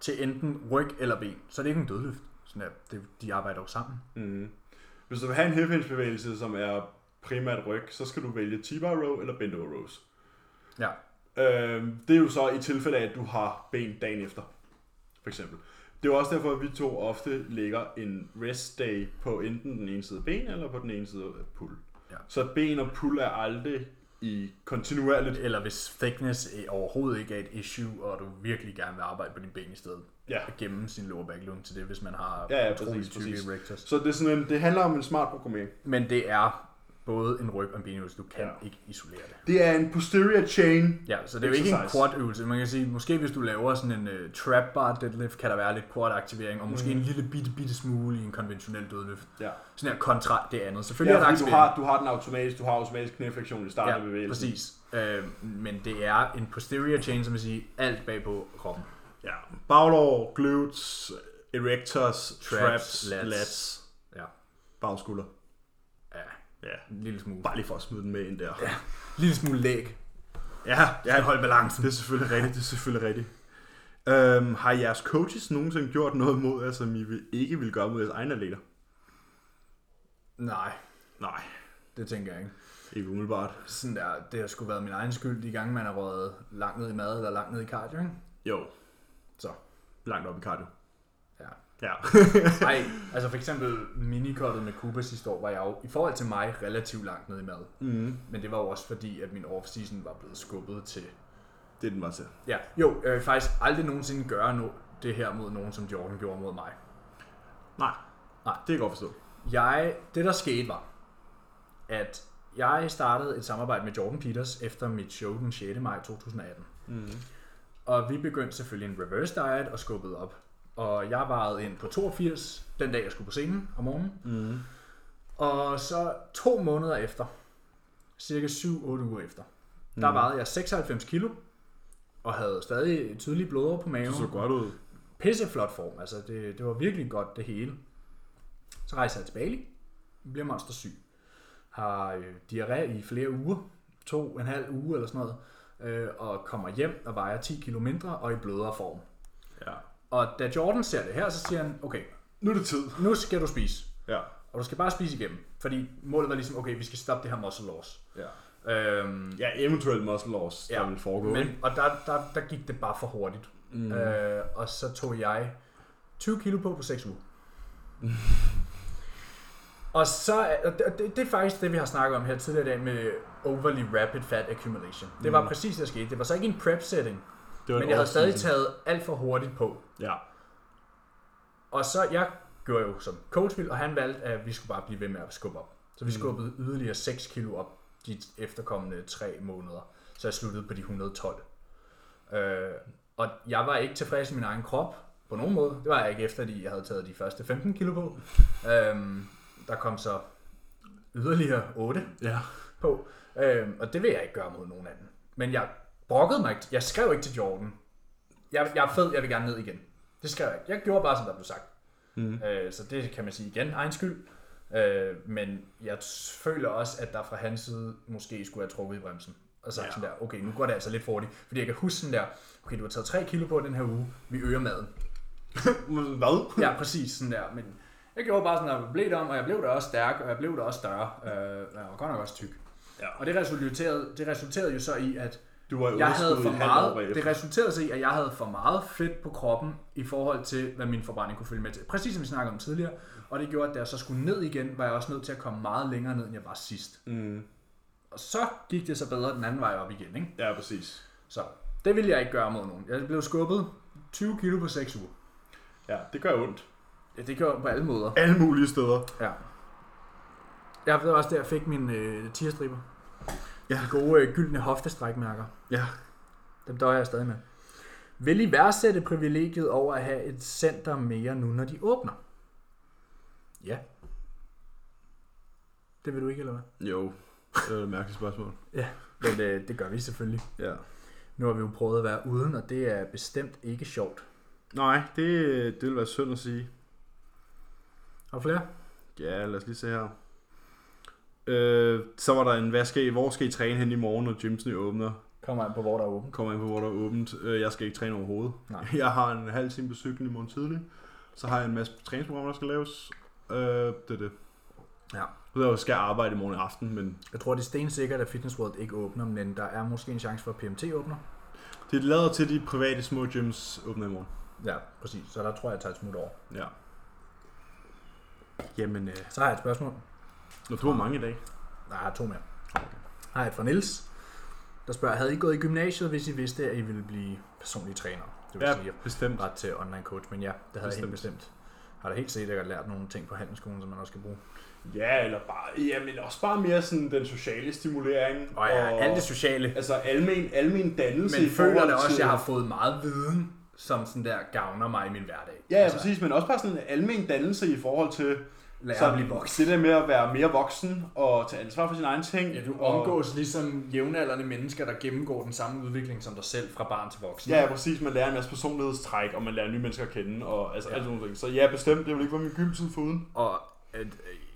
S2: til enten ryg eller ben, så er det ikke en dødløft. Sådan der, det, de arbejder jo sammen.
S1: Mm. Hvis du vil have en hip-hinge-bevægelse, som er primært ryg, så skal du vælge T-bar row eller bend over rows.
S2: Ja.
S1: Øhm, det er jo så i tilfælde af, at du har ben dagen efter, for eksempel. Det er jo også derfor, at vi to ofte lægger en rest day på enten den ene side af ben eller på den ene side af pull.
S2: Ja.
S1: Så ben og pull er aldrig i kontinuerligt.
S2: Eller hvis thickness øh, overhovedet ikke er et issue, og du virkelig gerne vil arbejde på dine ben i stedet.
S1: Ja.
S2: At gemme sin lower back lunge til det, hvis man har
S1: Ja, ja,
S2: utrolig
S1: præcis,
S2: tykke
S1: præcis.
S2: rectors.
S1: Så det, er sådan en, det handler om en smart programmering.
S2: Men det er både en ryg og en benøvelse. Du kan
S1: Ja.
S2: ikke isolere det.
S1: Det er en posterior chain.
S2: Ja, så det er jo ikke en
S1: Exercise.
S2: quad øvelse. Man kan sige, måske hvis du laver sådan en uh, trap bar deadlift, kan der være lidt quad aktivering, og måske mm. en lille bitte, bitte smule i en konventionel dødløft.
S1: Mhm. Ja.
S2: Sådan her kontra det andet. Selvfølgelig
S1: Ja,
S2: ja, er der
S1: fordi du
S2: aktivering.
S1: har, du har den automatisk, du har automatisk knæflektion i starten af
S2: ja,
S1: bevægelsen.
S2: præcis. Øh, men det er en posterior chain, som vil sige alt bag på kroppen.
S1: Ja, baglår, glutes, erectors, traps, traps
S2: lats.
S1: lats.
S2: Ja.
S1: bagskulder.
S2: Ja,
S1: Ja,
S2: en lille smule.
S1: bare lige for at smide den med ind der. Ja,
S2: En lille smule læg.
S1: ja,
S2: Jeg holde balancen.
S1: det er selvfølgelig rigtigt, det er selvfølgelig rigtigt. Øhm, har jeres coaches nogensinde gjort noget mod jer, som I vil- ikke vil gøre mod jeres egne atleter?
S2: Nej,
S1: Nej,
S2: det tænker jeg ikke.
S1: ikke umiddelbart.
S2: Sådan der, det har sgu været min egen skyld, de gange man har røget langt ned i mad eller langt ned i cardio, ikke?
S1: Jo.
S2: Så.
S1: Langt op i cardio.
S2: Ja.
S1: Ja.
S2: Nej, altså for eksempel minikottet med Kuba sidste år var jeg jo i forhold til mig relativt langt ned i mad.
S1: Mm,
S2: Men det var jo også fordi, at min off-season var blevet skubbet til...
S1: det er den var til.
S2: Ja, jo, jeg vil faktisk aldrig nogensinde gøre no- det her mod nogen, som Jordan gjorde mod mig.
S1: Nej.
S2: Nej.
S1: Det kan jeg godt forstå.
S2: Jeg, det der skete var, at jeg startede et samarbejde med Jordan Peters efter mit show den 6. maj 2018.
S1: Mm.
S2: Og vi begyndte selvfølgelig en reverse diet og skubbede op. Og jeg vejede ind på 82 den dag, jeg skulle på scenen om morgenen.
S1: Mm.
S2: Og så to måneder efter, cirka 7-8 uger efter, der
S1: Mhm.
S2: vejede jeg 96 kilo, og havde stadig tydelige blodår på maven.
S1: Det så godt ud.
S2: Pisseflot form, altså det, det var virkelig godt det hele. Så rejser jeg til Bali, bliver monstersyg, har øh, diarré i flere uger, to og en halv uge eller sådan noget, øh, og kommer hjem og vejer 10 kilo mindre og i blødere form.
S1: Ja.
S2: Og da Jordan ser det her, så siger han, okay,
S1: Nu er det tid.
S2: nu skal du spise,
S1: Ja.
S2: og du skal bare spise igennem, fordi målet var ligesom, okay, vi skal stoppe det her muscle loss.
S1: Ja.
S2: Øhm,
S1: Ja, eventuelt muscle loss, ja. der vil foregå. Men...
S2: Men, og der, der, der gik det bare for hurtigt. Mm. Øh, og så tog jeg 20 kilo på på 6 uger. og så er- og det- det, det er faktisk det, vi har snakket om her tidligere i dag med overly rapid fat accumulation. Det var præcis det, der skete. Det var så ikke en prep setting,
S1: Det var
S2: Mm. men
S1: en
S2: jeg havde stadig
S1: off-season.
S2: taget alt for hurtigt på.
S1: Ja.
S2: Og så, jeg gjorde jo som coach ville, og han valgte, at vi skulle bare blive ved med at skubbe op. Så vi skubbede yderligere 6 kilo op de efterkommende 3 måneder. Så jeg sluttede på de 112. Øh, og jeg var ikke tilfreds med min egen krop på nogen måde. Det var jeg ikke efter, at jeg havde taget de første 15 kilo på. Øhm, der kom så yderligere 8
S1: Ja.
S2: på, øhm, og det vil jeg ikke gøre mod nogen anden. Men jeg brokkede mig ikke. Jeg skrev ikke til Jordan. Jeg, jeg er fed, jeg vil gerne ned igen. Det skrev jeg ikke. Jeg gjorde bare, som der blev sagt. Mm. Øh, så det kan man sige igen, egen skyld. Øh, men jeg t- føler også, at der fra hans side måske skulle have trukket i bremsen. Og sagt ja. sådan der, okay, nu går det altså lidt hurtigt. Fordi jeg kan huske sådan der, okay, du har taget 3 kilo på den her uge, vi øger maden.
S1: Hvad?
S2: Ja, præcis sådan der. Men jeg gjorde bare sådan, at jeg blev det om, og jeg blev da også stærk, og jeg blev da også større. Øh, jeg var godt nok også tyk.
S1: Ja.
S2: Og det resulterede, det resulterede jo så i, at
S1: Du var i
S2: jeg havde
S1: underskud
S2: for
S1: i et halvt år
S2: meget,
S1: bagefter.
S2: det resulterede så i, at jeg havde for meget fedt på kroppen i forhold til, hvad min forbrænding kunne følge med til. Præcis som vi snakkede om tidligere. Og det gjorde, at da jeg så skulle ned igen, var jeg også nødt til at komme meget længere ned, end jeg var sidst.
S1: Mm.
S2: Og så gik det så bedre den anden vej op igen. Ikke?
S1: Ja, præcis.
S2: Så det ville jeg ikke gøre mod nogen. Jeg blev skubbet 20 kilo på 6 uger.
S1: Ja, det gør ondt.
S2: Ja, det gjorde på alle måder.
S1: Alle mulige steder.
S2: Ja. Jeg ved også, der jeg fik mine øh, tierstriber.
S1: Ja.
S2: De gode øh, gyldne hoftestrækmærker.
S1: Ja.
S2: Dem døjer jeg stadig med. Vil I værdsætte privilegiet over at have et center mere nu, når de åbner? Ja. Det vil du ikke, eller hvad?
S1: Jo. Det er et mærkeligt spørgsmål.
S2: Men øh, det gør vi selvfølgelig.
S1: Ja.
S2: Nu har vi jo prøvet at være uden, og det er bestemt ikke sjovt.
S1: Nej, det, det vil være synd at sige.
S2: Har du flere?
S1: Ja, lad os lige se her. Øh, så var der en, hvad skal I, hvor skal I træne hen i morgen, når gymsene åbner?
S2: Kommer an på, hvor der er åbent.
S1: Kommer ind på, hvor der er åbent. Øh, jeg skal ikke træne overhovedet.
S2: Nej.
S1: Jeg har en halv time på cyklen i morgen tidlig. Så har jeg en masse træningsprogrammer, der skal laves. Øh, det er det.
S2: Ja.
S1: Så jeg skal arbejde i morgen aften, men
S2: Jeg tror, det er stensikkert, at Fitness World ikke åbner, men der er måske en chance for, at PMT åbner.
S1: det lader til, at de private små gyms åbner i morgen.
S2: Ja, præcis. Så der tror jeg, jeg tager et smut over.
S1: Ja. Jamen, øh,
S2: Så har jeg et spørgsmål.
S1: når du har mange i dag.
S2: Nej, jeg har to mere. Har jeg et fra Niels, der spørger, havde I gået i gymnasiet, hvis I vidste, at I ville blive personlige trænere? Det vil ja. sige
S1: bestemt.
S2: ret til online coach, men ja, det havde bestemt. jeg helt bestemt. Har da helt sikkert jeg lært nogle ting på handelsskolen, som man også skal bruge.
S1: Ja, eller bare, jamen også bare mere sådan den sociale stimulering.
S2: Og ja, alt det sociale.
S1: Altså almen, almen dannelse
S2: Men
S1: i forhold
S2: føler da også,
S1: til...
S2: at jeg har fået meget viden, som sådan der gavner mig i min hverdag. Altså,
S1: Ja, ja, præcis, men også bare sådan en almen dannelse i forhold til
S2: Lære
S1: sådan
S2: at blive voksen.
S1: det der med at være mere voksen og tage ansvar for sine egne ting.
S3: Ja, du
S1: og-
S3: omgås ligesom jævnaldrende mennesker, der gennemgår den samme udvikling som dig selv fra barn til voksen.
S1: Ja, ja, præcis. Man lærer en masse personlighedstræk, og man lærer nye mennesker at kende, og altså ja. alt sådan nogle ting. Så ja, bestemt. Det vil ikke være min gymtid foruden.
S2: Og at, øh,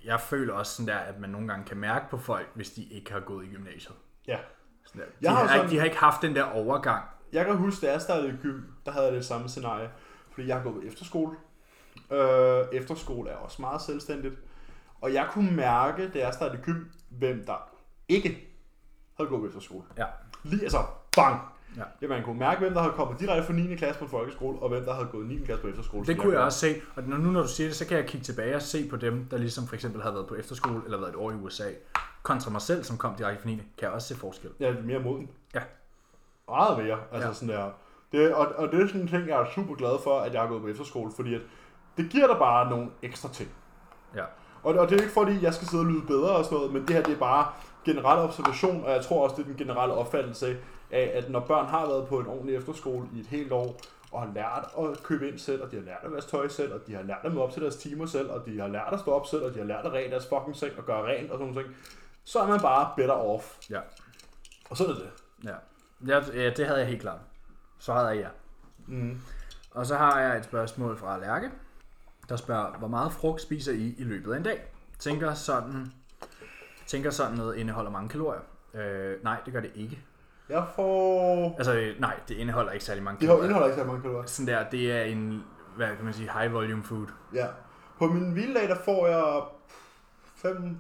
S2: jeg føler også sådan der, at man nogle gange kan mærke på folk, hvis de ikke har gået i gymnasiet.
S1: Ja.
S2: Sådan der. De,
S1: Jeg
S2: har
S1: har
S2: har,
S1: sådan-
S2: ikke, de har ikke haft den der overgang.
S1: Jeg kan huske, da jeg startede i gym, der havde jeg det samme scenarie. Fordi jeg har gået på efterskole. Øh, efterskole er også meget selvstændigt. Og jeg kunne mærke, da jeg startede i gym, hvem der ikke havde gået på efterskole.
S2: Ja.
S1: Lige altså, bang!
S2: Ja.
S1: Ja, man kunne mærke, hvem der havde kommet direkte fra 9. klasse på en folkeskole, og hvem der havde gået 9. klasse på efterskole.
S2: Det kunne jeg også se, og når- nu når du siger det, så kan jeg kigge tilbage og se på dem, der ligesom for eksempel havde været på efterskole eller været et år i USA, kontra mig selv, som kom direkte fra 9. kan jeg også se forskel.
S1: Jeg er mere moden.
S2: Ja.
S1: Meget mere. Altså
S2: Ja.
S1: ja. sådan der. Det, og, og det er sådan en ting, jeg er super glad for, at jeg har gået på efterskole, fordi at det giver dig bare nogle ekstra ting.
S2: Ja.
S1: Og Og, og det er ikke fordi, jeg skal sidde og lyde bedre og sådan noget, men det her det er bare generel observation, og jeg tror også, det er den generelle opfattelse af, at når børn har været på en ordentlig efterskole i et helt år, og har lært at købe ind selv, og de har lært at vaske tøj selv, og de har lært at møde op til deres timer selv, og de har lært at stå op selv, og de har lært at rene deres fucking seng og gøre rent og sådan noget, så er man bare better off.
S2: Ja.
S1: Og sådan er det.
S2: Ja. ja, ja det havde jeg helt klart. Så havde jeg ja.
S1: Mm.
S2: Og så har jeg et spørgsmål fra Lærke, der spørger, hvor meget frugt spiser I i løbet af en dag? Tænker sådan, tænker sådan noget indeholder mange kalorier? Øh, nej, det gør det ikke.
S1: Jeg får...
S2: Altså, øh, nej, det indeholder ikke særlig
S1: Det
S2: mange kalorier.
S1: her indeholder ikke så mange kalorier.
S2: Sådan der, det er en, hvad kan man sige, high volume food.
S1: Ja. På min hviledag, der får jeg... 5,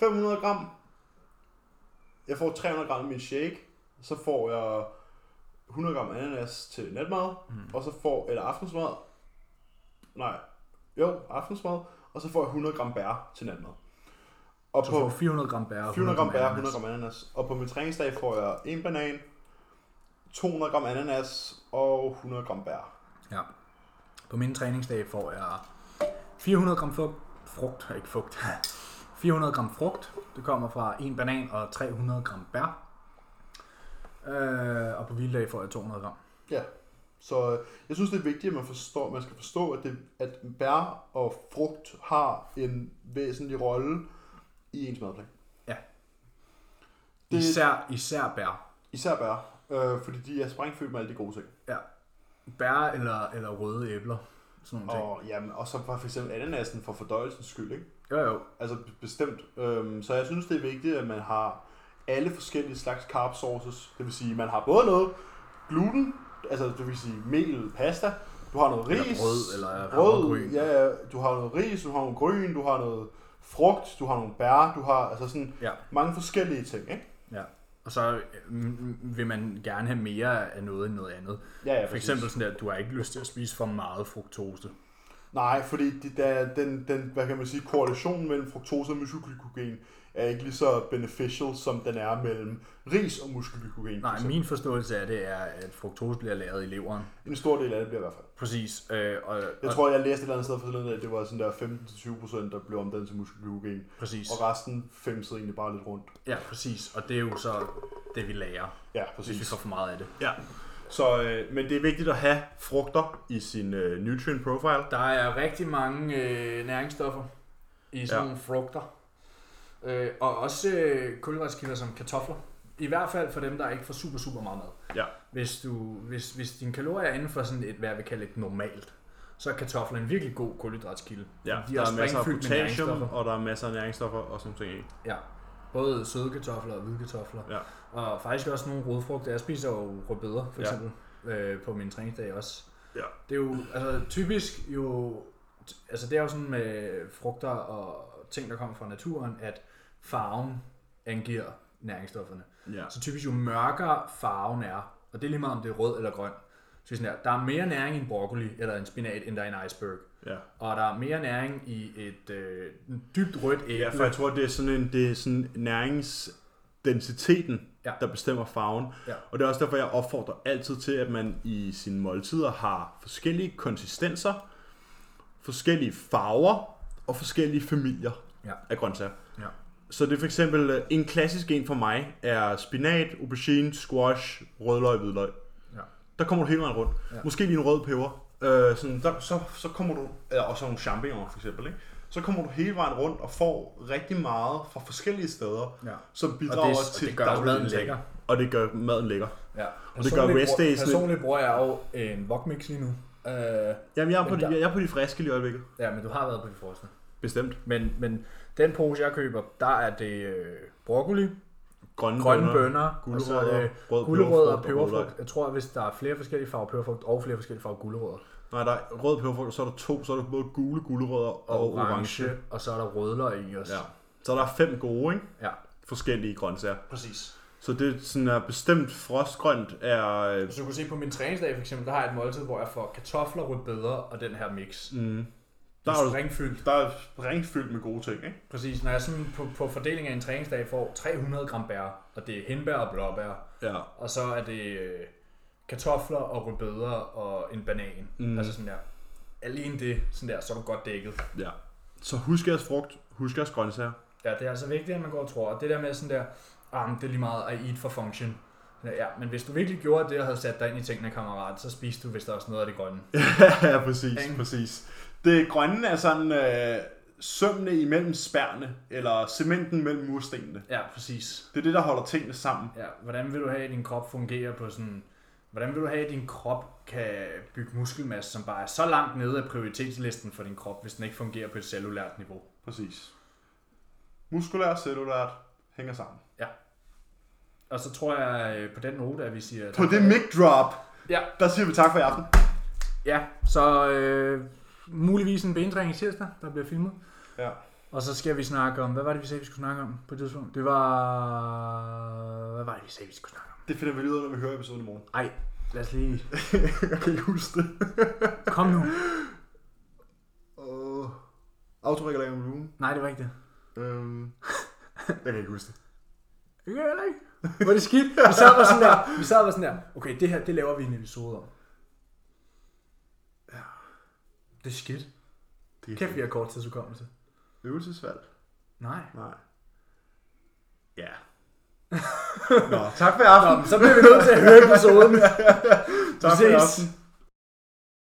S1: 500 gram. Jeg får 300 gram i min shake. Så får jeg 100 gram ananas til natmad. Mm. Og så får... Eller aftensmad. Nej. Jo, aftensmad. Og så får jeg 100 gram bær til natmad. Og
S2: Så får 400 Altså, gram bær. og
S1: 400 gram bær,
S2: ananas.
S1: 100 gram ananas. Og på min træningsdag får jeg en banan, 200 gram ananas og 100 gram bær.
S2: Ja. På mine træningsdage får jeg 400 gram frugt, frugt ikke fugt, 400 gram frugt. Det kommer fra en banan og 300 gram bær. Øh, og på hviledag får jeg 200 gram.
S1: Ja. Så øh, jeg synes, det er vigtigt, at man, forstår, man skal forstå, at, det, at bær og frugt har en væsentlig rolle i ens madplan.
S2: Ja.
S1: Det-
S2: Især, især bær.
S1: Især bær, øh, fordi de er sprængfyldt med alle de gode ting.
S2: Ja. Bær eller, eller røde æbler. Sådan nogle ting.
S1: Og, jamen, og så for eksempel ananasen for fordøjelsens skyld, ikke?
S2: Jo, jo.
S1: Altså b- bestemt. Øhm, så jeg synes, det er vigtigt, at man har alle forskellige slags carb sources. Det vil sige, man har både noget gluten, altså det vil sige mel, pasta, du har noget
S2: Eller
S1: ris,
S2: brød, eller
S1: brød
S2: havregryn.
S1: ja, ja, du har noget ris, du har nogle grøn, du har noget frugt, du har nogle bær, du har altså sådan
S2: Ja.
S1: mange forskellige ting, ikke?
S2: Ja. Og så mm, vil man gerne have mere af noget end noget andet.
S1: Ja, ja,
S2: For
S1: præcis.
S2: eksempel sådan der, at du har ikke lyst til at spise for meget fruktose.
S1: Nej, fordi det der, den, den, hvad kan man sige, korrelationen mellem fruktose og muskelglykogen er ikke lige så beneficial, som den er mellem ris og muskelglykogen. for
S2: Nej,
S1: eksempel.
S2: min forståelse af det er, at fruktose bliver lavet i leveren.
S1: En stor del af det bliver i hvert fald.
S2: Præcis. Øh, og,
S1: Jeg
S2: og,
S1: tror, jeg læste et eller andet sted for sådan at det var sådan der 15-20 procent, der blev omdannet til muskelglykogen.
S2: præcis.
S1: Og resten femsede egentlig bare lidt rundt.
S2: Ja, præcis. Og det er jo så det, vi lærer,
S1: Ja,
S2: hvis vi får for meget af det.
S1: Ja. Så, øh, men det er vigtigt at have frugter i sin øh, nutrient profile.
S2: Der er rigtig mange øh, næringsstoffer i sådan
S1: Ja.
S2: ja. nogle frugter. Øh, og også øh, kulhydratskilder som kartofler. I hvert fald for dem, der ikke får super, super meget mad.
S1: Ja.
S2: Hvis, du, hvis, hvis dine kalorier er inden for sådan et, hvad jeg vil kalde et normalt, så er kartofler en virkelig god kulhydratskilde.
S1: de der er masser af
S2: sprængfyldt med
S1: potassium,
S2: næringsstoffer.
S1: og der er masser af næringsstoffer og sådan nogle ting. i.
S2: Ja. Både søde kartofler og hvide kartofler.
S1: Ja.
S2: Og faktisk også nogle rodfrugter. Jeg spiser jo rødbeder, for
S1: Ja.
S2: eksempel, øh, på min træningsdag også.
S1: Ja.
S2: Det er jo altså, typisk jo... Altså det er jo sådan med frugter og ting, der kommer fra naturen, at farven angiver næringsstofferne.
S1: Ja.
S2: Så typisk jo mørkere farven er, og det er lige meget om det er rød eller grøn, så sådan her, der er mere næring i en broccoli eller en spinat, end der er i en iceberg.
S1: ja.
S2: Og der er mere næring i et øh, dybt rødt æble.
S1: Ja, for jeg tror, det er sådan, en, det er sådan næringsdensiteten, ja.
S2: Ja.
S1: der bestemmer farven.
S2: Ja.
S1: Og det er også derfor, jeg opfordrer altid til, at man i sine måltider har forskellige konsistenser, forskellige farver og forskellige familier
S2: Ja.
S1: af grøntsager.
S2: Ja.
S1: Så det er for eksempel øh, en klassisk en for mig er spinat, aubergine, squash, rødløg, hvidløg.
S2: Ja.
S1: Der kommer du hele vejen rundt. Ja. Måske lige en rød peber. Øh, sådan, der, så, så kommer du, eller også nogle champignoner for eksempel, ikke? så kommer du hele vejen rundt og får rigtig meget fra forskellige steder,
S2: Ja.
S1: som bidrager
S2: Og det- og
S1: til
S2: det gør også
S1: dagligdagen.
S2: maden lækker.
S1: Og det gør maden lækker.
S2: Ja.
S1: Og det gør
S2: Personligt
S1: rest
S2: bruger-
S1: days lidt-
S2: Personligt bruger jeg jo en wokmix lige nu. Øh,
S1: Jamen, jeg er, på
S2: Men
S1: de,
S2: der-
S1: jeg er på de friske lige i øjeblikket.
S2: ja, men du har været på de frosne.
S1: Bestemt.
S2: Men, men den pose, jeg køber, der er det øh, broccoli,
S1: Grønne,
S2: grønne bønner,
S1: gulerødder,
S2: og så,
S1: rød
S2: gulerødder og
S1: peberfrugt og rødløg.
S2: peberfrugt. Jeg tror, at hvis der er flere forskellige farver peberfrugt og flere forskellige farver gulerødder
S1: Nej, der er rød peberfrugt, og så er der to, så er der både gule gulerødder og, og orange. orange.
S2: og så er der rødløg i også.
S1: Ja. Så der er fem gode, ikke?
S2: ja.
S1: Forskellige grøntsager.
S2: Præcis.
S1: Så det er sådan er bestemt frostgrønt er... øh,
S2: Hvis du kunne se på min træningsdag for eksempel, der har jeg et måltid, hvor jeg får kartofler, rødbeder og den her mix. Mm.
S1: Der
S2: Der
S1: er jo-
S2: er springfyldt.
S1: Der er springfyldt med gode ting, ikke?
S2: Præcis, når jeg sådan på, på fordelingen af en træningsdag får 300 gram bær, og det er hindbær og blåbær,
S1: Ja.
S2: Og så er det øh, kartofler og rødbeder og en banan. Mm. Altså sådan der. Alene det, sådan der, så er du godt dækket.
S1: Ja. Så husk jeres frugt, husk jeres grøntsager.
S7: Ja, det er altså vigtigt, at man går og tror. Og det der med sådan der, ah, men det er lige meget at eat for function. Ja, men hvis du virkelig gjorde det og havde sat dig ind i tingene, kammerat, så spiste du vist også noget af det grønne.
S1: ja, præcis, præcis. Det grønne er sådan øh, sømmene imellem spærene, eller cementen mellem murstenene.
S7: Ja, præcis.
S1: Det er det, der holder tingene sammen.
S7: Ja, hvordan vil du have, at din krop fungerer på sådan... Hvordan vil du have, at din krop kan bygge muskelmasse, som bare er så langt nede af prioritetslisten for din krop, hvis den ikke fungerer på et cellulært niveau?
S1: Præcis. Muskulær og cellulært hænger sammen.
S7: Og så tror jeg øh, på den note, at vi siger...
S1: På det mic drop,
S7: Ja.
S1: der siger vi tak for i aften.
S2: Ja, så øh, muligvis en bentræning i tirsdag, der bliver filmet.
S1: Ja.
S2: Og så skal vi snakke om, hvad var det, vi sagde, vi skulle snakke om på det tidspunkt? Det var... Hvad var det, vi sagde, vi skulle snakke om?
S1: Det finder vi lige ud af, når vi hører episoden i morgen.
S2: Ej, lad os lige...
S1: Jeg kan ikke huske det.
S2: Kom nu.
S1: Uh, Autoregulering om ugen.
S2: Nej, det var ikke det.
S1: Øhm, jeg kan ikke huske det.
S2: Det gør jeg heller ikke. Var det skidt? Vi sad bare sådan der, vi sad bare sådan der, okay, det her, det laver vi en episode om. Det er skidt.
S1: det
S2: Kæft, vi har kort tidsudkommelse.
S1: Øvelsesvalg?
S2: Nej.
S1: Nej. Ja. Nå, tak for i aften.
S2: Så bliver vi nødt til at høre episoden.
S1: tak for i
S2: ses.
S1: aften.